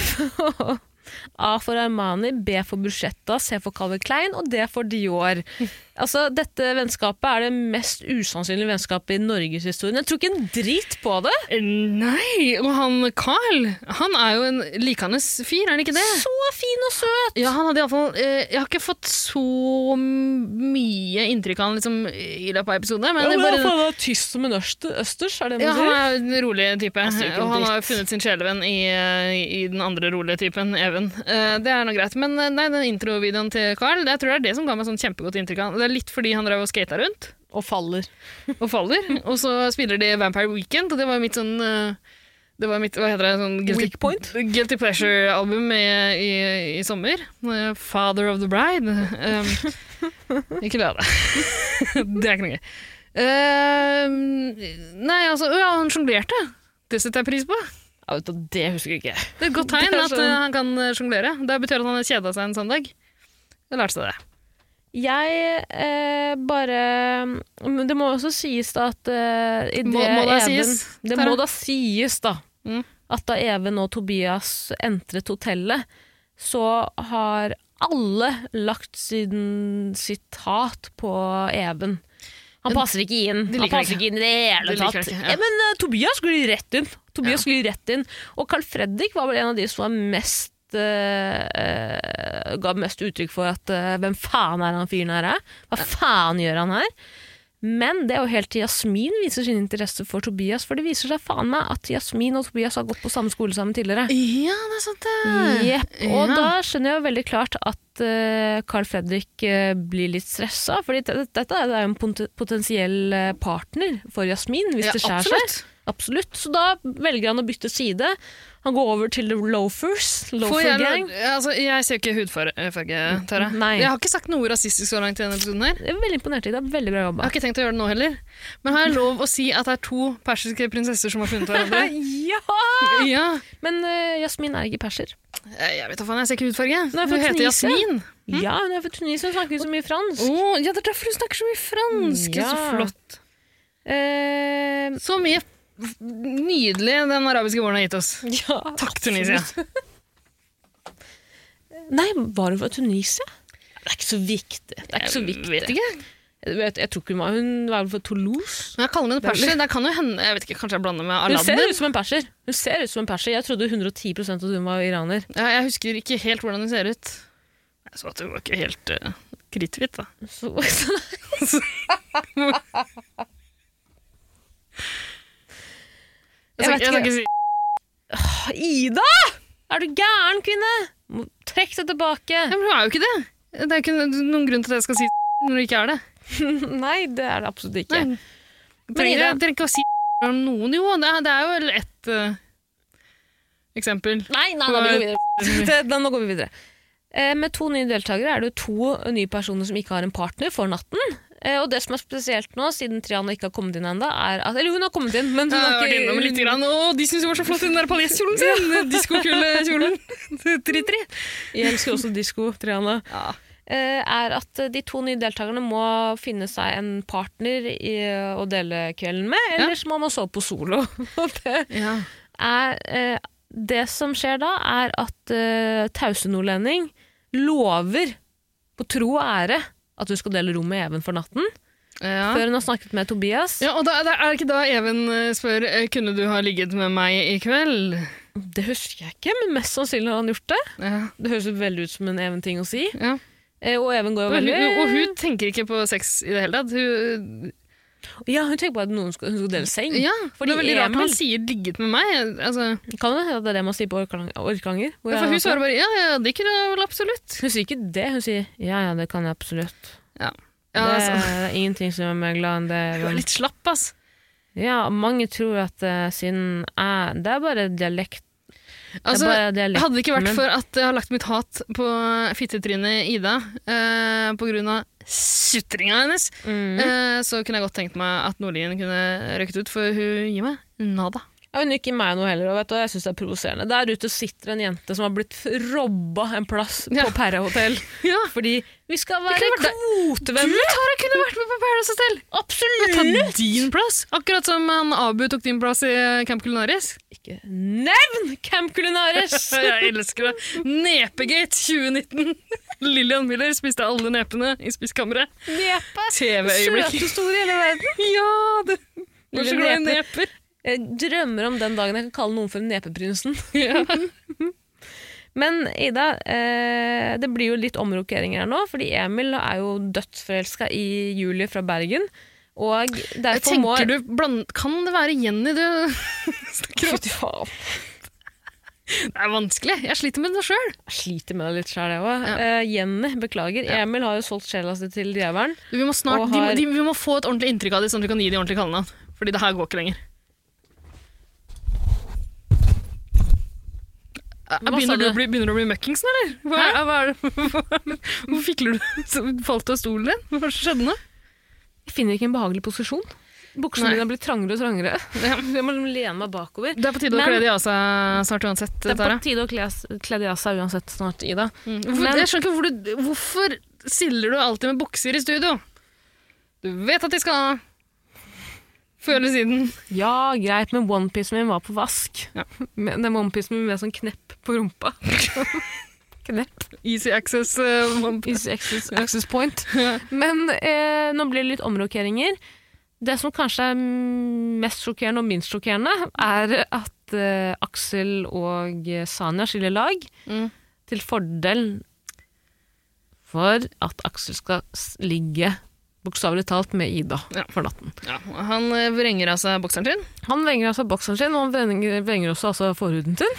[LAUGHS] A for Armani, B for Bruschetta, C for Calvin Klein og D for
[LAUGHS]
Dior. Altså, Dette vennskapet er det mest usannsynlige vennskapet i norgeshistorien. Jeg tror ikke en drit på det!
Nei, og han Carl, han er jo en likandes fyr, er han ikke det?
Så fin og søt!
Ja, han hadde i alle fall, eh, Jeg har ikke fått så mye inntrykk av han liksom, i løpet av episoden. Men,
Ja, men
bare,
faen, han er tyst som en øster- østers, er det det
Ja,
man
han er
sier?
en rolig type,
Han sier ikke en
og han har
dritt.
jo funnet sin sjelevenn i, eh, i den andre rolige typen, Even. Eh, Det er noe greit, men eh, nei, den introvideoen til Carl, det- jeg tror det er det som ga meg sånn kjempegodt inntrykk av han. Det er litt fordi han drev og skata rundt,
Og faller.
og faller, og så spiller de Vampire Weekend, og det var jo mitt sånn eh, Det var mitt hva heter det, sånn guilty,
Weak point?
guilty Pleasure-album i, i, i sommer. Eh, Father of the Bride. [LAUGHS] Um, ikke le av det. det er ikke noe gøy. Ehm, nei, altså Å ja, han sjonglerte! Det setter jeg pris på. Ja, vet du, Det husker jeg ikke. Det er et godt tegn
Det er
at
sånn-
eh, han kan eh, sjonglere. Det betyr at han har kjeda seg en søndag. Jeg lærte seg det.
Jeg eh, bare Men det må også sies da at eh, i det
Må- må det
Even,
sies,
Det
Tara? Mm.
må da sies, da. At da Even og Tobias entret hotellet, så har alle lagt sin, sitt hat på Even. Han
Men
passer ikke inn
de
Han
liker det
passer
ikke.
ikke inn i det hele
De liker det
tatt.
ikke, ja.
ja. Men eh, Tobias glir rett inn. Tobias glir rett inn. Og Carl Fredrik var vel en av de som var mest eh, eh, ga mest uttrykk for at eh, hvem faen er han fyren her? eh? Hva faen gjør han her? Men det er jo helt til Jasmin viser sin interesse for Tobias, for det viser seg faen meg at Jasmin og Tobias har gått på samme skole sammen tidligere.
Ja, det er sant,
Jepp. Og
Ja.
da skjønner jeg jo veldig klart at eh, Carl Fredrik eh, blir litt stressa, for dette er jo en pot- potensiell eh, partner for Jasmin, hvis
Ja,
det skjærer
absolutt.
seg. Absolutt. Så da velger han å bytte side. Han går over til The Loafers.
Får
Loafer
jeg,
Gang.
altså, jeg ser jo ikke hudfarge, Tara.
Nei.
Jeg har ikke sagt noe rasistisk så langt i denne episoden. her.
Jeg er veldig imponert i deg. Veldig bra jobba.
Jeg har ikke tenkt å gjøre det nå heller. Men har jeg lov å si at det er to persiske prinsesser som har [LAUGHS] funnet hverandre?
ja!
Ja.
Men eh, Jasmin er ikke perser.
Eh, Jeg vet da faen, jeg ser ikke hudfarge.
Hun er
Hun
fra
heter
Tunisia.
Jasmin.
Ja, hun er fra Tunisia. Hun snakker ikke så mye fransk.
Å, ja, det er derfor hun snakker så mye fransk.
Ja.
Så flott.
Eh,
Så mye f- nydelig den arabiske våren har gitt oss. Takk, Tunisia.
Nei, var hun fra Tunisia? Det er ikke så viktig. Det er ikke så viktig.
vet ikke.
Jeg, vet, jeg tror ikke hun var Hun var vel fra Toulouse?
Når jeg kaller henne perser, det kan jo hende Jeg vet ikke, Kanskje jeg blander med
Hun ser
Aladdin?
ut som en perser. Hun ser ut som en perser. Jeg trodde 110 at hun var iraner.
Ja, jeg husker ikke helt hvordan hun ser ut. Jeg så at hun var ikke helt uh, kritthvit, da.
Så, [LAUGHS]
Jeg skal
vet
ikke- jeg skal
ikke.
ikke si
Åh, Ida! Er du gæren, kvinne? Må- Trekk det tilbake.
Ja, men hun er jo ikke det. Det er ikke noen grunn til at jeg skal si når det ikke er det.
[LAUGHS] Nei, det er det absolutt ikke.
Nei.
Men
Trenger,
Ida-
jeg trenger ikke å si om noen, jo. Det er, det er jo vel ett eh, eksempel.
Nei, nei, nei, vi går videre. Det, da, nå går vi [LAUGHS] videre. Eh, med to nye deltakere er det jo to nye personer som ikke har en partner for natten. Eh, og det som er spesielt nå, siden Triana ikke har kommet inn ennå, er at Eller hun har kommet inn, men
Eh,
hun
Jeg har
har
vært
ikke
innom litt. Grann, og de syns hun var så flott i den der paljeskjolen sin! den [LAUGHS] Diskokjolekjolen. Tri-tri.
[LAUGHS] Jeg elsker også disko, Triana. Eh, er at de to nye deltakerne må finne seg en partner i, å dele kvelden med, ellers må man sove på solo. [LAUGHS] Og det, er, eh, det som skjer da, er at eh, tause nordlending lover på tro og ære at hun skal dele rom med Even for natten.
Ja.
Før hun har snakket med Tobias.
Ja, og da, da er det ikke da Even eh, spør eh, kunne du ha ligget med meg i kveld?
Det husker jeg ikke, men mest sannsynlig har han gjort det. Det høres jo veldig ut som en Even-ting å si. Eh, og Even går jo
Og hun,
veldig
og hun tenker ikke på sex i det hele tatt. Hun,
Ja, hun tenker på at noen skal, hun skal dele seng.
ja, det
Fordi
er veldig rart
Emil-
når han sier 'ligget med meg'. Altså,
Kan det hende at det er det man sier på Orkalang- Orkanger? hvor
Ja,
jeg
for
er
hun
fra?
svarer bare ja, ja, det kunne jeg vel absolutt.
Hun sier ikke det, hun sier ja, ja, det kan jeg absolutt.
Ja.
det,
altså.
er ingenting som gjør meg glad enn det.
Hun er litt slapp, ass.
Ja, mange tror at eh, siden jeg Det er bare dialekt. Det er
Altså,
bare dialekten
hadde det ikke vært
min.
for at jeg har lagt mitt hat på fittetrynet Ida eh, på grunn av sutringa hennes,
Mm.
eh, så kunne jeg godt tenkt meg at Nordlien kunne røket ut, for hun gir meg nada.
Ja, hun gir ikke meg noe heller, og vet du, jeg syns det er provoserende. Der ute sitter en jente som har blitt robba en plass på Perrehotell. Fordi vi skal være kvotevenner!
Du, Tara, kunne vært med på Paradise Hotel!
Absolutt!
Tatt din plass! Akkurat som han Abu tok din plass i eh, Camp Culinaris.
Ikke nevn Camp Culinaris!
[LAUGHS] jeg elsker det. Nepegate 2019. [LAUGHS] Lillian Miller spiste alle nepene i spisekammeret.
Nepe!
TV-øyeblikk.
Søteste ordet i hele verden!
[LAUGHS] ja, det
Lille
Vær så glad i
nepe.
neper.
Jeg drømmer om den dagen jeg kan kalle noen for
[LAUGHS]
nepeprinsen. Men Ida, eh, det blir jo litt omrokeringer her nå, fordi Emil er jo dødsforelska i Julie fra Bergen. Og
Jeg
derfor
tenker
må
du bland... Kan det være Jenny du snakker
om?
Det er vanskelig. Jeg sliter med det sjøl.
Jeg sliter med det litt sjøl, jeg òg. Jenny, beklager. Emil har jo solgt sjela si til djevelen.
Vi må snart,
Og
de,
har-
de, vi må få et ordentlig inntrykk av dem, sånn at vi kan gi dem ordentlig kallenavn. Fordi det her går ikke lenger. Eh, Begynner du, å bli, begynner du å bli møkkingsen, eller? Hva, er- hva er det? [LAUGHS] Hva, hvor fikler du? Så Falt du av stolen din? Hva er det som skjedde nå?
Jeg finner ikke en behagelig posisjon. Buksene
Nei.
dine har blitt trangere og trangere. [LAUGHS] Jeg må lene meg bakover.
Det er på tide å
Men-
kle de av seg snart uansett.
Det er på
Tara.
tide å kle, kle de av seg uansett snart, Ida.
Hvorfor, jeg skjønner ikke hvor du, hvorfor siller du alltid med bukser i studio? Du vet at de skal ha Før eller siden.
Ja, greit, men onepiecen min var på vask. [LAUGHS] Men Den onepiecen min med sånn knepp på rumpa. knepp.
Easy access eh,
Easy access, access point. Men eh, nå blir det litt omrokeringer. Det som kanskje er mest sjokkerende og minst sjokkerende, er at eh, Aksel og Sanja skiller lag til fordel for at Aksel skal s- ligge bokstavelig talt med Ida for natten.
Han eh, vrenger av seg bokseren sin. [LAUGHS]
Han vrenger av seg bokseren sin, og han vrenger, vrenger også altså forhuden sin.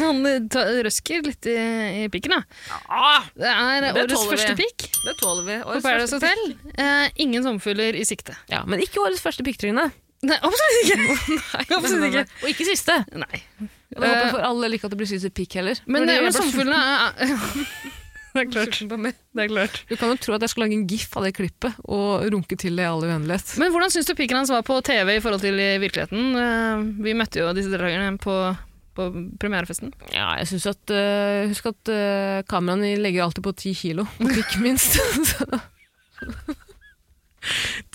Han eh, ta, røsker litt i, i pikken, da. Det er
Det
årets
tåler vi.
første pikk
Det tåler vi.
på Paradise Hotel. Eh, ingen sommerfugler i sikte.
Ja, men ikke årets første pikktryne.
Nei, absolutt
[LAUGHS]
ikke! absolutt
nei, nei.
ikke.
Og ikke siste.
Nei.
Jeg håper
Eh,
for alle ikke at det blir siste pikk heller.
Men,
Fordi
eh,
jeg
men
ble
sommerfuglene er, er
[LAUGHS]
Det er
sulten på mer.
Det er klart.
Du kan jo tro at jeg skulle lage en gif av det klippet og runke til det i all uendelighet.
Men hvordan syns du piken hans var på TV i forhold til i virkeligheten? Eh, Vi møtte jo disse deltakerne på, på premierefesten.
Ja, jeg synes at, øh, Husk at øh, kameraene legger alltid på ti kilo, på pikk minst.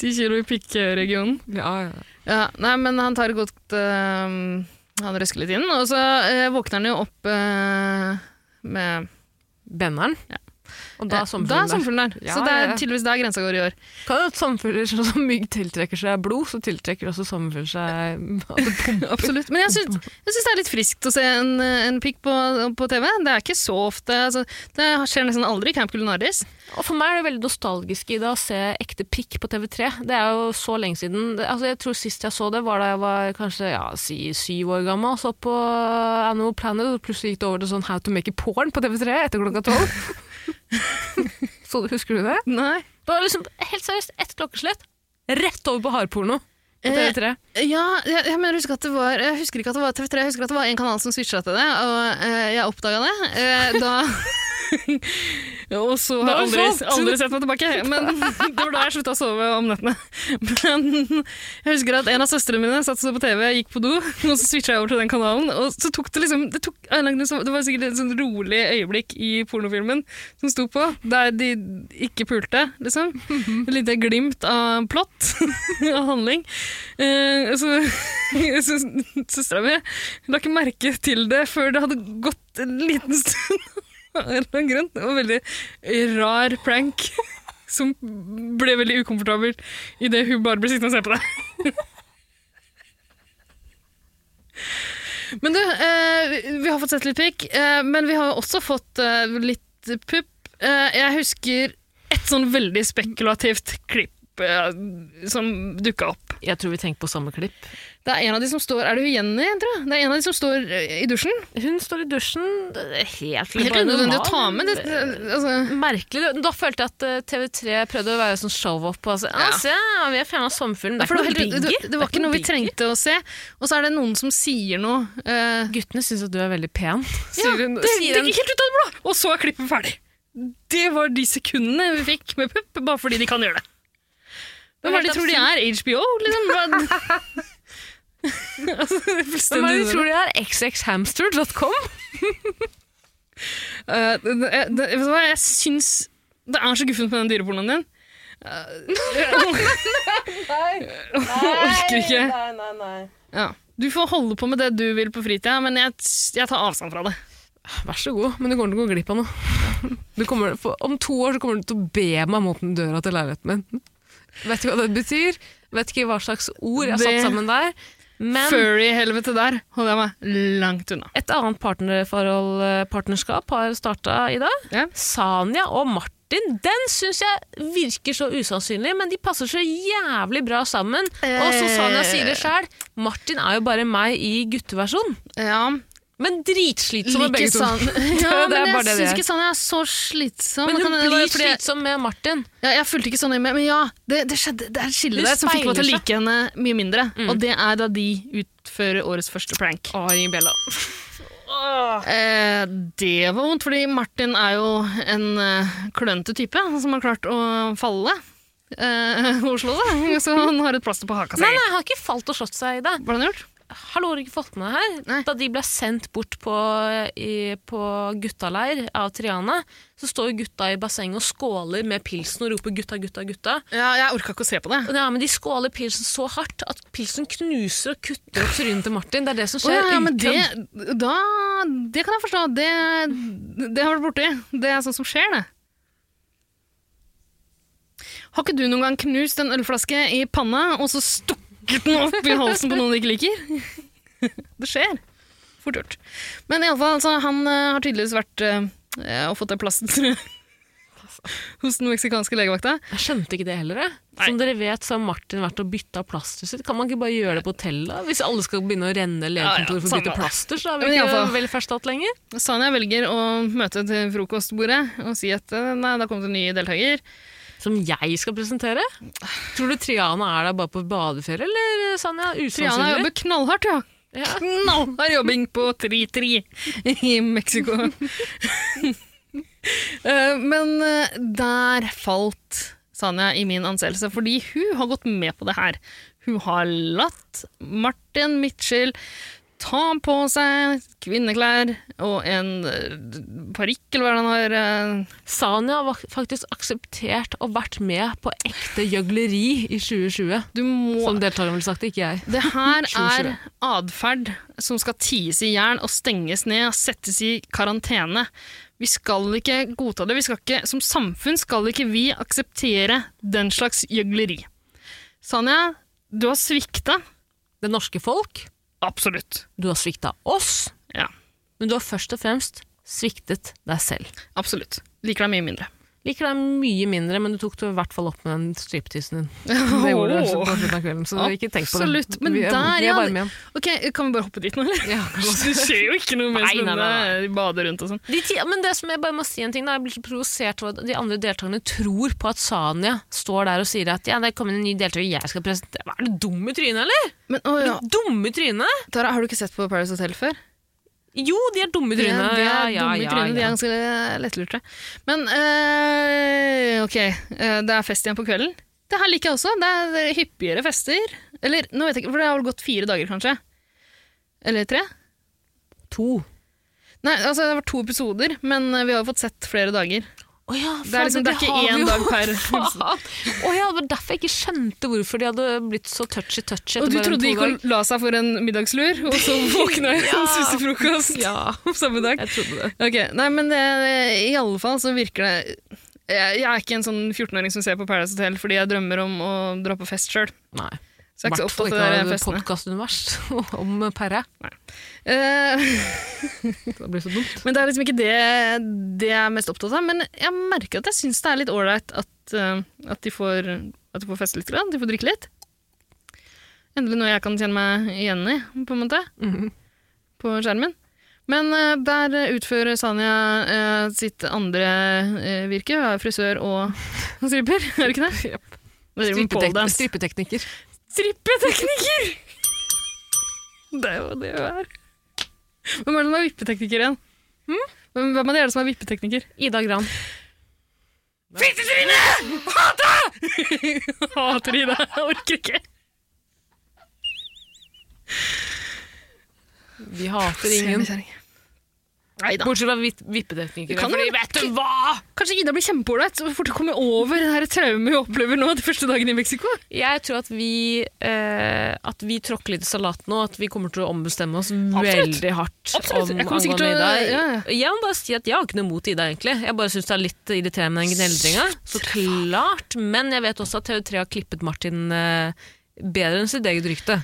Ti kilo i pikkregionen.
[LAUGHS] Ja, ja.
Ja, nei, men han tar godt eh, Han røsker litt inn, og så eh, våkner han jo opp eh, med
Benneren. Og Eh, da er sommerfuglen
Da
der.
er sommerfuglen der.
Ja,
så det
ja,
er
ja.
tydeligvis der grensa går i
[LAUGHS]
år.
Kan jo at sommerfugler sånn som mygg tiltrekker seg blod, så tiltrekker også sommerfugl seg [LAUGHS] at det pumper.
Absolutt. Men jeg syns, jeg syns det er litt friskt å se en, en pikk på, på TV. Det er ikke så ofte. Altså, det skjer nesten aldri i Camp Culinaris.
Og for meg er det veldig nostalgisk i det å se ekte pikk på TV3. Det er jo så lenge siden. Det- Altså, jeg tror sist jeg så det var da jeg var kanskje ja, si, syv år gammel og så på Animal Planet, og plutselig gikk det over til sånn How to make a porn på TV3 etter klokka tolv. [LAUGHS] så husker du det?
Nei.
Det var liksom helt seriøst ett klokkeslett, rett over på hardporno på
Eh,
TV3.
Ja, jeg, jeg, mener, jeg, husker at det var, jeg husker ikke at det var TV3, jeg husker at det var en kanal som switcha til det, og eh, jeg oppdaga det. Eh, da [LAUGHS] Og så har
Da
jeg
er det
aldri,
solgt.
aldri sett meg tilbake. Men [LAUGHS] det var da jeg slutta å sove om nettene. [LAUGHS] Men jeg husker at en av søstrene mine satt og så på TV, gikk på do, og så switcha jeg over til den kanalen. Og så tok det liksom Det, tok, av en eller annen grunn så- det var sikkert et sånn rolig øyeblikk i pornofilmen som sto på, der de ikke pulte, liksom. Et lite glimt av plott [LAUGHS] av handling. Eh, så [LAUGHS] så søstera mi la ikke merke til det før det hadde gått en liten stund. [LAUGHS] Av en eller annen grunn. Det var en veldig rar prank [LAUGHS] som ble veldig ukomfortabel idet hun bare ble sittende og se på det. [LAUGHS] Men du, eh, vi har fått sett litt pikk, eh, men vi har jo også fått eh, litt pupp. Eh, jeg husker et sånn veldig spekulativt klipp eh, som dukka opp.
Jeg tror vi tenker på samme klipp.
Det er en av de som står Er det hun Jenny, tror jeg? Det er en av de som står eh, i dusjen.
Hun står i dusjen. Det er helt,
Helt
bare
unødvendig å
normal.
ta med, det- det- altså.
Merkelig. Da følte jeg at eh, TV3 prøvde å være sånn show-off på altså,
Ja.
«Ah, Se, vi har fjerna sommerfuglen. Det er
For
ikke
det,
noe
var helt-
bigger.
det, det var ikke noe vi trengte å se. Og så er det noen som sier noe. eh,
Guttene syns at du er veldig pen.
ja,
sier hun-
det,
sier
det
hun.
gikk helt ut av det blå! Og så er klippet ferdig. Det var de sekundene vi fikk med pupp, bare fordi de kan gjøre det. Hvem er det de tror de er? HBO, [LAUGHS] liksom? Hva- altså, det er
Hvem er
fullstendig
det de tror de er? xxhamster.com?
Eh, det- det- det- Vet du hva, jeg syns det er så guffent med den dyrepornoen din. [LAUGHS] Jeg orker ikke.
nei, nei.
Ja. Du får holde på med det du vil på fritida, men jeg, jeg tar avstand fra det.
Vær så god, men du kommer til å gå glipp av noe. Du kommer, for, om to år så kommer du til å be meg mot den døra til leiligheten min. Vet ikke hva det betyr. Vet ikke hva slags ord jeg har
Det-
satt sammen der. Men
Furry-helvete der holder jeg meg langt unna.
et annet partnerforhold, eh, partnerskap har starta i dag. Sanja og Martin. Den syns jeg virker så usannsynlig, men de passer så jævlig bra sammen. Og som
Eh.
Sanja sier det sjøl, Martin er jo bare meg i gutteversjon. Men dritslitsomme
Like
begge to. [LAUGHS]
San-
sånn.
[LAUGHS]
Det
Ja,
er
men jeg
bare det det
syns
er.
ikke Sanja er så slitsom.
Men
Det
hun
kan- det var
blir
fordi jeg-
slitsom med Martin.
Ja, jeg fulgte ikke så nøye med, men ja, det, det skjedde det er et skille
Hun
der som fikk meg til å
speiler seg. Mm.
like henne mye mindre. Og det er da de utfører årets første prank.
Å, ring bjella.
Å, Eh, det var vondt, fordi Martin er jo en eh, klønete type som har klart å falle. Eh, [LAUGHS] og slå seg, så han har et plaster på haka si.
Nei, nei, han har ikke falt og slått seg i det.
Hva har han gjort?
Hallo, har du ikke fått med deg her? Da de ble sendt bort på, i, på guttaleir av Triana, så står jo gutta i bassenget og skåler med pilsen og roper 'gutta, gutta, gutta'.
Ja, jeg orka ikke å se på det.
Ja, men de skåler pilsen så hardt at pilsen knuser og kutter opp trynet til Martin. Det er det som
Å,
skjer.
ja, ja, men det,
ukødd.
da, det kan jeg forstå. Det, det har vært borti. Det er sånt som skjer, det. Har ikke du noen gang knust en ølflaske i panna, og så stukket den opp i halsen på noen du ikke liker? [LAUGHS] Det skjer. Fort gjort. Men iallfall, altså, han eh, har tydeligvis vært eh, og fått det plasteret [LAUGHS] hos den meksikanske legevakta.
Jeg skjønte ikke det heller. jeg. Som dere vet, så har Martin vært og bytta plaster sitt. Kan man ikke bare gjøre det på hotellet? da? Hvis alle skal begynne å renne legekontor for å bytte plaster, så er vi ikke velferdsstat lenger.
Sanja velger å møte til frokostbordet og si at eh, nei, da kom det en ny deltaker.
Som jeg skal presentere? Tror du Triana er der bare på badeferie, eller Sanja?
Triana
Usannsynlig.
jobber knallhardt, ja.
Ja.
Knallhard jobbing på 3-3 i Mexico. Eh, Men eh, der falt Sanja i min anseelse, fordi hun har gått med på det her. Hun har latt Martin Mitchell ta på seg kvinneklær og en eh, parykk, eller hva er det han har eh,
Sanja har faktisk akseptert og vært med på ekte gjøgleri i 2020. Som deltakeren ville sagt, ikke jeg.
Det [LAUGHS]
[LAUGHS]
her er
2020.
atferd som skal ties i jern og stenges ned og settes i karantene. Vi skal ikke godta det. Vi skal ikke, som samfunn skal ikke vi akseptere den slags gjøgleri. Sanja, du har svikta.
Det norske folk?
Absolutt.
Du har svikta oss,
Ja,
men du har først og fremst sviktet deg selv.
absolutt. Liker deg mye mindre.
Liker deg mye mindre, men du tok det i hvert fall opp med den striptisen din. Det gjorde du på slutten av kvelden, så ikke tenk på det.
Absolutt. Men
vi er,
der,
vi
ja.
er varme igjen.
Ok, Kan vi bare hoppe dit nå, eller? [LAUGHS] det skjer jo ikke noe mer
Nei, nei, nei,
spennende.
nei.
De bader rundt og sånn.
De ti, men det som jeg bare må si en ting, da, jeg blir så provosert over at de andre deltakerne tror på at Sanja står der og sier at ja, det er kommet en ny deltaker, jeg skal presentere. Hva Er du dum i trynet, eller?
Men, å, ja.
Er du dum i trynet?
Tara, har du ikke sett på Paradise Hotel før?
Jo, de er dumme i
De er-
trynet.
De er
ja, ja,
dumme i
ja,
trynet, de
ja.
er ganske lettlurte. Men eh, ok, eh, det er fest igjen på kvelden. Det her liker jeg også. Det er eh, hyppigere fester. Eller, nå vet jeg ikke, for det har vel gått fire dager, kanskje? Eller tre?
To.
Nei, altså det var to episoder, men eh, vi har jo fått sett flere dager.
Å ja,
Det er liksom- det er ikke én dag per-
Å ja, det var derfor jeg ikke skjønte hvorfor de hadde blitt så touchy-touchy.
Og du trodde de gikk og la seg for en middagslur, og så [LAUGHS] våkna
[LAUGHS]
jeg og spiste frokost [LAUGHS] samme dag.
Jeg trodde det.
Ok, nei, men det, i alle fall så virker det Jeg jeg er ikke en sånn 14-åring som ser på Paradise Hotel fordi jeg drømmer om å dra på fest sjøl.
Nei.
Så jeg er ikke så
Hvertfall
opptatt av de
ikke
der
noe
festene.
podcastunivers [LAUGHS] om Perre.
Eh,
Det blir så dumt.
men det er liksom ikke det, det jeg er mest opptatt av. Men jeg merker at jeg syns det er litt ålreit at, eh, at, de får- at de får feste litt, grann, de får drikke litt. Endelig noe jeg kan kjenne meg igjen i, på en måte. På skjermen. Men eh, der eh, utfører Sanja eh, sitt andre eh, virke. Hun er frisør og stripper, er du ikke det? Yep.
Strippetek strippeteknikker.
Strippetekniker! Det er jo det hun er. Hvem er det som er vippetekniker igjen?
Hm?
Hvem, hvem av de er det som er
[LAUGHS]
vippetekniker?
Ida Gran.
Fittetryne! Hater! Hater Ida. Jeg orker ikke.
Vi hater ingen.
Neida.
Bortsett fra vip-
Det
vippeteknikere.
kan
Fordi
jo-
vet du hva?!
Kanskje Ida blir kjempeålreit så fort hun kommer over det her traumet hun opplever nå de første dagene i Mexico.
Jeg tror at vi, eh, at vi tråkker litt i salaten nå, at vi kommer til å ombestemme oss
Absolutt.
veldig hardt
Absolutt.
om
Jeg kommer sikkert
angående
til å-
Ida.
ja,
Jeg må bare si at jeg har ikke noe mot Ida, egentlig. Jeg bare syns det er litt irriterende med den gneldringa. Så klart. Men jeg vet også at TV3 har klippet Martin eh, bedre enn sitt eget rykte.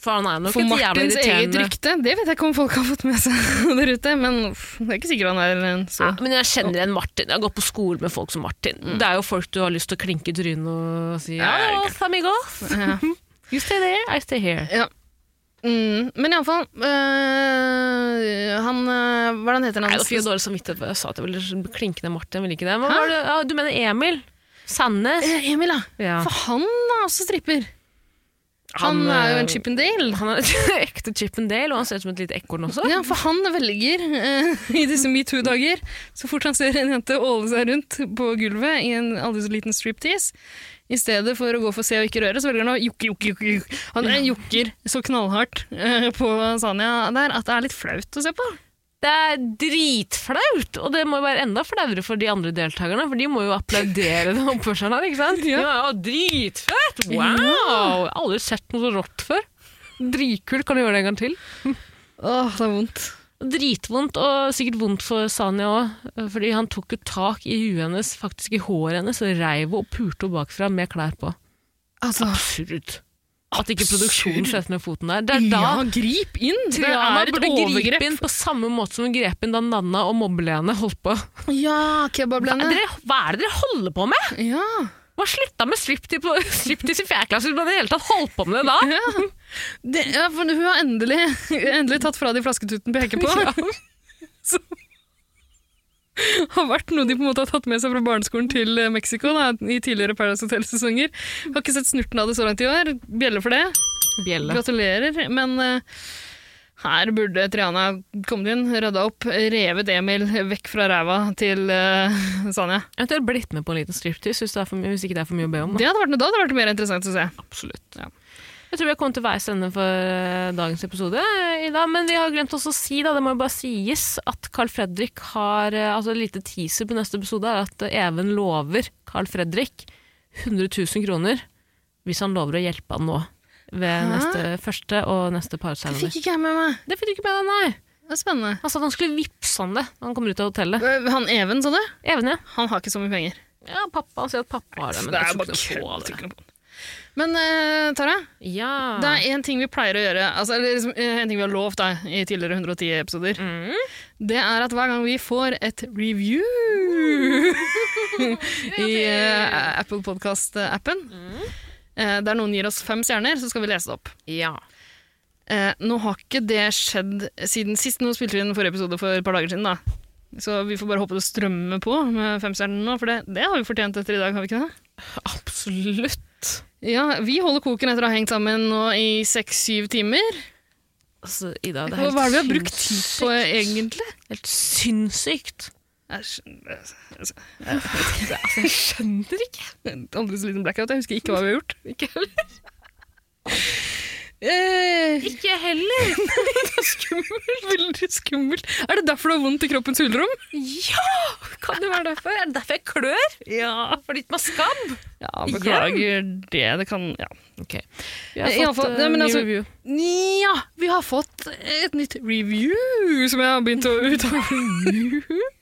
For han er nok
For
et jævla
Martins eget
irriterende
rykte, det vet jeg ikke om folk har fått med seg [LAUGHS] der ute, men uff, det er ikke sikkert han er en så
ja, Men jeg kjenner igjen Martin. Jeg har gått på skole med folk som Martin. Det er jo folk du har lyst til å klinke i trynet og si
Ja,
ja,
jeg
ja, amigos.
Ja.
You stay there, I stay here.
Ja. Mm, men iallfall øh, Han øh, Hva er det han heter?
Nei, da fikk jeg dårlig samvittighet for jeg sa at jeg ville klinke ned Martin. Jeg ville ikke det. Men hva var det? Ja, du mener Emil? Sandnes?
Eh, Emil, ja.
Ja.
For han er også stripper. Han, er
eh,
jo en Chippendale.
[LAUGHS] Han er en ekte Chippendale, og han ser ut som et lite ekorn også.
Ja, for han velger eh, [LAUGHS] i disse metoo-dager, så fort han ser en jente åle seg rundt på gulvet i en aldri så liten striptease, i stedet for å gå for se og ikke røre, så velger han å jukke, jukke, jukke. jukke. Han eh, jukker så knallhardt eh, på Sanja der at det er litt flaut å se på.
Det er dritflaut, og det må jo være enda flauere for de andre deltakerne, for de må jo applaudere den oppførselen her, ikke sant? Ja, ja dritfett! Wow!
Ja.
Aldri sett noe så rått før. Dritkult, kan du gjøre det en gang til?
Åh, det er vondt.
Dritvondt, og sikkert vondt for Sanja òg, fordi han tok jo tak i huet hennes, faktisk i håret hennes, og reiv henne og pulte henne bakfra med klær på.
Altså,
Absurd. At ikke
Absurd.
produksjonen skjøt ned foten der. Det er da
ja, grip inn! Det
Triana
er et
burde gripe
overgrep.
inn på samme måte som hun grep inn da Nanna og mobbelene holdt på.
Ja, kebablene.
Hva, dere, hva er det dere holder på med?
Ja.
Man slutta med striptease på- [LAUGHS] striptease i fjerde klasse, hvis man i det hele tatt holdt på med det da.
Ja. Det, ja, for hun har endelig, endelig tatt fra de flasketuten peker på. Som har vært noe de på en måte har tatt med seg fra barneskolen til eh, Mexico da, i tidligere Paradise Hotel-sesonger. Har ikke sett snurten av det så langt i år. Bjelle for det.
Bjelle.
Gratulerer. Men eh, her burde Triana kommet inn, rydda opp, revet Emil vekk fra ræva til eh, Sanja.
Eventuelt blitt med på en liten striptease hvis, det er for mye- hvis ikke det er for mye å be om.
Det hadde vært, noe- da hadde det vært mer interessant å se.
Absolutt.
Ja.
Jeg tror vi har kommet til veis ende for eh, dagens episode. eh, i dag, Men vi har glemt også å si, da, det må jo bare sies, at Carl Fredrik har eh, altså Et lite teaser på neste episode er at eh, Even lover Carl Fredrik 100 000 kroner hvis han lover å hjelpe han nå. Ved
Hæ?
neste første og neste
Det
parseremoni.
fikk ikke jeg med meg.
Det fikk du ikke med deg, nei.
Det er spennende.
Han sa at han skulle vippse han det når han kommer ut av hotellet.
Eh, Han Even, sa du?
Even, ja.
Han har ikke så mye penger.
Ja, pappa, Han sier at pappa har det,
Det
men det
er
er
bare
ikke noe
kødd,
på det.
Men eh, Tara,
Ja.
det er en ting vi pleier å gjøre, altså, eller liksom, eh, en ting vi har lovt da, i tidligere 110-episoder.
Mm.
Det er at hver gang vi får et
[LAUGHS]
review i eh, Apple Podcast-appen,
Mm.
eh, der noen gir oss fem stjerner, så skal vi lese det opp.
Ja.
Eh, nå har ikke det skjedd siden sist. Nå spilte vi inn forrige episode for et par dager siden, da. Så vi får bare håpe det strømmer på med femstjernene nå, for det, det har vi fortjent etter i dag, har vi ikke det?
Absolutt.
Ja, vi holder koken etter å ha hengt sammen nå i seks-syv timer.
Altså, Ida, det
Hva
er helt
er det vi har brukt tid
sinnssykt.
på, egentlig?
Helt sinnssykt.
Jeg skjønner, altså, jeg
Det- altså, jeg skjønner ikke.
vet- Aldri så liten blackout. Jeg husker ikke hva vi har gjort.
[LAUGHS] Ikke heller.
Eh,
Ikke
[LAUGHS]
heller.
det er skummelt. Veldig skummelt. Er det derfor du har vondt i kroppens hulrom?
Ja! Kan det være derfor? Er det derfor jeg klør? Ja, for litt med skabb.
Ja, beklager det. Det kan Ja.
Ok. Vi har
Eh, i alle
fått
fall,
eh,
nei, men
ny
altså-
review.
Nja, vi har fått et nytt review som jeg har begynt å [LAUGHS] uttale.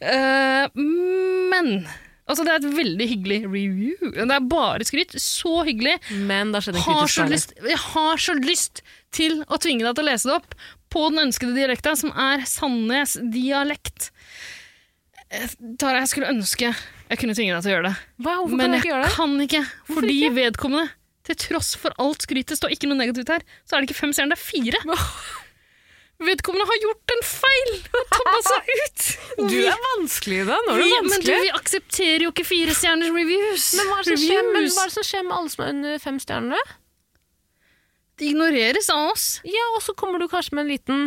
Eh, men Altså, det er et veldig hyggelig review. Det er bare skryt. Så hyggelig.
Men det har skjedd en
Har
kritisk
så
feil.
lyst, jeg har så lyst til å tvinge deg til å lese det opp på den ønskede dialekta, som er Sandnes dialekt. Eh, Tara, jeg skulle ønske jeg kunne tvinge deg til å gjøre det.
Hva, hvorfor
Men
kan jeg
jeg
ikke gjøre det?
kan ikke, fordi vedkommende, til tross for alt skrytet, står ikke noe negativt her, så er det ikke fem stjerner, det er fire. Vedkommende har gjort en feil og tabba seg ut.
Du
Vi-
er vanskelig, Ida. Nå er du
vi, men du,
vanskelig.
vi aksepterer jo ikke fire stjerners reviews.
Men hva er det som skjer med,
Reviews.
hva er det som skjer med alle som er under fem stjernene?
Det ignoreres av oss.
Ja, og så kommer du kanskje med en liten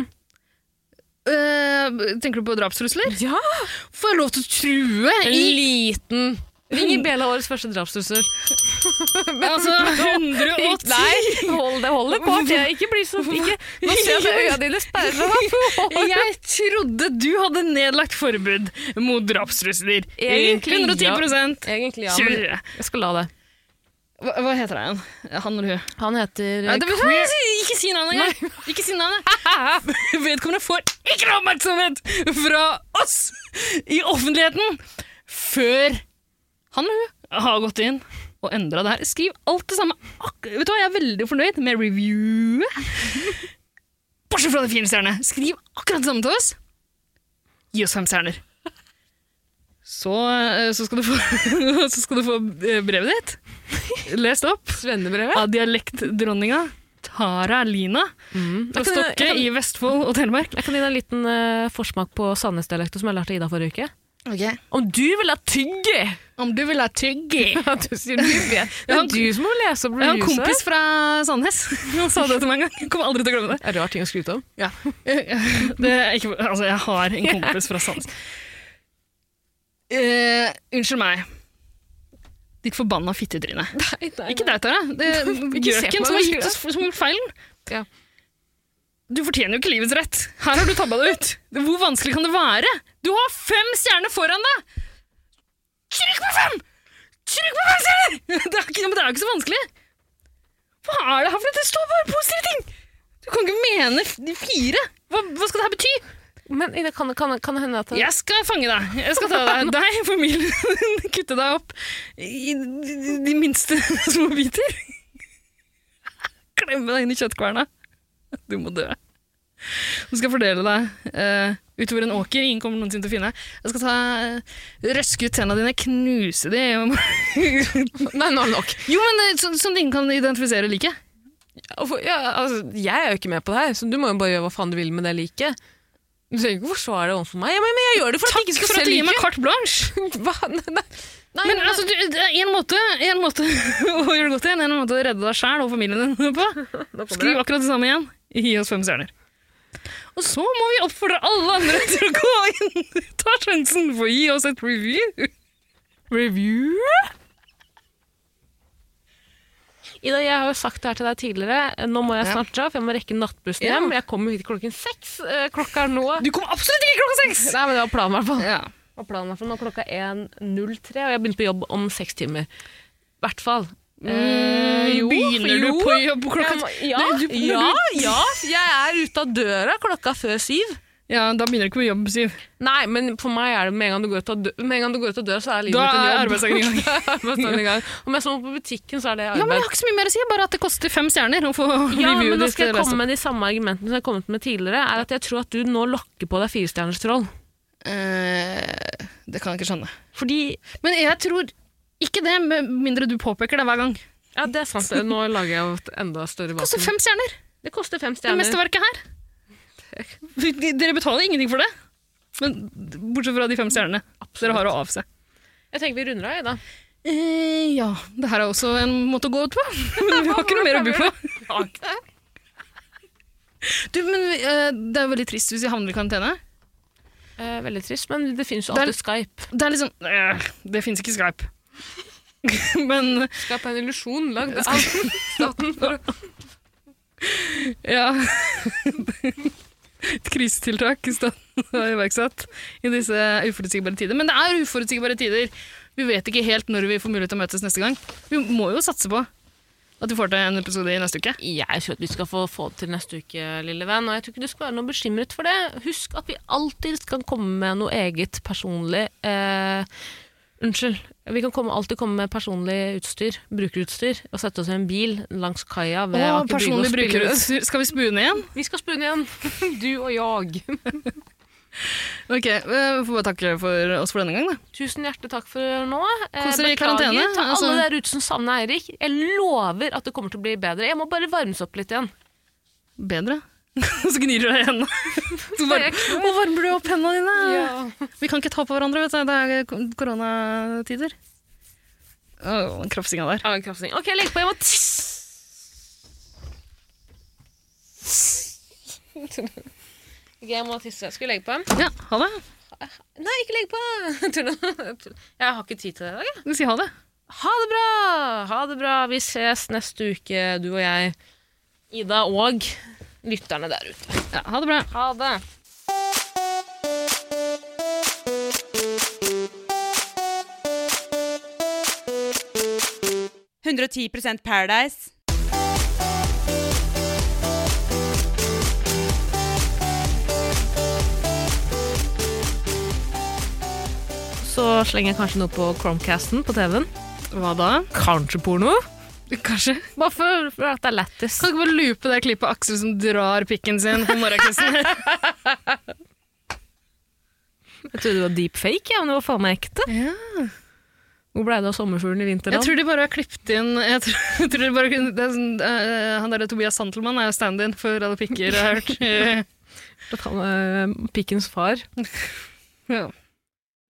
Eh, tenker du på drapstrusler?
Ja!
Får jeg lov til å true
En
i
liten Ring i Bela årets første drapstrussel.
Altså, 110
[LAUGHS] Nei, hold det holder på. Det er ikke bli så ikke. Nå ser jeg at øynene dine sperrer [LAUGHS] seg.
[LAUGHS] Jeg trodde du hadde nedlagt forbud mot drapstrusler.
Egentlig, ja.
110
Egentlig, ja.
Kjør.
Men jeg skal la det.
Hva, hva heter han? Han eller hun?
Han heter
Ja, det
eh,
betyr, ikke si navnet engang! [LAUGHS] Ikke si navnet! [LAUGHS] Vedkommende får ikke noe oppmerksomhet fra oss i offentligheten før han eller hun har gått inn og endra det her. Skriv alt det samme. Ak Vet du hva, Jeg er veldig fornøyd med reviewet. Bortsett fra de fire stjernene. Skriv akkurat det samme til oss. Gi oss fem stjerner. Så, eh, så, skal du få, [LAUGHS] så skal du få eh, brevet ditt. Les det opp
Svennebrevet.
av dialektdronninga Tara Lina fra
Mm. Jeg kan- jeg
Stokke
kan-
i Vestfold og Telemark.
Jeg kan gi deg en liten eh, forsmak på Sandnes-dialekten som jeg lærte Ida forrige uke. Om du vil ha tygge!
Om du vil ha
[LAUGHS]
tygge!
Ja, du sier du vet. Det er du som må lese opp
Jeg har en
reviewsa.
kompis fra Sandnes. [LAUGHS] Han sa det til meg en gang. Jeg kommer aldri til å glemme
[LAUGHS]
det.
Det er rar ting å skryte om.
Ja. Det er ikke, altså, jeg har en kompis fra
[LAUGHS]
Sandnes. Eh, unnskyld meg. Ditt forbanna fittetryne. Ikke deg, Tara. Det er
[LAUGHS] Ikke se på
gjøken
meg,
som har
vær
gitt
så
oss som har gjort feilen. Du fortjener jo ikke livets rett. Her har du tabba det ut. Hvor vanskelig kan det være? Du har fem stjerner foran deg! Trykk på fem! Trykk på fem stjerner! [LAUGHS] Det er ikke, men det er jo ikke så vanskelig. Hva er det her for noe? Det står bare positive ting! Du kan ikke mene f- de fire. Hva, hva skal det her bety?
Men Ida, kan, kan, kan det hende at
Jeg skal fange deg. Jeg skal [LAUGHS] ta deg, deg familien din, kutte deg opp i de, de minste [LAUGHS] små biter. Klemme deg inn i kjøttkverna. Du må dø. Du skal jeg fordele deg eh, utover en åker. Ingen kommer noensinne til å finne deg. Jeg skal ta, eh, røske ut tennene dine, knuse de
Nei, nå er det nok.
[LAUGHS] Jo, men eh, så, Sånn at ingen kan identifisere liket.
Ja, altså, jeg er jo ikke med på det her, så du må jo bare gjøre hva faen du vil med det liket. Du trenger ikke å forsvare det overfor meg. Ja, men, men jeg gjør det for at jeg ikke skal
for
se
at du gir meg
liket.
carte
[LAUGHS]
blanche! men,
men-
altså, du, det er én måte, en måte [LAUGHS] å gjøre det godt i, en annen måte å redde deg sjæl og familien din på. Skriv akkurat det samme igjen. Gi oss fem stjerner. Og så må vi oppfordre alle andre til å gå inn, [LAUGHS] ta sjansen for å gi oss et review.
Review? Ida, jeg har jo sagt det her til deg tidligere. Nå må jeg
Ja.
snart dra, for jeg må rekke nattbussen
Ja.
hjem. Jeg kommer hit klokken seks. Eh, Klokka er nå
Du kom absolutt ikke klokka seks!
Nei, men det var planen i hvert fall. Det var planen i hvert fall. Nå er klokka 1.03, og jeg begynte på jobb om seks timer. I hvert fall. Eh, jo,
Mm, begynner
for-
du
jo.
på jobb klokka-
Jeg må- Ja,
Nei, du-
ja,
du-
ja, jeg er ute av døra klokka før syv.
Ja, Da begynner du ikke på jobb, Siv.
Nei, men for meg er det med en gang du går ut av, dø med en gang du går ut av døra, så er livet
Da
mitt en
er
jobb.
arbeidsdagen i gang.
[LAUGHS] Da er arbeidsdagen i gang. Om jeg så må på butikken, så er det
Ja,
arbeid.
men Jeg har ikke så mye mer å si, bare at det koster fem stjerner å få
Ja,
review
men nå
ditt
skal jeg
resten.
komme med de samme argumentene som jeg har kommet med tidligere. er at Jeg tror at du nå lokker på deg firestjerners troll.
Eh, det kan jeg ikke skjønne.
Fordi
Men jeg tror ikke det, med mindre du påpeker det hver gang.
Ja, det er [LAUGHS] sant. Nå lager jeg jo et enda større
Det koster
vakuum.
fem stjerner,
Det koster fem
det
stjerner.
mesterverket her. De- de- [LAUGHS] Dere betaler ingenting for det. Men bortsett fra de fem stjernene dere har å avse.
Jeg tenker vi runder av, Ida.
Eh, ja, det her er også en måte å gå ut på. [LAUGHS] Men vi har ikke noe mer å by på. Du, men eh, Det er jo veldig trist hvis vi havner i karantene.
Eh, veldig trist, men det finnes jo
Det er-
alltid Skype.
Det er liksom eh, Det fins ikke Skype. [LAUGHS] men
Skype er en illusjon lagd av staten. For å...
Ja. [LAUGHS] Et krisetiltak i staten har iverksatt i disse uforutsigbare tider. Men det er uforutsigbare tider. Vi vet ikke helt når vi får mulighet til å møtes neste gang. Vi må jo satse på at vi får til en episode i neste uke.
Jeg tror at vi skal få, få det til neste uke, lille venn. Og jeg tror ikke du skal være noe bekymret for det. Husk at vi alltid kan komme med noe eget personlig eh, Unnskyld. Vi kan komme, alltid komme med personlig utstyr, brukerutstyr, og sette oss i en bil langs kaia ved
Og
Aker Brygge og
personlig
spille-
brukerutstyr. Skal vi spune igjen?
Vi skal spune igjen.
[LAUGHS]
Du og jeg.
Ok, eh, Vi får bare takke for oss for denne gang, da.
Tusen hjertelig takk for nå. Eh,
Kos dere i
beklager
karantene,
til
altså.
alle der ute som savner Eirik. Jeg lover at det kommer til å bli bedre. Jeg må bare varmes opp litt igjen.
Bedre. [LAUGHS] Så gnir du deg i hendene. Så bare- Å, varmer du opp hendene dine? Vi kan ikke ta på hverandre, vet du. Det er ko- koronatider. Å, den krafsinga der.
Ja, en kraftsing. Ok, legg på. Jeg må tisse. Ok, jeg må tisse. Skal vi legge på?
Ja, ha det.
Nei, ikke legg på! [LAUGHS] Tuller. Jeg har ikke tid til det i dag. jeg.
Du sier ha det.
Ha det bra! Ha det bra. Vi ses neste uke, du og jeg, Ida og lytterne der ute.
Ja, ha det bra.
Ha det.
Paradise.
Så slenger jeg kanskje noe på Chromecasten på TV-en.
Hva da?
Kanskje porno?
Kanskje.
Bare for, for at det er lættis.
Kan du ikke bare loope det klippet av Aksel som drar pikken sin på [LAUGHS] morgenkvisten?
Jeg trodde det var deepfake, ja, men det var faen meg ekte. Hvor blei det av sommerfuglen i vinterland?
Jeg tror de bare har klippet inn jeg tror, jeg tror de bare, kunne- det er sånn, eh, Han der Tobias Santelmann er jo stand-in for [LAUGHS] alle pikker jeg har hørt.
eh, At han er pikkens far.
ja.